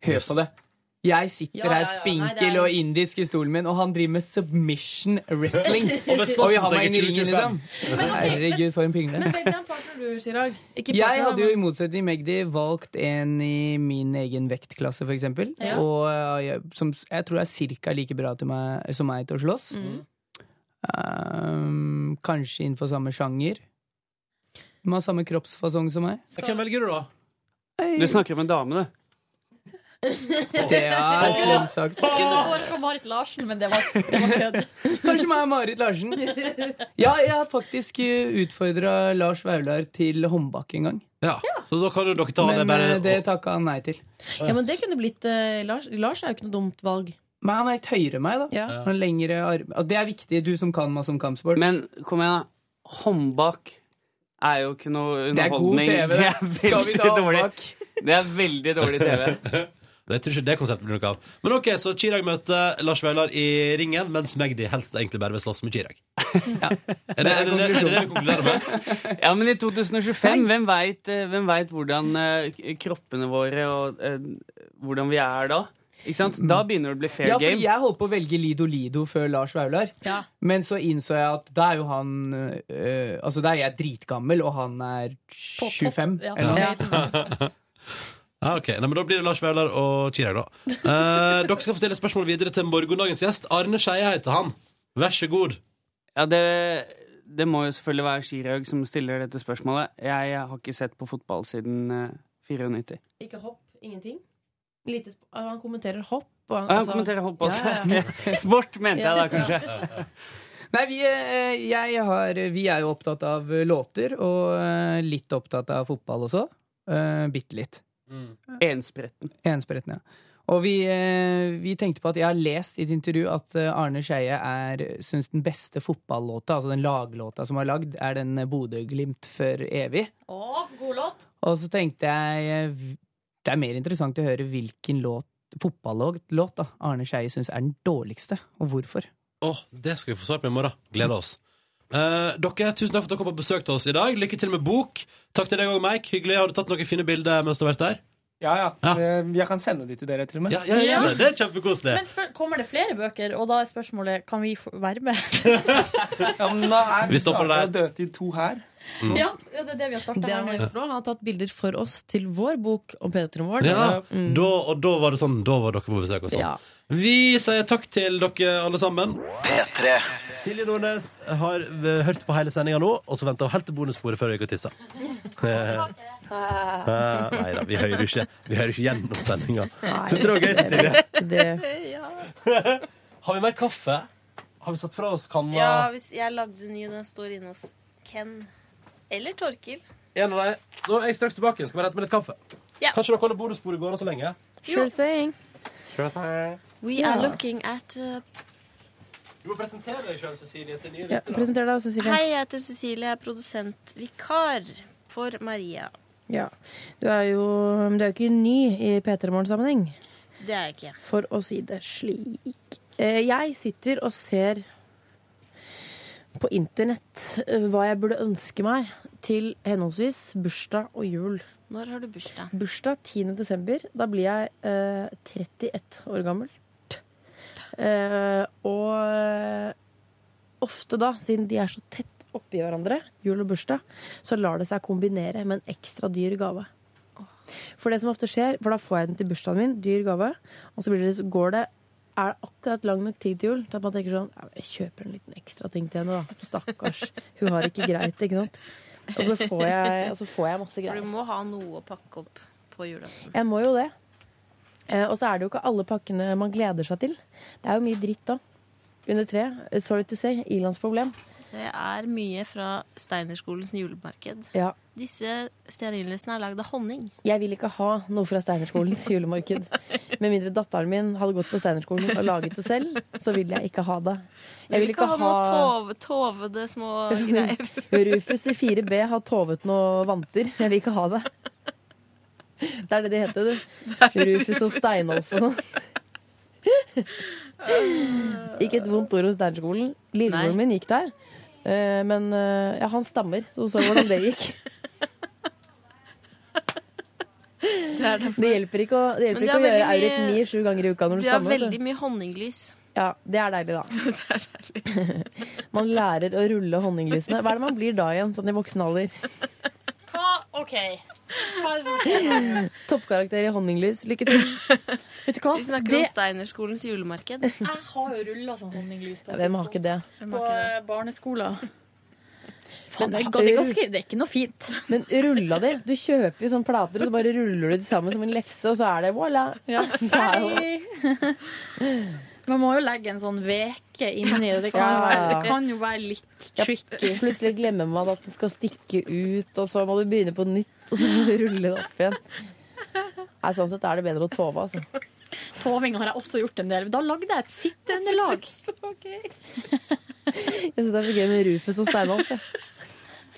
Speaker 14: Hør på det. Jeg sitter
Speaker 13: Ja, ja,
Speaker 14: her
Speaker 13: ja. Nei,
Speaker 14: spinkel
Speaker 13: det er-
Speaker 14: og indisk i stolen min, og han driver med submission
Speaker 13: <laughs>
Speaker 14: wrestling.
Speaker 13: Og med
Speaker 14: vi har meg inn i
Speaker 13: slåssomtegn
Speaker 14: ringen, liksom.
Speaker 13: 2025. Men ok, men-
Speaker 14: Herregud, for en
Speaker 5: Men
Speaker 14: pingle.
Speaker 5: velg deg en partner du, Chirag. Ikke
Speaker 14: Jeg
Speaker 5: partner,
Speaker 14: hadde jo
Speaker 5: men-
Speaker 14: i motsetning til Magdi valgt en i min egen vektklasse, for eksempel.
Speaker 5: Ja.
Speaker 14: Og eh, jeg, som, s- jeg tror er cirka like bra til meg, som meg til å slåss.
Speaker 5: Mm.
Speaker 14: Um, kanskje innenfor samme sjanger. Hun har samme kroppsfasong som meg.
Speaker 2: Hvem velger du, da?
Speaker 13: Du snakker om en dame,
Speaker 14: <laughs>
Speaker 13: du.
Speaker 14: Det er slemt sagt.
Speaker 4: Jeg skulle foreslå Marit Larsen, men det var, det var kødd.
Speaker 14: Kanskje meg og Marit
Speaker 5: <laughs>
Speaker 14: Larsen. Ja, jeg har faktisk utfordra Lars Vaular til håndbak en gang.
Speaker 2: Så da kan jo dere ta det
Speaker 14: Men
Speaker 2: bare
Speaker 14: eh, det takka han nei til.
Speaker 20: Ja, men det kunne blitt eh, Lars. Lars er jo ikke noe dumt valg.
Speaker 14: Men han er litt høyere enn meg, da.
Speaker 20: Ja.
Speaker 14: Han har lengre arm. Og det er viktig, du som kan meg som kampsport.
Speaker 13: Men kom igjen, da. Håndbak er jo ikke noe
Speaker 14: Det er god
Speaker 13: underholdning.
Speaker 14: TV,
Speaker 13: <laughs> Det
Speaker 14: det. Skal
Speaker 13: er
Speaker 14: vi ta
Speaker 13: veldig dårlig. Det er veldig
Speaker 14: <laughs>
Speaker 13: dårlig TV.
Speaker 2: Jeg tror ikke det konseptet blir noe av. Men ok, så Chirag møter Lars Vaular i ringen, mens Magdi helst egentlig bare vil slåss med
Speaker 18: <laughs>
Speaker 2: Chirag. Er, det, er, det, er det det vi konkluderer med?
Speaker 13: Ja, men i 2025, hvem veit, eh, hvem vet hvordan eh, k- kroppene våre og eh, hvordan vi er da? Ikke sant? Da begynner det å bli fair
Speaker 14: Mm. Ja, for
Speaker 13: game.
Speaker 14: jeg holdt på å velge Lido Lido før Lars Vaular. Men så innså jeg at da er jo han øh, Altså, da er jeg dritgammel, og han er 25.
Speaker 4: ja.
Speaker 14: eller noe.
Speaker 4: Ja.
Speaker 2: Ja, Ah, ok, Nei, men Da blir det Lars Vaular og Chirag, da. Eh, dere skal få stille spørsmål videre til morgendagens gjest. Arne Skeie heter han. Vær så god.
Speaker 13: Ja, det, det må jo selvfølgelig være Chirag som stiller dette spørsmålet. Jeg, har ikke sett på fotball siden eh, 94.
Speaker 20: Ikke hopp, ingenting. Lite sp ah, han kommenterer hopp. Og
Speaker 13: Ah, han
Speaker 3: Altså,
Speaker 13: kommenterer hopp også. <laughs>
Speaker 20: Ja,
Speaker 13: Sport, mente jeg da, kanskje.
Speaker 14: Nei, vi, øh, jeg har, vi er jo opptatt av låter, og øh, litt opptatt av fotball også. Uh, Bitte litt.
Speaker 13: Enspretten.
Speaker 14: Enspretten, ja. Og vi, eh, vi tenkte på at jeg har lest i et intervju at eh, Arne Skeie er- syns den beste fotballåta, altså den laglåta som er lagd, er den eh, Bodø-Glimt for evig.
Speaker 4: Å, god låt!
Speaker 14: Og så tenkte jeg eh, v- det er mer interessant å høre hvilken låt, fotballåt låt da, Arne Skeie syns er den dårligste, og hvorfor.
Speaker 2: Åh, det skal vi få svar på i morgen. Gleder oss. Eh, dere, Tusen takk for at dere kom og besøkte oss i dag. Lykke til med bok. Takk til deg òg, Mike. Hyggelig. Har du tatt noen fine bilder mens du har vært der?
Speaker 18: Ja, ja. Eh, Jeg kan sende de til dere, til og med.
Speaker 2: Ja, ja, ja, det. Det er kjempekoselig.
Speaker 4: Men spør, kommer det flere bøker? Og da er spørsmålet kan vi få være med?
Speaker 18: Ja, men nå er
Speaker 2: Vi stopper
Speaker 18: startet Dødtid to her.
Speaker 2: Mm.
Speaker 4: <laughs> ja, ja, det er det vi har starta
Speaker 20: Det har han
Speaker 4: med.
Speaker 20: gjort nå. Han har tatt bilder for oss til vår bok om P3 Morgen.
Speaker 2: Ja,
Speaker 20: Mm.
Speaker 2: da, og da var det sånn, da var dere på besøk og sånn.
Speaker 20: Ja.
Speaker 2: Vi sier takk til dere alle sammen. P3 Silje Nordnes har eh, hørt på hele sendinga nå, og så venter hun helt til bonussporet før hun gikk og <laughs> tissa. Nei da, vi hører jo ikke, vi hører ikke gjennom sendinga. Syns du det var gøy, Silje?
Speaker 3: <laughs>
Speaker 2: <laughs> Har vi mer kaffe? Har vi satt fra oss kanna?
Speaker 3: Ja, hvis jeg lagde ny, den står inne hos Ken. Eller Torkil.
Speaker 2: En av deg. Så er jeg straks tilbake igjen. Skal bare hente meg litt kaffe.
Speaker 3: Ja.
Speaker 2: Kanskje dere holder bonussporet gående så lenge?
Speaker 3: Sure
Speaker 5: thing.
Speaker 3: We
Speaker 5: Ja.
Speaker 3: are looking at uh,
Speaker 2: Du må presentere deg sjøl, Cecilie, til nye
Speaker 5: Ja,
Speaker 2: lyttere.
Speaker 5: presenter deg, Cecilie.
Speaker 3: Hei, jeg heter Cecilie, jeg er produsentvikar for Maria.
Speaker 5: Ja. Du er jo men du er jo ikke ny i P3 Morgen-sammenheng,
Speaker 3: Det er jeg ikke.
Speaker 5: for å si det slik. Eh, Jeg sitter og ser på internett eh, hva jeg burde ønske meg til henholdsvis bursdag og jul.
Speaker 3: Når har du bursdag?
Speaker 5: Bursdag 10. desember. Da blir jeg eh, 31 år gammel. Eh, og ofte da, siden de er så tett oppi hverandre, jul og bursdag, så lar det seg kombinere med en ekstra dyr gave. For det som ofte skjer, for da får jeg den til bursdagen min, dyr gave, og så blir det, så går det er det akkurat lang nok tid til jul til at man tenker sånn "Ja, Jeg kjøper en liten ekstra ting til henne, da. Stakkars. Hun har det ikke greit, ikke sant? Og så får jeg, og så får jeg masse greier.
Speaker 3: For du må ha noe å pakke opp på julaften.
Speaker 5: Jeg må jo det. Eh, og så er det jo ikke alle pakkene man gleder seg til. Det er jo mye dritt da. Under tre. eh, Sorry to say. Ilans problem.
Speaker 3: Det er mye fra Steinerskolens julemarked.
Speaker 5: Ja.
Speaker 3: Disse stearinlysene er lagd av honning.
Speaker 5: Jeg vil ikke ha noe fra Steinerskolens julemarked. Med mindre datteren min hadde gått på Steinerskolen og laget det selv, så vil jeg ikke ha det.
Speaker 3: Jeg vil ikke ha noe tove, tovede små <laughs> greier.
Speaker 5: Rufus i 4B har tovet noe vanter. Jeg vil ikke ha det. Det er det de heter, du. Rufus og Steinolf og sånn.
Speaker 3: Ah.
Speaker 5: Ikke et vondt ord om Steinerskolen. Lillebroren min gikk der. Eh, Men eh, ja, han stammer, så så hvordan det gikk.
Speaker 3: Det, er derfor.
Speaker 5: Det hjelper ikke å, det hjelper
Speaker 3: Men det
Speaker 5: ikke å
Speaker 3: er
Speaker 5: gjøre
Speaker 3: veldig mye-
Speaker 5: eurytmi sju ganger i uka når du
Speaker 3: De har
Speaker 5: stammer. vet du.
Speaker 3: veldig mye honninglys.
Speaker 5: Ja, det er deilig, da. man lærer å rulle honninglysene. Hva er det man blir da igjen, sånn i voksen alder?
Speaker 4: Hva? OK. Hva er det som skjer?
Speaker 5: Toppkarakter i honninglys. Lykke til. Vet du hva?
Speaker 3: Vi snakker om Steinerskolens julemarked.
Speaker 4: Jeg har jo rulla sånn honninglys på
Speaker 5: Hvem har ikke det?
Speaker 4: På eh, barneskolen. Faen, det, er ganske, det er ganske- det er ikke noe fint.
Speaker 5: Men rulla de? Du kjøper jo sånne plater, og så bare ruller du de sammen som en lefse, og så er det voilà!
Speaker 20: <laughs>
Speaker 4: Ferdig! Man må jo legge en sånn veke inni, og det kan, jo være, det kan jo være litt tricky.
Speaker 5: <laughs> Plutselig glemmer man at den skal stikke ut, og så må du begynne på nytt, og så må du rulle det opp igjen. Nei, sånn sett er det bedre å tove, altså.
Speaker 4: Toving har jeg også gjort en del. Da lagde jeg et sitteunderlag.
Speaker 5: Jeg syns det er så gøy med Rufus og Steinholt. jeg.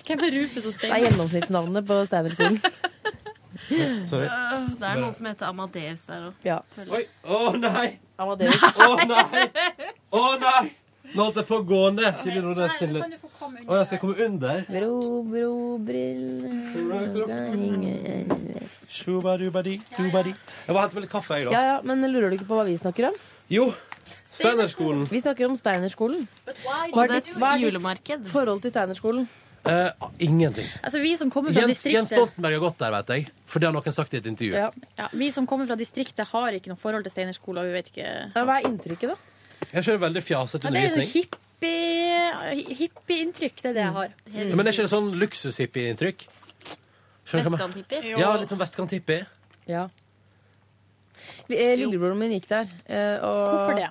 Speaker 4: Hvem er Rufus
Speaker 5: Det
Speaker 4: og
Speaker 5: er
Speaker 4: Steinar?
Speaker 5: gjennomsnittsnavnet på Steinerskolen.
Speaker 2: Sorry.
Speaker 3: Øh, Det er noen som heter Amadeus der òg.
Speaker 5: Ja.
Speaker 2: Oi! Å nei!
Speaker 5: Amadeus.
Speaker 2: Å nei! Å nei! Nå holdt jeg på å gå ned. Silje Nordnes sin
Speaker 4: Kan du få komme
Speaker 2: Å, jeg skal komme under?
Speaker 5: Bro, bro, briller
Speaker 2: Shubadubadi, dubadi. Jeg var og hentet vel kaffe, jeg,
Speaker 5: Ja
Speaker 2: da.
Speaker 5: ja, men lurer du ikke på hva vi snakker om?
Speaker 2: Jo. Steinerskolen.
Speaker 5: Vi snakker om Steinerskolen.
Speaker 3: why
Speaker 5: Hva er
Speaker 3: did
Speaker 5: ditt,
Speaker 3: you-
Speaker 5: hva er
Speaker 3: ditt
Speaker 5: forhold til Steinerskolen?
Speaker 2: Eh, ingenting.
Speaker 4: Altså, vi som kommer fra
Speaker 2: Jens, Jens
Speaker 4: distriktet
Speaker 2: Stoltenberg har gått der, vet jeg. For det har noen sagt i et intervju.
Speaker 4: ja. Ja, Vi som kommer fra distriktet, har ikke noe forhold til Steinerskolen. Vi vet ikke
Speaker 5: Hva er inntrykket, da?
Speaker 2: Jeg kjører veldig fjaset
Speaker 4: Ja, det er jo
Speaker 2: undervisning.
Speaker 4: sånn hippie, hippie-inntrykk, det er det jeg har.
Speaker 2: Ja, Men er ikke det sånn luksushippie-inntrykk? Skjønner du hva jeg mener?
Speaker 4: Vestkanthippie?
Speaker 2: Ja, litt sånn vestkanthippie.
Speaker 5: Ja. Eh, Lillebroren min gikk der. eh, Og
Speaker 4: Hvorfor det?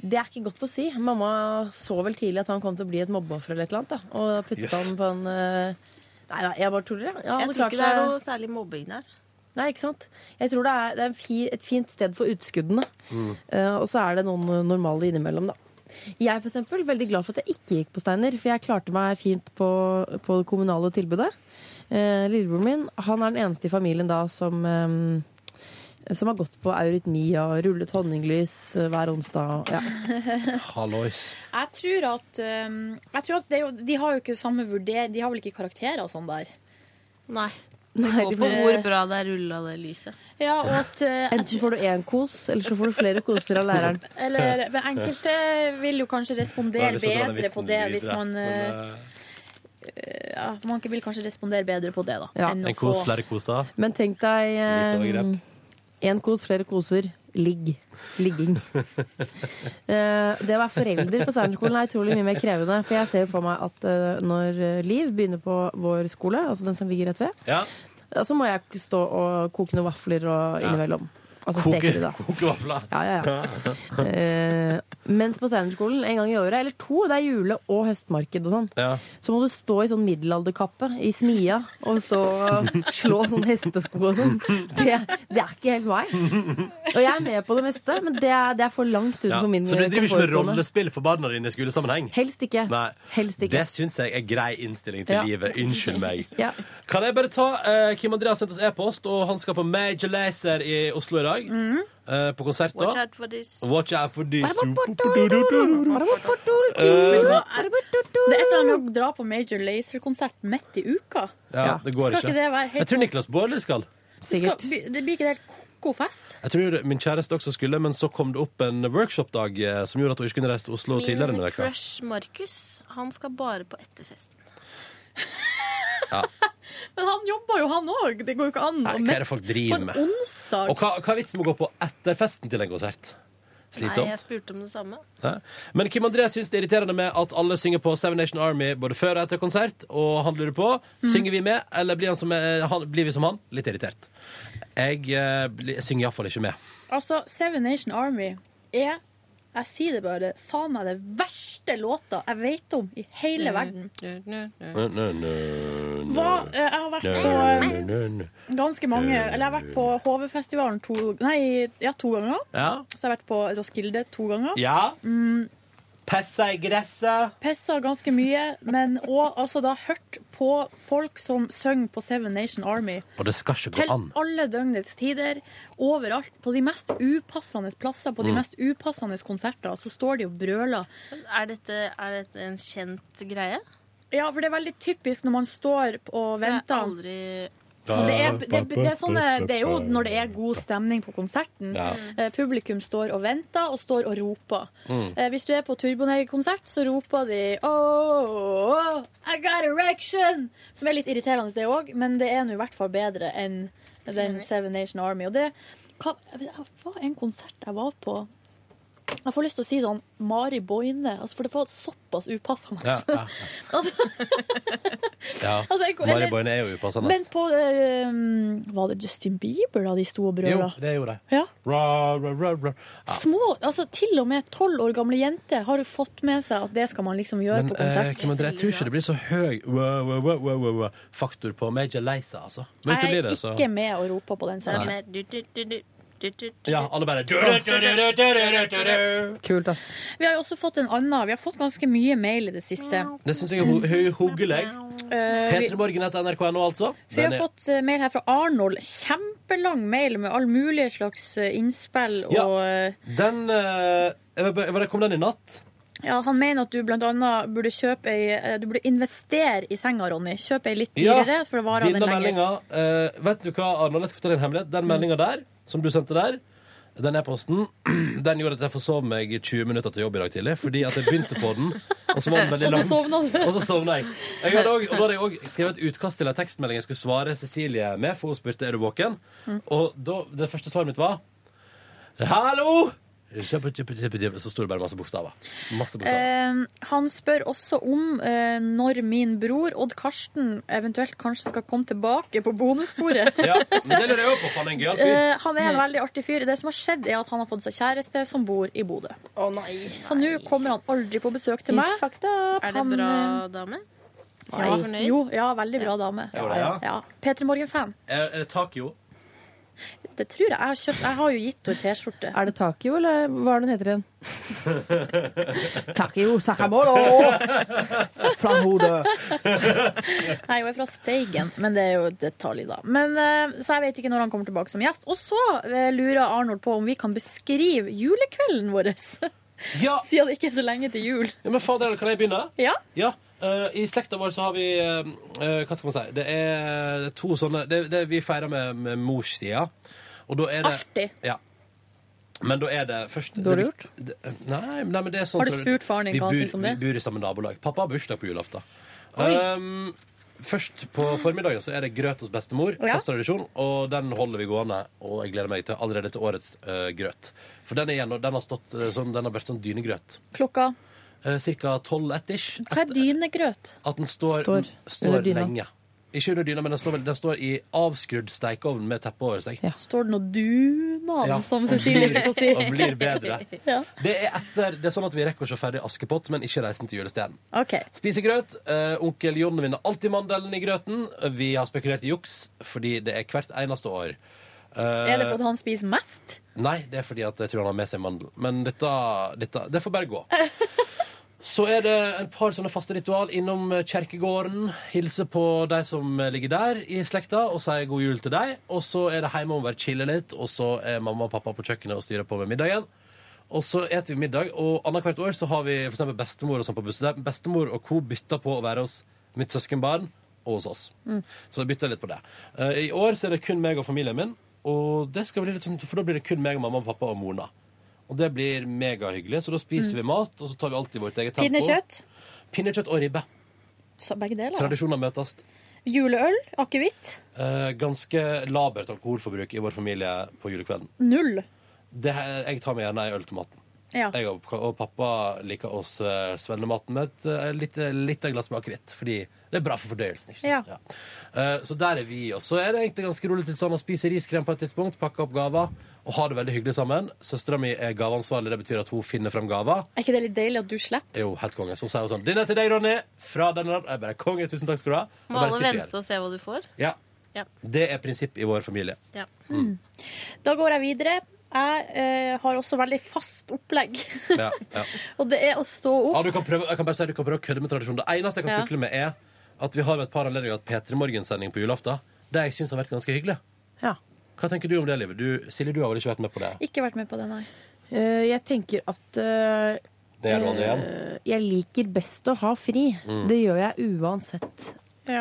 Speaker 5: Det er ikke godt å si. Mamma så vel tidlig at han kom til å bli et mobbeoffer eller et eller annet. Da, og puttet
Speaker 3: Yes.
Speaker 5: han på en eh, Nei da, jeg bare tuller. jeg. Ja,
Speaker 3: Jeg
Speaker 5: han
Speaker 3: tror
Speaker 5: klarte
Speaker 3: ikke det er
Speaker 5: seg-
Speaker 3: noe særlig mobbing der.
Speaker 5: Nei, ikke sant? Jeg tror det er, det er en fi, et fint sted for utskuddene.
Speaker 3: Mm.
Speaker 5: Eh, og så er det noen eh, normale innimellom, da. Jeg er for eksempel, veldig glad for at jeg ikke gikk på Steiner, for jeg klarte meg fint på, på det kommunale tilbudet. Eh, Lillebroren min han er den eneste i familien da som, eh, som har gått på eurytmi og rullet honninglys eh, hver onsdag. Ja.
Speaker 2: Hallois.
Speaker 4: Jeg tror at, um, jeg tror at det, er jo- de har jo ikke samme vurder De har vel ikke karakterer og sånn der?
Speaker 3: Nei.
Speaker 5: Det
Speaker 3: går
Speaker 5: de
Speaker 3: på
Speaker 5: må-
Speaker 3: hvor bra det er rulla, det lyset.
Speaker 4: Ja, og at <laughs> eh,
Speaker 5: Enten får du én kos, eller så får du flere koser av læreren.
Speaker 4: Eller men enkelte vil jo kanskje respondere bedre på det hvis man eh, ja, Man vil kanskje respondere bedre på det, da.
Speaker 5: Ja.
Speaker 4: enn
Speaker 2: eh,
Speaker 4: å
Speaker 2: En kos,
Speaker 4: få-
Speaker 2: flere koser.
Speaker 5: Men tenk
Speaker 2: Litt overgrep.
Speaker 5: deg én kos, flere koser. Ligg.
Speaker 2: <laughs>
Speaker 5: Ligging. Eh, det å være forelder på Steinerskolen er utrolig mye mer krevende. For jeg ser jo for meg at eh, når eh, Liv begynner på vår skole, altså den som ligger rett ved,
Speaker 2: Ja.
Speaker 5: ja, så må jeg stå og koke noen vafler og
Speaker 2: Ja.
Speaker 5: innimellom. Altså
Speaker 2: Koke
Speaker 5: steke de, da.
Speaker 2: kokevafler.
Speaker 5: Ja, ja, ja.
Speaker 2: <laughs>
Speaker 5: Eh, mens på Steinerskolen en gang i året, eller to, det er jule- og høstmarked og sånn,
Speaker 2: Ja.
Speaker 5: så må du stå i sånn middelalderkappe i smia og stå og slå sånn hestesko og sånn. Det, det er ikke helt meg. Og jeg er med på det meste, men det er, det er for langt
Speaker 2: Ja.
Speaker 5: utenfor min
Speaker 2: Så du driver ikke med
Speaker 5: komfortsone.
Speaker 2: rollespill for barna dine i skolesammenheng?
Speaker 5: Helst ikke.
Speaker 2: Nei.
Speaker 5: Helst ikke.
Speaker 2: Det syns jeg er grei innstilling til
Speaker 5: Ja.
Speaker 2: livet. Unnskyld meg.
Speaker 5: Ja.
Speaker 2: Kan jeg bare ta eh, Kim Andreas sendte oss e-post, og han skal på Major Lazer i Oslo i dag.
Speaker 5: Mm.
Speaker 2: eh, på konsert, da.
Speaker 3: Watch out for this.
Speaker 2: Watch out for this.
Speaker 4: Men
Speaker 2: Eh,
Speaker 4: da er- Det er et eller annet med å dra på Major Lazer-konsert midt i uka.
Speaker 2: ja, det går
Speaker 4: Skal
Speaker 2: ikke.
Speaker 4: ikke det være helt
Speaker 2: Jeg tror Niklas Baarli skal.
Speaker 4: Det, skal, bli- det blir ikke helt ko-ko fest.
Speaker 2: Jeg tror min kjæreste også skulle, men så kom det opp en workshopdag eh, som gjorde at hun ikke kunne reise til Oslo tidligere
Speaker 3: Min
Speaker 2: denne uka.
Speaker 3: crush Markus, han skal bare på etterfesten.
Speaker 2: Ja.
Speaker 4: Men han jobber jo, han òg. Det går jo ikke an.
Speaker 2: Nei, hva
Speaker 4: å
Speaker 2: er
Speaker 4: møte
Speaker 2: det folk
Speaker 4: på
Speaker 2: driver
Speaker 4: en
Speaker 2: med?
Speaker 4: onsdag.
Speaker 2: Og hva, hva er vitsen med å gå på etter festen til en konsert?
Speaker 3: Nei, jeg
Speaker 2: Slitsomt.
Speaker 3: spurte om det samme.
Speaker 2: Hæ? Men Kim André syns det er irriterende med at alle synger på Seven Nation Army både før og etter konsert, og han lurer på Synger vi med, eller blir, han som, eh, han, blir vi som han? Litt irritert. Jeg eh, bli- jeg synger iallfall ikke med.
Speaker 4: Altså, Seven Nation Army er jeg sier det bare, faen meg det verste låta jeg vet om i hele verden.
Speaker 2: Mm.
Speaker 4: Hva, eh, jeg har vært på eh, ganske mange Eller jeg har vært på HV-festivalen to, nei, ja, to ganger.
Speaker 2: Ja.
Speaker 4: Så jeg har vært på Roskilde to ganger.
Speaker 2: Ja.
Speaker 4: Mm,
Speaker 2: Pessa i gresset.
Speaker 4: Pessa ganske mye, men òg altså, da hørt på folk som synger på Seven Nation Army.
Speaker 2: Og det skal ikke
Speaker 4: Til
Speaker 2: gå an.
Speaker 4: alle døgnets tider, overalt, på de mest upassende plasser, på de
Speaker 2: Mm.
Speaker 4: mest upassende konserter, så står de og brøler.
Speaker 3: Er dette, er dette en kjent greie?
Speaker 4: Ja, for det er veldig typisk når man står og venter. Og det, er, det, er- det, er sånne, det er jo når det er god stemning på konserten.
Speaker 3: Ja.
Speaker 4: Eh, Publikum står og venter og står og roper.
Speaker 3: Mm.
Speaker 4: Eh, Hvis du er på Turboneger-konsert, så roper de oh, I got erection! Som er litt irriterende, det òg, men det er nå i hvert fall bedre enn den Seven Nation Army. Og det hva, det var en konsert jeg var på Jeg får lyst til å si sånn Mari Boine, altså, for det var såpass upassende.
Speaker 2: Ja,
Speaker 4: <laughs>
Speaker 2: ja, ja.
Speaker 4: Altså, jeg-
Speaker 2: Mari Boine er jo upassende.
Speaker 4: Men på eh, Var det Justin Bieber da de sto og brøla?
Speaker 2: Jo, det gjorde jeg.
Speaker 4: Ja.
Speaker 2: Ra, ra, ra, ra. Ja.
Speaker 4: Små, altså Til og med tolv år gamle jenter har fått med seg at det skal man liksom gjøre
Speaker 2: Men
Speaker 4: på
Speaker 2: eh,
Speaker 4: konsert.
Speaker 2: Kim André, jeg tror ikke det blir så høy wow, wow, wow, wow, wow, wow, faktor på Major Leisa, altså. Men hvis det blir det, så
Speaker 4: Jeg er ikke med og roper på den sangen.
Speaker 2: Nei.
Speaker 4: Du, du, du, du, du, du.
Speaker 2: Ja, alle bare
Speaker 5: Kult, ass.
Speaker 4: Vi har jo også fått en annen. Vi har fått ganske mye mail i det siste.
Speaker 2: Det syns jeg er ho- høy- hyggelig.
Speaker 4: Eh, vi-
Speaker 2: P3morgen.nrk.no, altså.
Speaker 4: Vi har
Speaker 2: Den er-
Speaker 4: fått eh, mail her fra Arnold. Kjempelang mail med all mulig slags eh, innspill. Og
Speaker 2: Ja. Den eh, jeg vet- Var det Kom den i natt?
Speaker 4: ja, han mener at du blant annet burde kjøpe ei eh, Du burde investere i senga, Ronny. Kjøp ei litt dyrere, for det varer den Mm.
Speaker 2: denne
Speaker 4: lenger.
Speaker 2: meldinga eh, Vet du hva, Arnold, jeg skal fortelle en hemmelighet. Den meldinga der, som du sendte der, den e-posten, <clears throat> den gjorde at jeg forsov meg i 20 minutter til jobb i dag tidlig. Fordi at jeg begynte på den, og så var den veldig
Speaker 4: <laughs> Og så
Speaker 2: lang.
Speaker 4: sovna du.
Speaker 2: <laughs> Og så sovna jeg. jeg hadde også, og da hadde jeg òg skrevet et utkast til en tekstmelding jeg skulle svare Cecilie med, for hun spurte er du våken.
Speaker 4: Mm.
Speaker 2: Og da, det første svaret mitt var Hallo! Kjøp, kjøp, kjøp, kjøp. Så sto det bare masse bokstaver. Masse bokstaver.
Speaker 4: Eh, han spør også om eh, når min bror Odd Karsten eventuelt kanskje skal komme tilbake på
Speaker 3: <laughs>
Speaker 4: bonussporet.
Speaker 2: Ja, men det lurer jeg òg på. Faen, en gøyal fyr.
Speaker 4: Eh, han er en veldig artig fyr. Det som har skjedd, er at han har fått seg kjæreste som bor i Bodø. Så nå kommer han aldri på besøk til meg.
Speaker 3: He's Er det
Speaker 4: Han,
Speaker 3: bra,
Speaker 4: eh,
Speaker 3: dame?
Speaker 4: Ja,
Speaker 3: Er du fornøyd?
Speaker 4: jo, ja, veldig bra dame.
Speaker 2: Ja, det, ja.
Speaker 4: Peter Morgan-fan.
Speaker 2: Er, er det Takio?
Speaker 4: Det tror jeg. Jeg har, kjøpt, jeg har jo gitt henne T-skjorte.
Speaker 5: Er det Takio, eller hva er det hun heter igjen?
Speaker 2: <laughs>
Speaker 5: Takio
Speaker 4: Sakamoto!
Speaker 5: Flamhode!
Speaker 4: Nei, hun er fra Steigen, men det er jo et detalj, da. Men, eh, så jeg vet ikke når han kommer tilbake som gjest. Og så eh, lurer Arnold på om vi kan beskrive julekvelden vår. <laughs>
Speaker 2: Ja.
Speaker 4: Siden det ikke er så lenge til jul.
Speaker 2: Ja, men fader, kan jeg begynne?
Speaker 4: Ja.
Speaker 2: Ja. eh, I slekta vår så har vi eh, eh, Hva skal man si? Det er to sånne det, det Vi feirer med, med morssida. Og da er det
Speaker 4: Artig.
Speaker 2: Ja. Men da er det først
Speaker 4: Dårlig
Speaker 2: det vikt- det- Nei, nei, men det er sånn
Speaker 4: Har du
Speaker 2: tror jeg-
Speaker 4: spurt faren din
Speaker 2: vi
Speaker 4: hva han
Speaker 2: bor-
Speaker 4: synes om det?
Speaker 2: Vi bor i samme nabolag. Pappa har bursdag på julaften.
Speaker 4: Oi.
Speaker 2: Um, først på formiddagen så er det grøt hos bestemor.
Speaker 4: Å, ja.
Speaker 2: Fast tradisjon. Og den holder vi gående, og jeg gleder meg til allerede til årets eh, grøt. For den, er igjen, den har stått eh, sånn, den har vært sånn dynegrøt.
Speaker 4: Klokka
Speaker 2: Uh, cirka tolv ett-ish.
Speaker 4: Hva er dynegrøt?
Speaker 2: At den står,
Speaker 4: Står
Speaker 2: står,
Speaker 4: under dyna.
Speaker 2: lenge. Ikke under dyna, men den står, vel- den står i avskrudd steikeovn med teppe over seg.
Speaker 4: Står det noe dunan,
Speaker 2: Ja,
Speaker 4: som
Speaker 2: og <laughs>
Speaker 4: Cecilie
Speaker 2: blir-
Speaker 4: liker å si?
Speaker 2: og blir bedre.
Speaker 4: <laughs> Ja.
Speaker 2: Det er, etter, det er sånn at vi rekker å se ferdig Askepott, men ikke Reisen til julestjernen.
Speaker 4: OK.
Speaker 2: Spiser grøt. Eh, onkel Jon vinner alltid mandelen i grøten. Vi har spekulert i juks, fordi det er hvert eneste år. Eh,
Speaker 4: Er det for at han spiser mest?
Speaker 2: Nei, det er fordi at jeg tror han har med seg mandel. Men dette, dette Det får bare gå. Så er det en par sånne faste ritual innom kjerkegården. Hilse på de som eh, ligger der i slekta, og si god jul til deg. Og så er det hjemover, chille litt, og så er mamma og pappa på kjøkkenet og styrer på med middagen. Og så eter vi middag, og annethvert år så har vi for eksempel bestemor og sånn på bussen. Der Bestemor og co. bytter på å være hos mitt søskenbarn og hos oss.
Speaker 4: Mm.
Speaker 2: Så jeg bytter litt på det. Eh, I år så er det kun meg og familien min, og det skal bli litt sånn, for da blir det kun meg og mamma og pappa og Mona. Og det blir megahyggelig, så da spiser
Speaker 4: Mm.
Speaker 2: vi mat, og så tar vi alltid vårt eget tempo.
Speaker 4: Pinnekjøtt?
Speaker 2: Pinnekjøtt og ribbe.
Speaker 4: Så begge deler. da.
Speaker 2: Tradisjoner møtes.
Speaker 4: Juleøl? Akevitt?
Speaker 2: Eh, ganske labert alkoholforbruk i vår familie på julekvelden.
Speaker 4: Null.
Speaker 2: Det, her- jeg tar meg gjerne ei øl til maten.
Speaker 4: Ja.
Speaker 2: Jeg og, og pappa liker oss eh, svennematen med et eh, lite, lite glass med akevitt. Fordi det er bra for fordøyelsen. ikke sant?
Speaker 4: Ja.
Speaker 2: Eh, Så der er vi. Og så er det egentlig ganske rolig til sånn å spise riskrem på et tidspunkt, pakke opp gaver og ha det veldig hyggelig sammen. Søstera mi er gaveansvarlig. Det betyr at hun finner frem gaver.
Speaker 4: Er ikke det litt deilig at du slipper?
Speaker 2: Er jo helt konge. Så sier hun sånn 'Din er til deg, Ronny'. Fra den og den. Jeg bare 'Konge, tusen takk skal du ha'. Og
Speaker 3: Må
Speaker 2: bare
Speaker 3: alle
Speaker 2: sitter
Speaker 3: vente og se hva du får?
Speaker 2: igjen. Ja.
Speaker 3: Ja.
Speaker 2: Det er prinsipp i vår familie.
Speaker 3: ja.
Speaker 4: Da går jeg videre. Jeg eh, har også veldig fast opplegg. <laughs>
Speaker 2: Ja, ja.
Speaker 4: Og det er å stå
Speaker 2: Ja,
Speaker 4: opp.
Speaker 2: du kan prøve, jeg kan bare si at du kan prøve å kødde med tradisjonen. Det eneste jeg kan
Speaker 4: Ja.
Speaker 2: tukle med, er at vi har ved et par anledninger hatt P3 Morgen-sending på julaften. Det jeg syns har vært ganske hyggelig.
Speaker 5: Ja.
Speaker 2: Hva tenker du om det, Livet? Du, Silje, du har vel ikke vært med på det?
Speaker 4: Ikke vært med på det, nei.
Speaker 5: Eh, jeg tenker at eh,
Speaker 2: Det er Ronny igjen.
Speaker 5: eh, jeg liker best å ha fri.
Speaker 2: Mm.
Speaker 5: Det gjør jeg uansett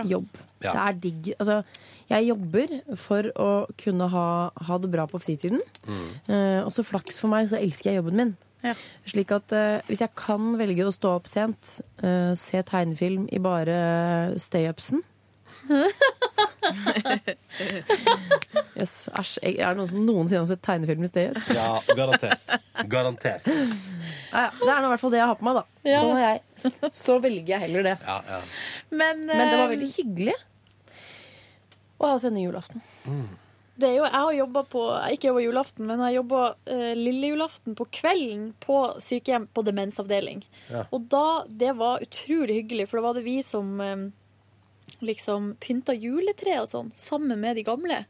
Speaker 5: jobb.
Speaker 2: Ja.
Speaker 5: Det er digg. Altså, jeg jobber for å kunne ha, ha det bra på fritiden.
Speaker 2: Mm.
Speaker 5: Eh, og så flaks for meg, så elsker jeg jobben min. Slik at eh, hvis jeg kan <laughs> velge å stå opp sent, eh, se tegnefilm i bare stay-upsen, Yes, æsj. Jeg- Er det noen som noensinne har sett tegnefilm i stedet?
Speaker 2: Ja, garantert. Garantert.
Speaker 5: Ja, ja. Det er nå i hvert fall det jeg har på meg, da.
Speaker 4: Ja.
Speaker 5: Sånn er jeg. Så velger jeg heller det.
Speaker 2: Ja, ja.
Speaker 4: Men,
Speaker 5: Men det var
Speaker 4: eh,
Speaker 5: veldig hyggelig å ha sending julaften.
Speaker 4: Det er jo, jeg har jobba på Ikke jobba julaften, men jeg jobba eh, lille julaften på kvelden på sykehjem på demensavdeling.
Speaker 21: Ja.
Speaker 4: Og da Det var utrolig hyggelig, for da var det vi som eh, liksom pynta juletre og sånn, sammen med de gamle.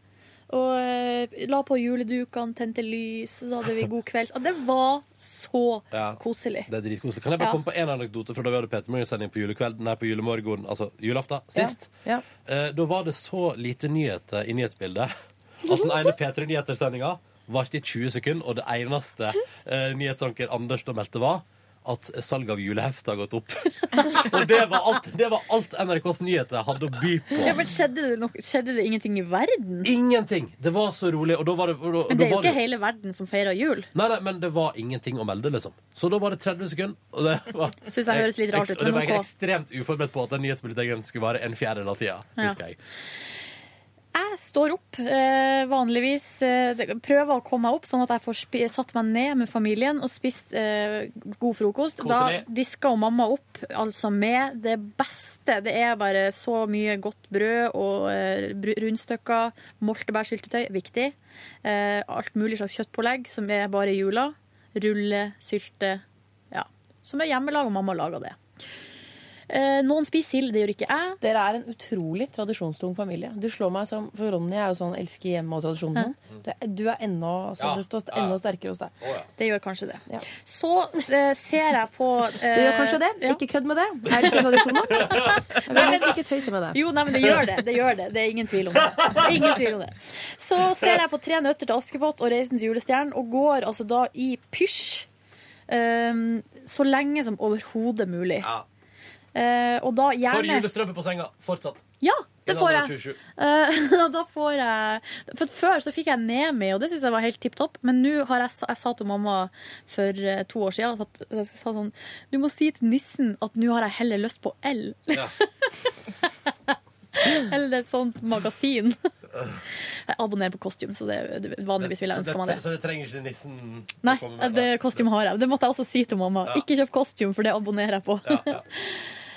Speaker 4: Og eh, la på juledukene, tente lys, og så hadde vi god kvelds... Ja, Det var så
Speaker 2: Ja.
Speaker 4: koselig.
Speaker 2: Det er dritkoselig. Kan jeg bare
Speaker 4: Ja.
Speaker 2: komme på en anekdote fra da vi hadde Peter Morgen-sending på julekvelden, nei, på julemorgen, altså julaften, sist?
Speaker 5: Ja.
Speaker 2: Eh, da var det så lite nyheter i nyhetsbildet <laughs> at den ene P3 Nyheter-sendinga varte i 20 sekunder, og det eneste eh, nyhetsanker Anders da meldte, var at salget av julehefter har gått opp. <laughs> og det var, alt, det var alt NRKs nyheter hadde å by på.
Speaker 4: Ja, men skjedde det, nok, skjedde det ingenting i verden?
Speaker 2: Ingenting! Det var så rolig. Og da var det, og da,
Speaker 4: Men det
Speaker 2: da
Speaker 4: er jo
Speaker 2: var
Speaker 4: ikke hele verden som feirer jul.
Speaker 2: Nei, nei, men det var ingenting å melde, liksom. Så da var det 30 sekunder. Og det var,
Speaker 4: Synes jeg høres litt rart ut,
Speaker 2: Og det
Speaker 4: men
Speaker 2: var jeg
Speaker 4: ok.
Speaker 2: ekstremt uforberedt på at den nyhetsbulletengen skulle vare en fjerdedel av tida.
Speaker 4: Ja.
Speaker 2: husker jeg.
Speaker 4: Jeg står opp eh, vanligvis, eh, det- prøver å komme meg opp sånn at jeg får spi- satt meg ned med familien og spist eh, god frokost.
Speaker 21: Koselig.
Speaker 4: Da disker jo mamma opp altså med det beste. Det er bare så mye godt brød og eh, bru- rundstykker, moltebærsyltetøy, viktig. Eh, alt mulig slags kjøttpålegg som er bare i jula. Rulle, sylte, ja. Som er hjemmelag, og mamma lager det. Eh, noen spiser sild, det gjør ikke jeg.
Speaker 5: Dere er en utrolig tradisjonstung familie. Du slår meg som, For Ronny er jo sånn elsker hjemme og tradisjonen. Du er, du er ennå, altså,
Speaker 4: Ja.
Speaker 5: Det står
Speaker 4: Ja.
Speaker 5: enda sterkere hos deg.
Speaker 4: Det gjør kanskje det. Så eh, ser jeg på eh,
Speaker 5: Du gjør kanskje det? Ikke kødd med det. Er det ikke <laughs> tradisjonen? Jeg vil
Speaker 4: Nei, men-
Speaker 5: helst ikke tøyse med det.
Speaker 4: Jo, nei, men det gjør det. Det gjør det. Det er ingen tvil om det. det, er ingen tvil om det. Så ser jeg på Tre nøtter til Askepott og Reisen til julestjernen, og går altså da i pysj ehm, så lenge som overhodet mulig. Eh, og da gjerne
Speaker 2: For julestrømpe på senga, fortsatt.
Speaker 4: Ja, det
Speaker 2: I
Speaker 4: får
Speaker 2: en alder av
Speaker 4: jeg.
Speaker 2: 27.
Speaker 4: Eh, <laughs> og da får jeg For Før så fikk jeg Nemi, og det syns jeg var helt tipp topp. Men nå har jeg, sa- jeg sa til mamma for eh, to år siden at jeg sa sånn Du må si til nissen at nå har jeg heller lyst på L. <laughs> Eller et sånt magasin. Jeg abonnerer på kostyme, så det, vanligvis ville jeg
Speaker 2: så,
Speaker 4: ønska meg det.
Speaker 2: så det trenger ikke nissen
Speaker 4: Nei,
Speaker 2: å komme med.
Speaker 4: det kostyme har jeg. Det måtte jeg også si til mamma.
Speaker 2: Ja.
Speaker 4: Ikke kjøp kostyme, for det abonnerer jeg på. <laughs>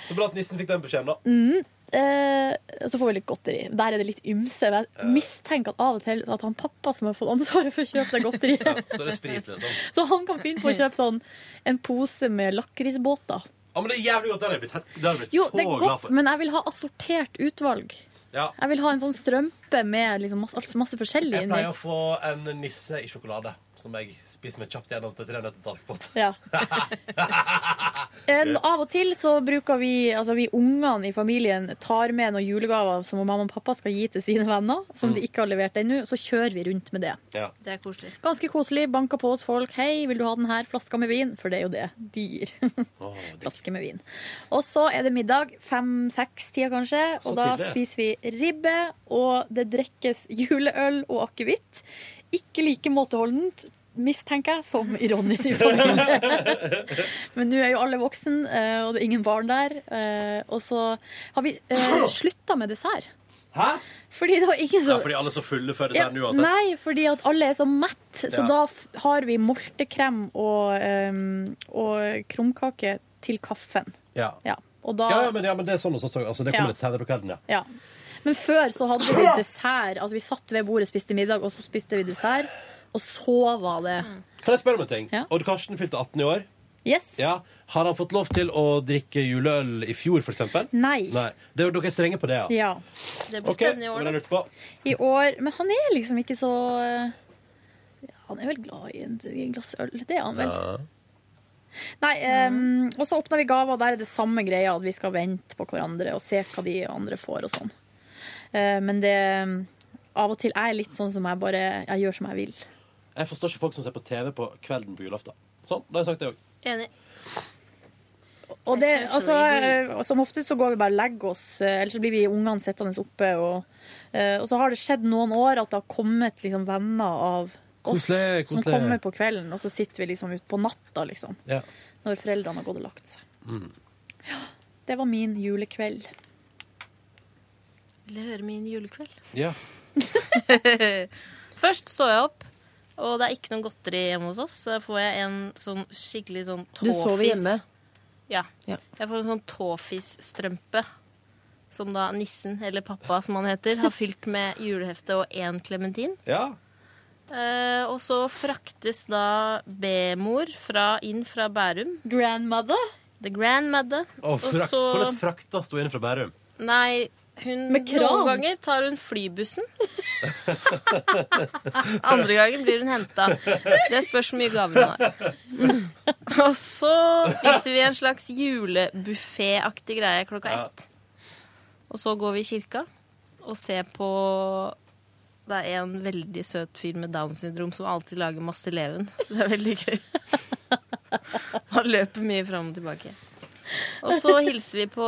Speaker 2: Så bra at nissen fikk den beskjeden, da.
Speaker 4: Mm. Eh, så får vi litt godteri. Der er det litt ymse. men Jeg mistenker at av og til at han pappa som har fått ansvaret for å kjøpe det <laughs> godteriet.
Speaker 2: Så er det sprit, liksom.
Speaker 4: Så han kan finne på å kjøpe sånn en pose med lakrisbåter.
Speaker 2: Ja, men det er jævlig godt. Det har jeg blitt, helt- det har jeg blitt
Speaker 4: Jo,
Speaker 2: så
Speaker 4: det er
Speaker 2: glad
Speaker 4: godt,
Speaker 2: for.
Speaker 4: men jeg vil ha assortert utvalg.
Speaker 2: Ja.
Speaker 4: Jeg vil ha en sånn strømpe med liksom masse, altså masse forskjellig
Speaker 2: Jeg
Speaker 4: inni.
Speaker 2: pleier å få en nisse i sjokolade, som jeg spiser meg kjapt gjennom til tre nøtter til Askepott.
Speaker 4: Ja. En, av og til så bruker vi, altså vi ungene i familien tar med noen julegaver som mamma og pappa skal gi til sine venner, som
Speaker 21: Mm.
Speaker 4: de ikke har levert ennå. Så kjører vi rundt med det.
Speaker 3: Det er koselig.
Speaker 4: Ganske koselig. Banker på hos folk. 'Hei, vil du ha den her flaska med vin?' For det er jo det de gir. Flaske med vin. Og så er det middag. Fem-seks-tida, kanskje.
Speaker 21: Så
Speaker 4: Og da
Speaker 21: tidlig.
Speaker 4: spiser vi ribbe, og det drikkes juleøl og akevitt. Ikke like måteholdent, mistenker jeg, som i Ronny sin familie.
Speaker 2: <laughs>
Speaker 4: Men nå er jo alle voksen, eh, og det er ingen barn der. eh, Og så har vi slutta med dessert.
Speaker 2: Hæ?
Speaker 4: Fordi det var ingen
Speaker 2: Ja,
Speaker 4: som
Speaker 2: fordi alle er så fulle før
Speaker 4: ja,
Speaker 2: desserten uansett.
Speaker 4: Nei, fordi at alle er så mett, så
Speaker 2: Ja.
Speaker 4: da f- har vi moltekrem og, ehm, og krumkake til kaffen.
Speaker 2: Ja.
Speaker 4: Ja, og da,
Speaker 2: Ja,
Speaker 4: ja,
Speaker 2: ja, men, ja, men det er sånn hos oss også. Altså, det
Speaker 4: Ja.
Speaker 2: kommer litt senere på kvelden, ja.
Speaker 4: Men før så hadde vi dessert. Altså vi satt ved bordet, spiste middag, og så spiste vi dessert. Og så var det
Speaker 2: Kan jeg spørre om en ting? Odd Karsten fylte 18 i år.
Speaker 4: Yes.
Speaker 2: Ja. Har han fått lov til å drikke juleøl i fjor, for eksempel?
Speaker 4: Nei.
Speaker 2: Det er jo dere er strenge på det, ja.
Speaker 4: Ja.
Speaker 3: Det
Speaker 2: Ok, det var det jeg lurte på.
Speaker 4: I år Men han er liksom ikke så eh, Han er vel glad i en- i et glass øl. Det er han vel. Nei, ehm, og så åpner vi gaver, og der er det samme greia at vi skal vente på hverandre og se hva de andre får og sånn. Eh, men det Av og til er jeg litt sånn som jeg bare Jeg gjør som jeg vil.
Speaker 2: Jeg forstår ikke folk som ser på TV på kvelden på julaften. Sånn, da har jeg sagt det òg.
Speaker 3: Enig.
Speaker 4: Og det,
Speaker 3: Jeg tror ikke
Speaker 4: altså,
Speaker 3: det blir-
Speaker 4: eh, og som oftest så går vi bare og legger oss, eh, eller så blir vi ungene sittende oppe. Og, eh, og så har det skjedd noen år at det har kommet liksom venner av oss
Speaker 2: Koselig,
Speaker 4: som
Speaker 2: koselig.
Speaker 4: kommer på kvelden, og så sitter vi liksom ut på natta, liksom.
Speaker 2: Ja.
Speaker 4: Når foreldrene har gått og lagt seg.
Speaker 2: Mm.
Speaker 4: Det var min julekveld.
Speaker 3: Ville høre min julekveld.
Speaker 2: Ja.
Speaker 3: Først står jeg opp, og det er ikke noe godteri hjemme hos oss. Så da får jeg en sånn skikkelig sånn
Speaker 5: Du
Speaker 3: tåfis.
Speaker 5: sover hjemme?
Speaker 3: Ja.
Speaker 5: Ja.
Speaker 3: Jeg får en sånn tåfisstrømpe. Som da nissen, eller pappa som han heter, har fylt med julehefte og én klementin.
Speaker 2: Ja.
Speaker 3: Eh, og så fraktes da B-mor fra, inn fra Bærum.
Speaker 4: Grandmother?
Speaker 3: The grandmother.
Speaker 2: Og frak Hvordan fraktes du inn fra Bærum?
Speaker 3: Nei, hun,
Speaker 4: Med kran?
Speaker 3: noen ganger tar hun
Speaker 4: <laughs>
Speaker 3: flybussen. Andre ganger blir hun henta. Det spørs hvor mye gaver hun har.
Speaker 4: <laughs>
Speaker 3: Og så spiser vi en slags julebufféaktig greie klokka ett. Og så går vi i kirka og ser på Det er en veldig søt fyr med Downs syndrom som alltid lager masse leven. Det er veldig gøy. Han løper mye fram og tilbake. Og så hilser vi på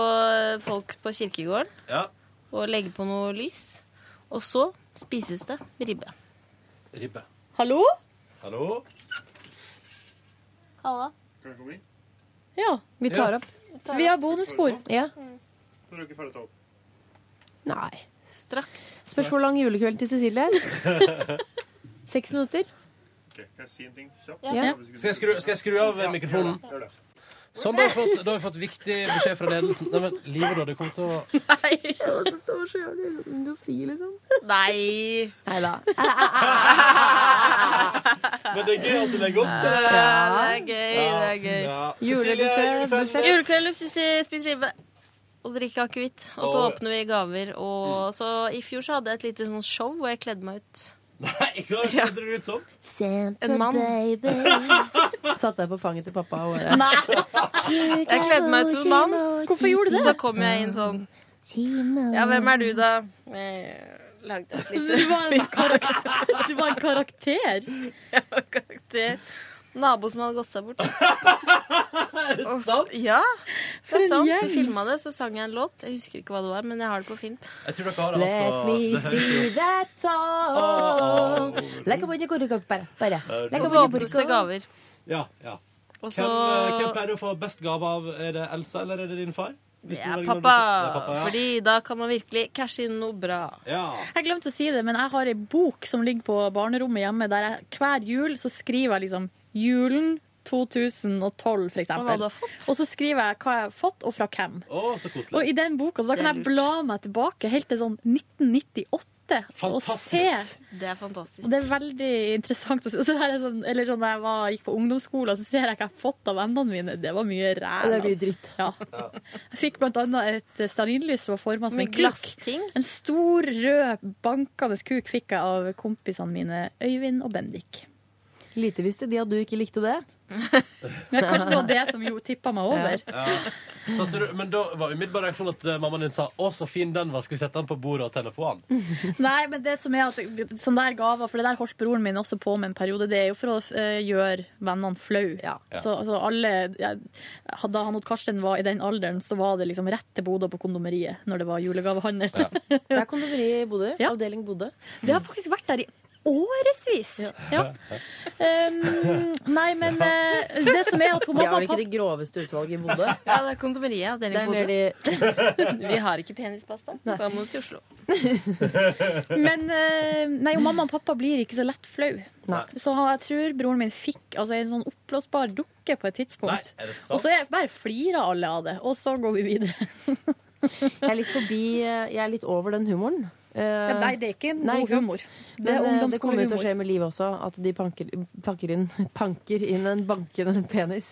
Speaker 3: folk på kirkegården
Speaker 2: Ja.
Speaker 3: og legger på noe lys. Og så spises det ribbe.
Speaker 2: Ribbe.
Speaker 4: Hallo?
Speaker 2: Hallo?
Speaker 3: Halla.
Speaker 4: Ja.
Speaker 5: Vi tar opp.
Speaker 4: Vi har bonusspor.
Speaker 5: Ja.
Speaker 9: Når er dere ferdig å ta opp?
Speaker 5: Nei.
Speaker 3: Straks.
Speaker 5: Spørs hvor lang julekveld til Cecilie er. <laughs> Seks minutter?
Speaker 9: Ok, Kan jeg si en ting kjapt?
Speaker 5: Ja.
Speaker 2: Skal jeg skru, skal jeg skru av eh, mikrofonen?
Speaker 9: Gjør det.
Speaker 2: Sånn, da har, vi fått, da har vi fått viktig beskjed fra ledelsen. Nei, men Livet, da. Det kommer til å
Speaker 5: Det står så jævlig uten å si, liksom.
Speaker 3: Nei.
Speaker 5: Nei da.
Speaker 2: Men det er gøy at du legger opp til det.
Speaker 3: Ja, det er gøy. Det er gøy.
Speaker 2: Ja.
Speaker 3: Julebuffé. Julekveld, spis ribbe. Og drikke akevitt. Og så
Speaker 2: Og-
Speaker 3: åpner vi gaver. Og så I fjor så hadde jeg et lite sånn show hvor jeg kledde meg ut.
Speaker 2: Nei, hva kledde du ut som?
Speaker 3: En mann.
Speaker 5: Satt deg på fanget til pappa og året.
Speaker 3: Nei. Jeg kledde meg ut som en mann.
Speaker 5: Hvorfor gjorde du det?
Speaker 3: Så kom jeg inn sånn Ja, hvem er du, da? Eh, Lagde et lite <laughs>
Speaker 4: Du var en karakter? Du var en karakter.
Speaker 3: karakter. Nabo som hadde gått seg bort. Og s- Ja.
Speaker 2: For en
Speaker 3: Det er sant.
Speaker 2: gjeng.
Speaker 3: Du filma det, så sang jeg en låt. Jeg husker ikke hva det var, men jeg har det på film.
Speaker 2: Jeg tror dere har det, altså. Det høres jo-
Speaker 5: that song. Legg på den korka, bare. bare. Legg
Speaker 3: Og
Speaker 5: på
Speaker 3: så
Speaker 5: den
Speaker 3: åpnes det
Speaker 5: korka.
Speaker 3: gaver.
Speaker 2: Ja, ja.
Speaker 3: Og
Speaker 2: Hvem,
Speaker 3: så-
Speaker 2: eh, hvem pleier du å få best gave av? Er det Elsa eller er det din far? Hvis
Speaker 3: Det
Speaker 2: du
Speaker 3: er
Speaker 2: velger
Speaker 3: pappa.
Speaker 2: noen- Det er pappa, ja.
Speaker 3: Fordi da kan man virkelig cashe inn noe bra.
Speaker 2: Ja.
Speaker 4: Jeg glemte å si det, men jeg har ei bok som ligger på barnerommet hjemme, der jeg hver jul så skriver jeg liksom julen 2012, for
Speaker 3: Og hva
Speaker 4: eksempel.
Speaker 3: du har fått.
Speaker 4: Og så skriver jeg hva jeg har fått, og fra hvem.
Speaker 2: Å, så koselig.
Speaker 4: Og i den boka så da
Speaker 3: Det
Speaker 4: kan
Speaker 3: er
Speaker 4: jeg
Speaker 3: lurt.
Speaker 4: bla meg tilbake helt til sånn 1998. Og se.
Speaker 3: Det er fantastisk.
Speaker 4: Og det er veldig interessant å se. Så det her er sånn, eller sånn, da jeg var, gikk på ungdomsskolen, så ser jeg hva jeg har fått av vennene mine. Det var mye ræl. altså.
Speaker 5: Det er mye dritt.
Speaker 4: Ja. Jeg fikk blant annet et eh, stearinlys som var forma som
Speaker 3: Med
Speaker 4: en kuk.
Speaker 3: glassting?
Speaker 4: En stor, rød, bankende kuk fikk jeg av kompisene mine Øyvind og Bendik.
Speaker 5: Lite visste de at du ikke likte det.
Speaker 4: Men kanskje det var det som jo tippa meg over.
Speaker 2: Ja. Så tror du, men da var umiddelbar reaksjon at eh, mammaen din sa 'Å, så fin den var, skal vi sette den på bordet og tenne på den?'
Speaker 4: Nei, men det som er at sånn der gaver, for det der holdt broren min også på med en periode, det er jo for å eh, gjøre vennene flau.
Speaker 5: Ja.
Speaker 4: Så, så alle, ja, da han og Karsten var i den alderen, så var det liksom rett til Bodø på kondomeriet når det var julegavehandel.
Speaker 5: Det er kondomeri i Bodø. Avdeling Bodø.
Speaker 4: <laughs> Det har faktisk vært der i årevis. Ja. Um, nei, men eh, det som er at
Speaker 5: <laughs>
Speaker 4: hun
Speaker 5: De har vel
Speaker 4: mamma og
Speaker 5: ikke
Speaker 4: pappa
Speaker 5: det groveste utvalget i
Speaker 4: <laughs>
Speaker 5: Bodø?
Speaker 3: Ja, det er kondomeriet. Avdeling
Speaker 5: Det er
Speaker 3: Bodø. Vi har ikke penispasta. Da må du til Oslo.
Speaker 4: Men eh, nei, og mamma og pappa blir ikke så lett flau.
Speaker 5: Nei.
Speaker 4: Så han, jeg tror broren min fikk altså, en sånn oppblåsbar dukke på et tidspunkt.
Speaker 5: Nei, er det sant?
Speaker 4: og så er- bare flirer alle av det, og så går vi videre.
Speaker 5: Jeg er litt forbi eh, Jeg er litt over den humoren. Eh,
Speaker 4: Ja, nei, det er ikke en god
Speaker 5: sant?
Speaker 4: humor. Det
Speaker 5: Men
Speaker 4: er
Speaker 5: eh, det kommer jo til å
Speaker 4: ungdomsskolehumor.
Speaker 5: skje med livet også, at de panker, pakker, inn, <laughs> panker inn en bankende <laughs> penis.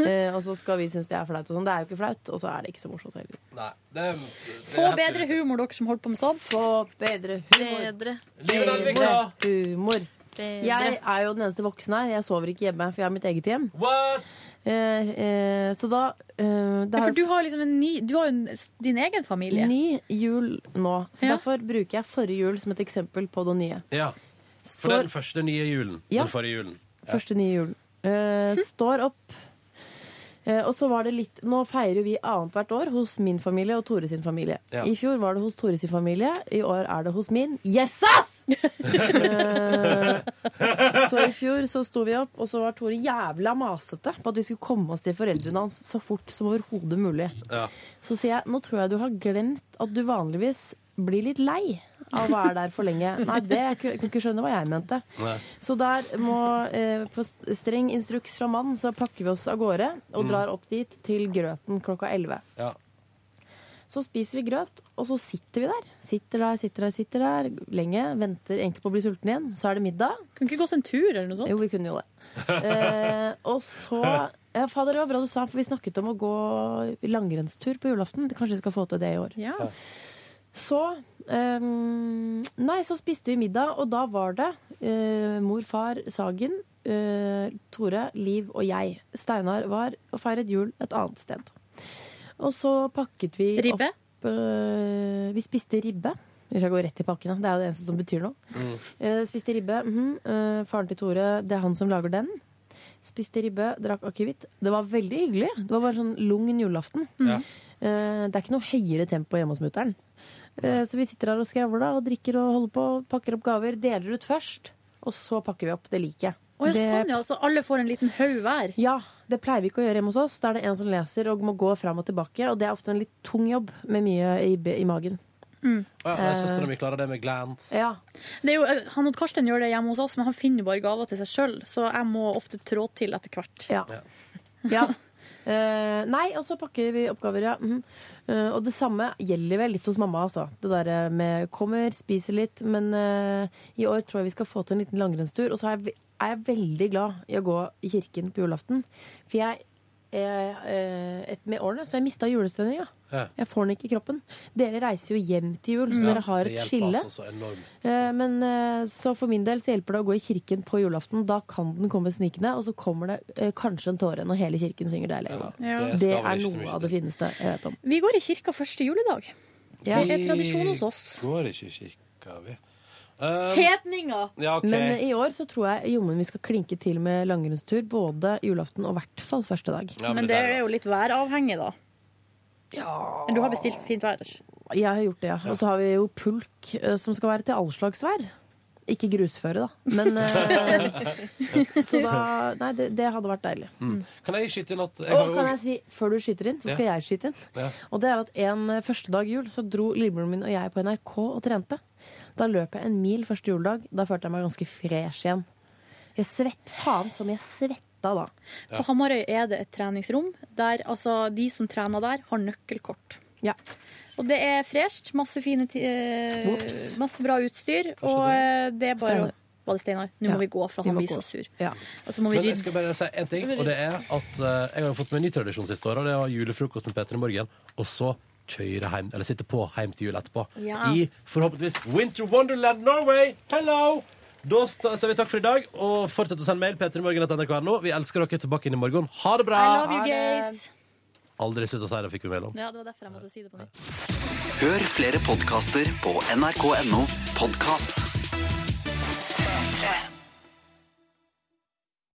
Speaker 5: Eh, og så skal vi synes det er flaut og sånn. Det er jo ikke flaut, og så er det ikke så morsomt heller.
Speaker 2: Nei, det er, det
Speaker 4: Få bedre humor, dere som holder på med sånt.
Speaker 5: Få bedre humor.
Speaker 3: Bedre.
Speaker 2: Liv Nelvik, da?
Speaker 5: humor.
Speaker 3: Bedre.
Speaker 5: Jeg er jo den eneste voksne her. Jeg sover ikke hjemme, for jeg har mitt eget hjem.
Speaker 2: What?
Speaker 5: Eh, eh, så da, eh, da
Speaker 4: Ja,
Speaker 5: har-
Speaker 4: for du har liksom en ny Du har jo en, din egen familie.
Speaker 5: Ny jul nå. Så derfor bruker jeg forrige jul som et eksempel på det nye.
Speaker 2: Ja. For
Speaker 5: Står-
Speaker 2: den første nye julen.
Speaker 5: Ja.
Speaker 2: Den forrige julen. Ja. Hm.
Speaker 5: Første nye jul. Eh, står opp. Eh, og så var det litt Nå feirer vi annethvert år hos min familie og Tore sin familie.
Speaker 2: Ja.
Speaker 5: I fjor var det hos Tore sin
Speaker 2: <laughs>
Speaker 5: familie, i år er det hos min. Yes, ass! Eh, så i fjor så sto vi opp, og så var Tore jævla masete på at vi skulle komme oss til foreldrene hans så fort som overhodet mulig.
Speaker 2: Ja.
Speaker 5: Så sier jeg nå tror jeg du har glemt at du vanligvis blir litt lei av å være der for lenge. Nei, det jeg kunne kunne ikke skjønne hva jeg mente.
Speaker 2: Nei.
Speaker 5: Så der må, eh, på st- streng instruks fra mannen, så pakker vi oss av gårde og
Speaker 2: Mm.
Speaker 5: drar opp dit til grøten klokka 11.
Speaker 2: Ja.
Speaker 5: Så spiser vi grøt, og så sitter vi der. Sitter der, sitter der, sitter der lenge. Venter egentlig på å bli sulten igjen. Så er det middag. Kunne ikke gått en tur eller noe sånt? Jo, vi kunne jo det.
Speaker 2: <laughs>
Speaker 5: Eh, og så ja, Fader, det var bra du sa, for vi snakket om å gå langrennstur på julaften. Kanskje vi skal få til det i år.
Speaker 4: Ja.
Speaker 5: Så ehm, Nei, så spiste vi middag, og da var det eh, mor, far, Sagen, eh, Tore, Liv og jeg. Steinar var og feiret jul et annet sted. Og så pakket vi
Speaker 4: Ribbe?
Speaker 5: opp eh, Vi spiste ribbe. Vi skal gå rett i pakkene. Det er jo det eneste som betyr noe. Eh, spiste ribbe. mhm. Eh, faren til Tore, det er han som lager den. Spiste ribbe, drakk akevitt. Det var veldig hyggelig. Det var bare sånn lugn julaften.
Speaker 2: Ja.
Speaker 5: Eh, Det er ikke noe høyere tempo hjemme hos mutter'n. Eh, Så vi sitter her og skravler da, og drikker og holder på, pakker opp gaver, deler ut først, og så pakker vi opp. Det liker jeg.
Speaker 4: Å ja,
Speaker 5: Det-
Speaker 4: sånn ja, så alle får en liten haug hver?
Speaker 5: Ja, det pleier vi ikke å gjøre hjemme hos oss. Da er det en som leser og må gå fram og tilbake, og det er ofte en litt tung jobb med mye ribbe i magen.
Speaker 2: Å ja, nei, søstera
Speaker 5: Eh.
Speaker 2: mi klarer det med glans.
Speaker 4: Det er jo, eh, han og Karsten gjør det hjemme hos oss, men han finner jo bare gaver til seg sjøl, så jeg må ofte trå til etter hvert.
Speaker 2: Ja.
Speaker 5: Ja. Eh, nei, og så pakker vi oppgaver, ja. Mhm. Eh, og det samme gjelder vel litt hos mamma, altså. Det derre med kommer, spiser litt. Men eh, i år tror jeg vi skal få til en liten langrennstur. Og så er jeg, ve- er jeg veldig glad i å gå i kirken på julaften. For jeg er eh, et, med årene så har jeg mista julestemninga.
Speaker 2: Ja.
Speaker 5: Jeg får den ikke i kroppen. Dere reiser jo hjem til jul, så
Speaker 2: Ja,
Speaker 5: dere har
Speaker 2: det
Speaker 5: et
Speaker 2: hjelper
Speaker 5: skille.
Speaker 2: altså så enormt.
Speaker 5: Eh, Men eh, så for min del så hjelper det å gå i kirken på julaften. Da kan den komme snikende, og så kommer det eh, kanskje en tåre når hele kirken synger 'Deilig er jul'.
Speaker 4: Ja, det
Speaker 5: Det
Speaker 4: skal vel
Speaker 5: er
Speaker 4: ikke så
Speaker 5: noe
Speaker 4: mye
Speaker 5: av det fineste jeg vet om.
Speaker 4: Vi går i kirka første juledag. Det er tradisjon hos oss.
Speaker 2: Vi går ikke i kirka, vi. Um,
Speaker 4: Hedninga!
Speaker 2: Ja, ok.
Speaker 5: Men eh, i år så tror jeg jommen vi skal klinke til med langrennstur både julaften og i hvert fall første dag.
Speaker 4: men det er jo litt væravhengig, da. Men du har bestilt fint vær.
Speaker 5: Jeg har gjort det, ja. Og så har vi jo pulk, eh, som skal være til all slags vær. Ikke grusføre, da. Men eh, <laughs> Så da Nei, det, det hadde vært deilig.
Speaker 2: Mm. Kan jeg skyte inn at jeg har
Speaker 5: Og
Speaker 2: jo-
Speaker 5: kan jeg si, før du skyter inn, så skal
Speaker 2: Ja.
Speaker 5: jeg skyte inn.
Speaker 2: Ja.
Speaker 5: Og det er at en eh, første dag jul så dro lillebroren min og jeg på NRK og trente. Da løp jeg en mil første juledag. Da følte jeg meg ganske fresh igjen. Jeg svett faen som jeg svetta da.
Speaker 4: På Hamarøy er det et treningsrom der altså, de som trener der, har nøkkelkort. Og det er fresht. Masse fine ti- eh,
Speaker 5: Whoops.
Speaker 4: Masse bra utstyr. og eh, det er bare å-
Speaker 2: Steinar.
Speaker 4: Var det Steinar? Nå
Speaker 2: Ja,
Speaker 4: må vi gå, for
Speaker 2: vi
Speaker 4: han
Speaker 2: må
Speaker 4: blir
Speaker 2: gå.
Speaker 4: så sur.
Speaker 5: Ja.
Speaker 4: Og så må vi
Speaker 2: Men jeg
Speaker 4: rydde.
Speaker 2: skal bare si en ting, og det er at eh, jeg har fått meg en ny tradisjon siste året. og Det var julefrokost med Peter i morgen, og så kjøre hjem, eller sitte på hjem til jul etterpå.
Speaker 13: Ja.
Speaker 2: I forhåpentligvis Winter Wonderland Norway! Hello! Da sta- sier vi takk for i dag, og fortsett å sende mail p3morgen.nrk.no. Vi elsker dere tilbake inn i morgen. Ha det bra!
Speaker 4: I love you guys!
Speaker 2: Aldri slutt å si det, fikk vi mail om.
Speaker 4: Ja, det var derfor jeg måtte si det på nytt.
Speaker 6: Hør flere podkaster på nrk.no podkast.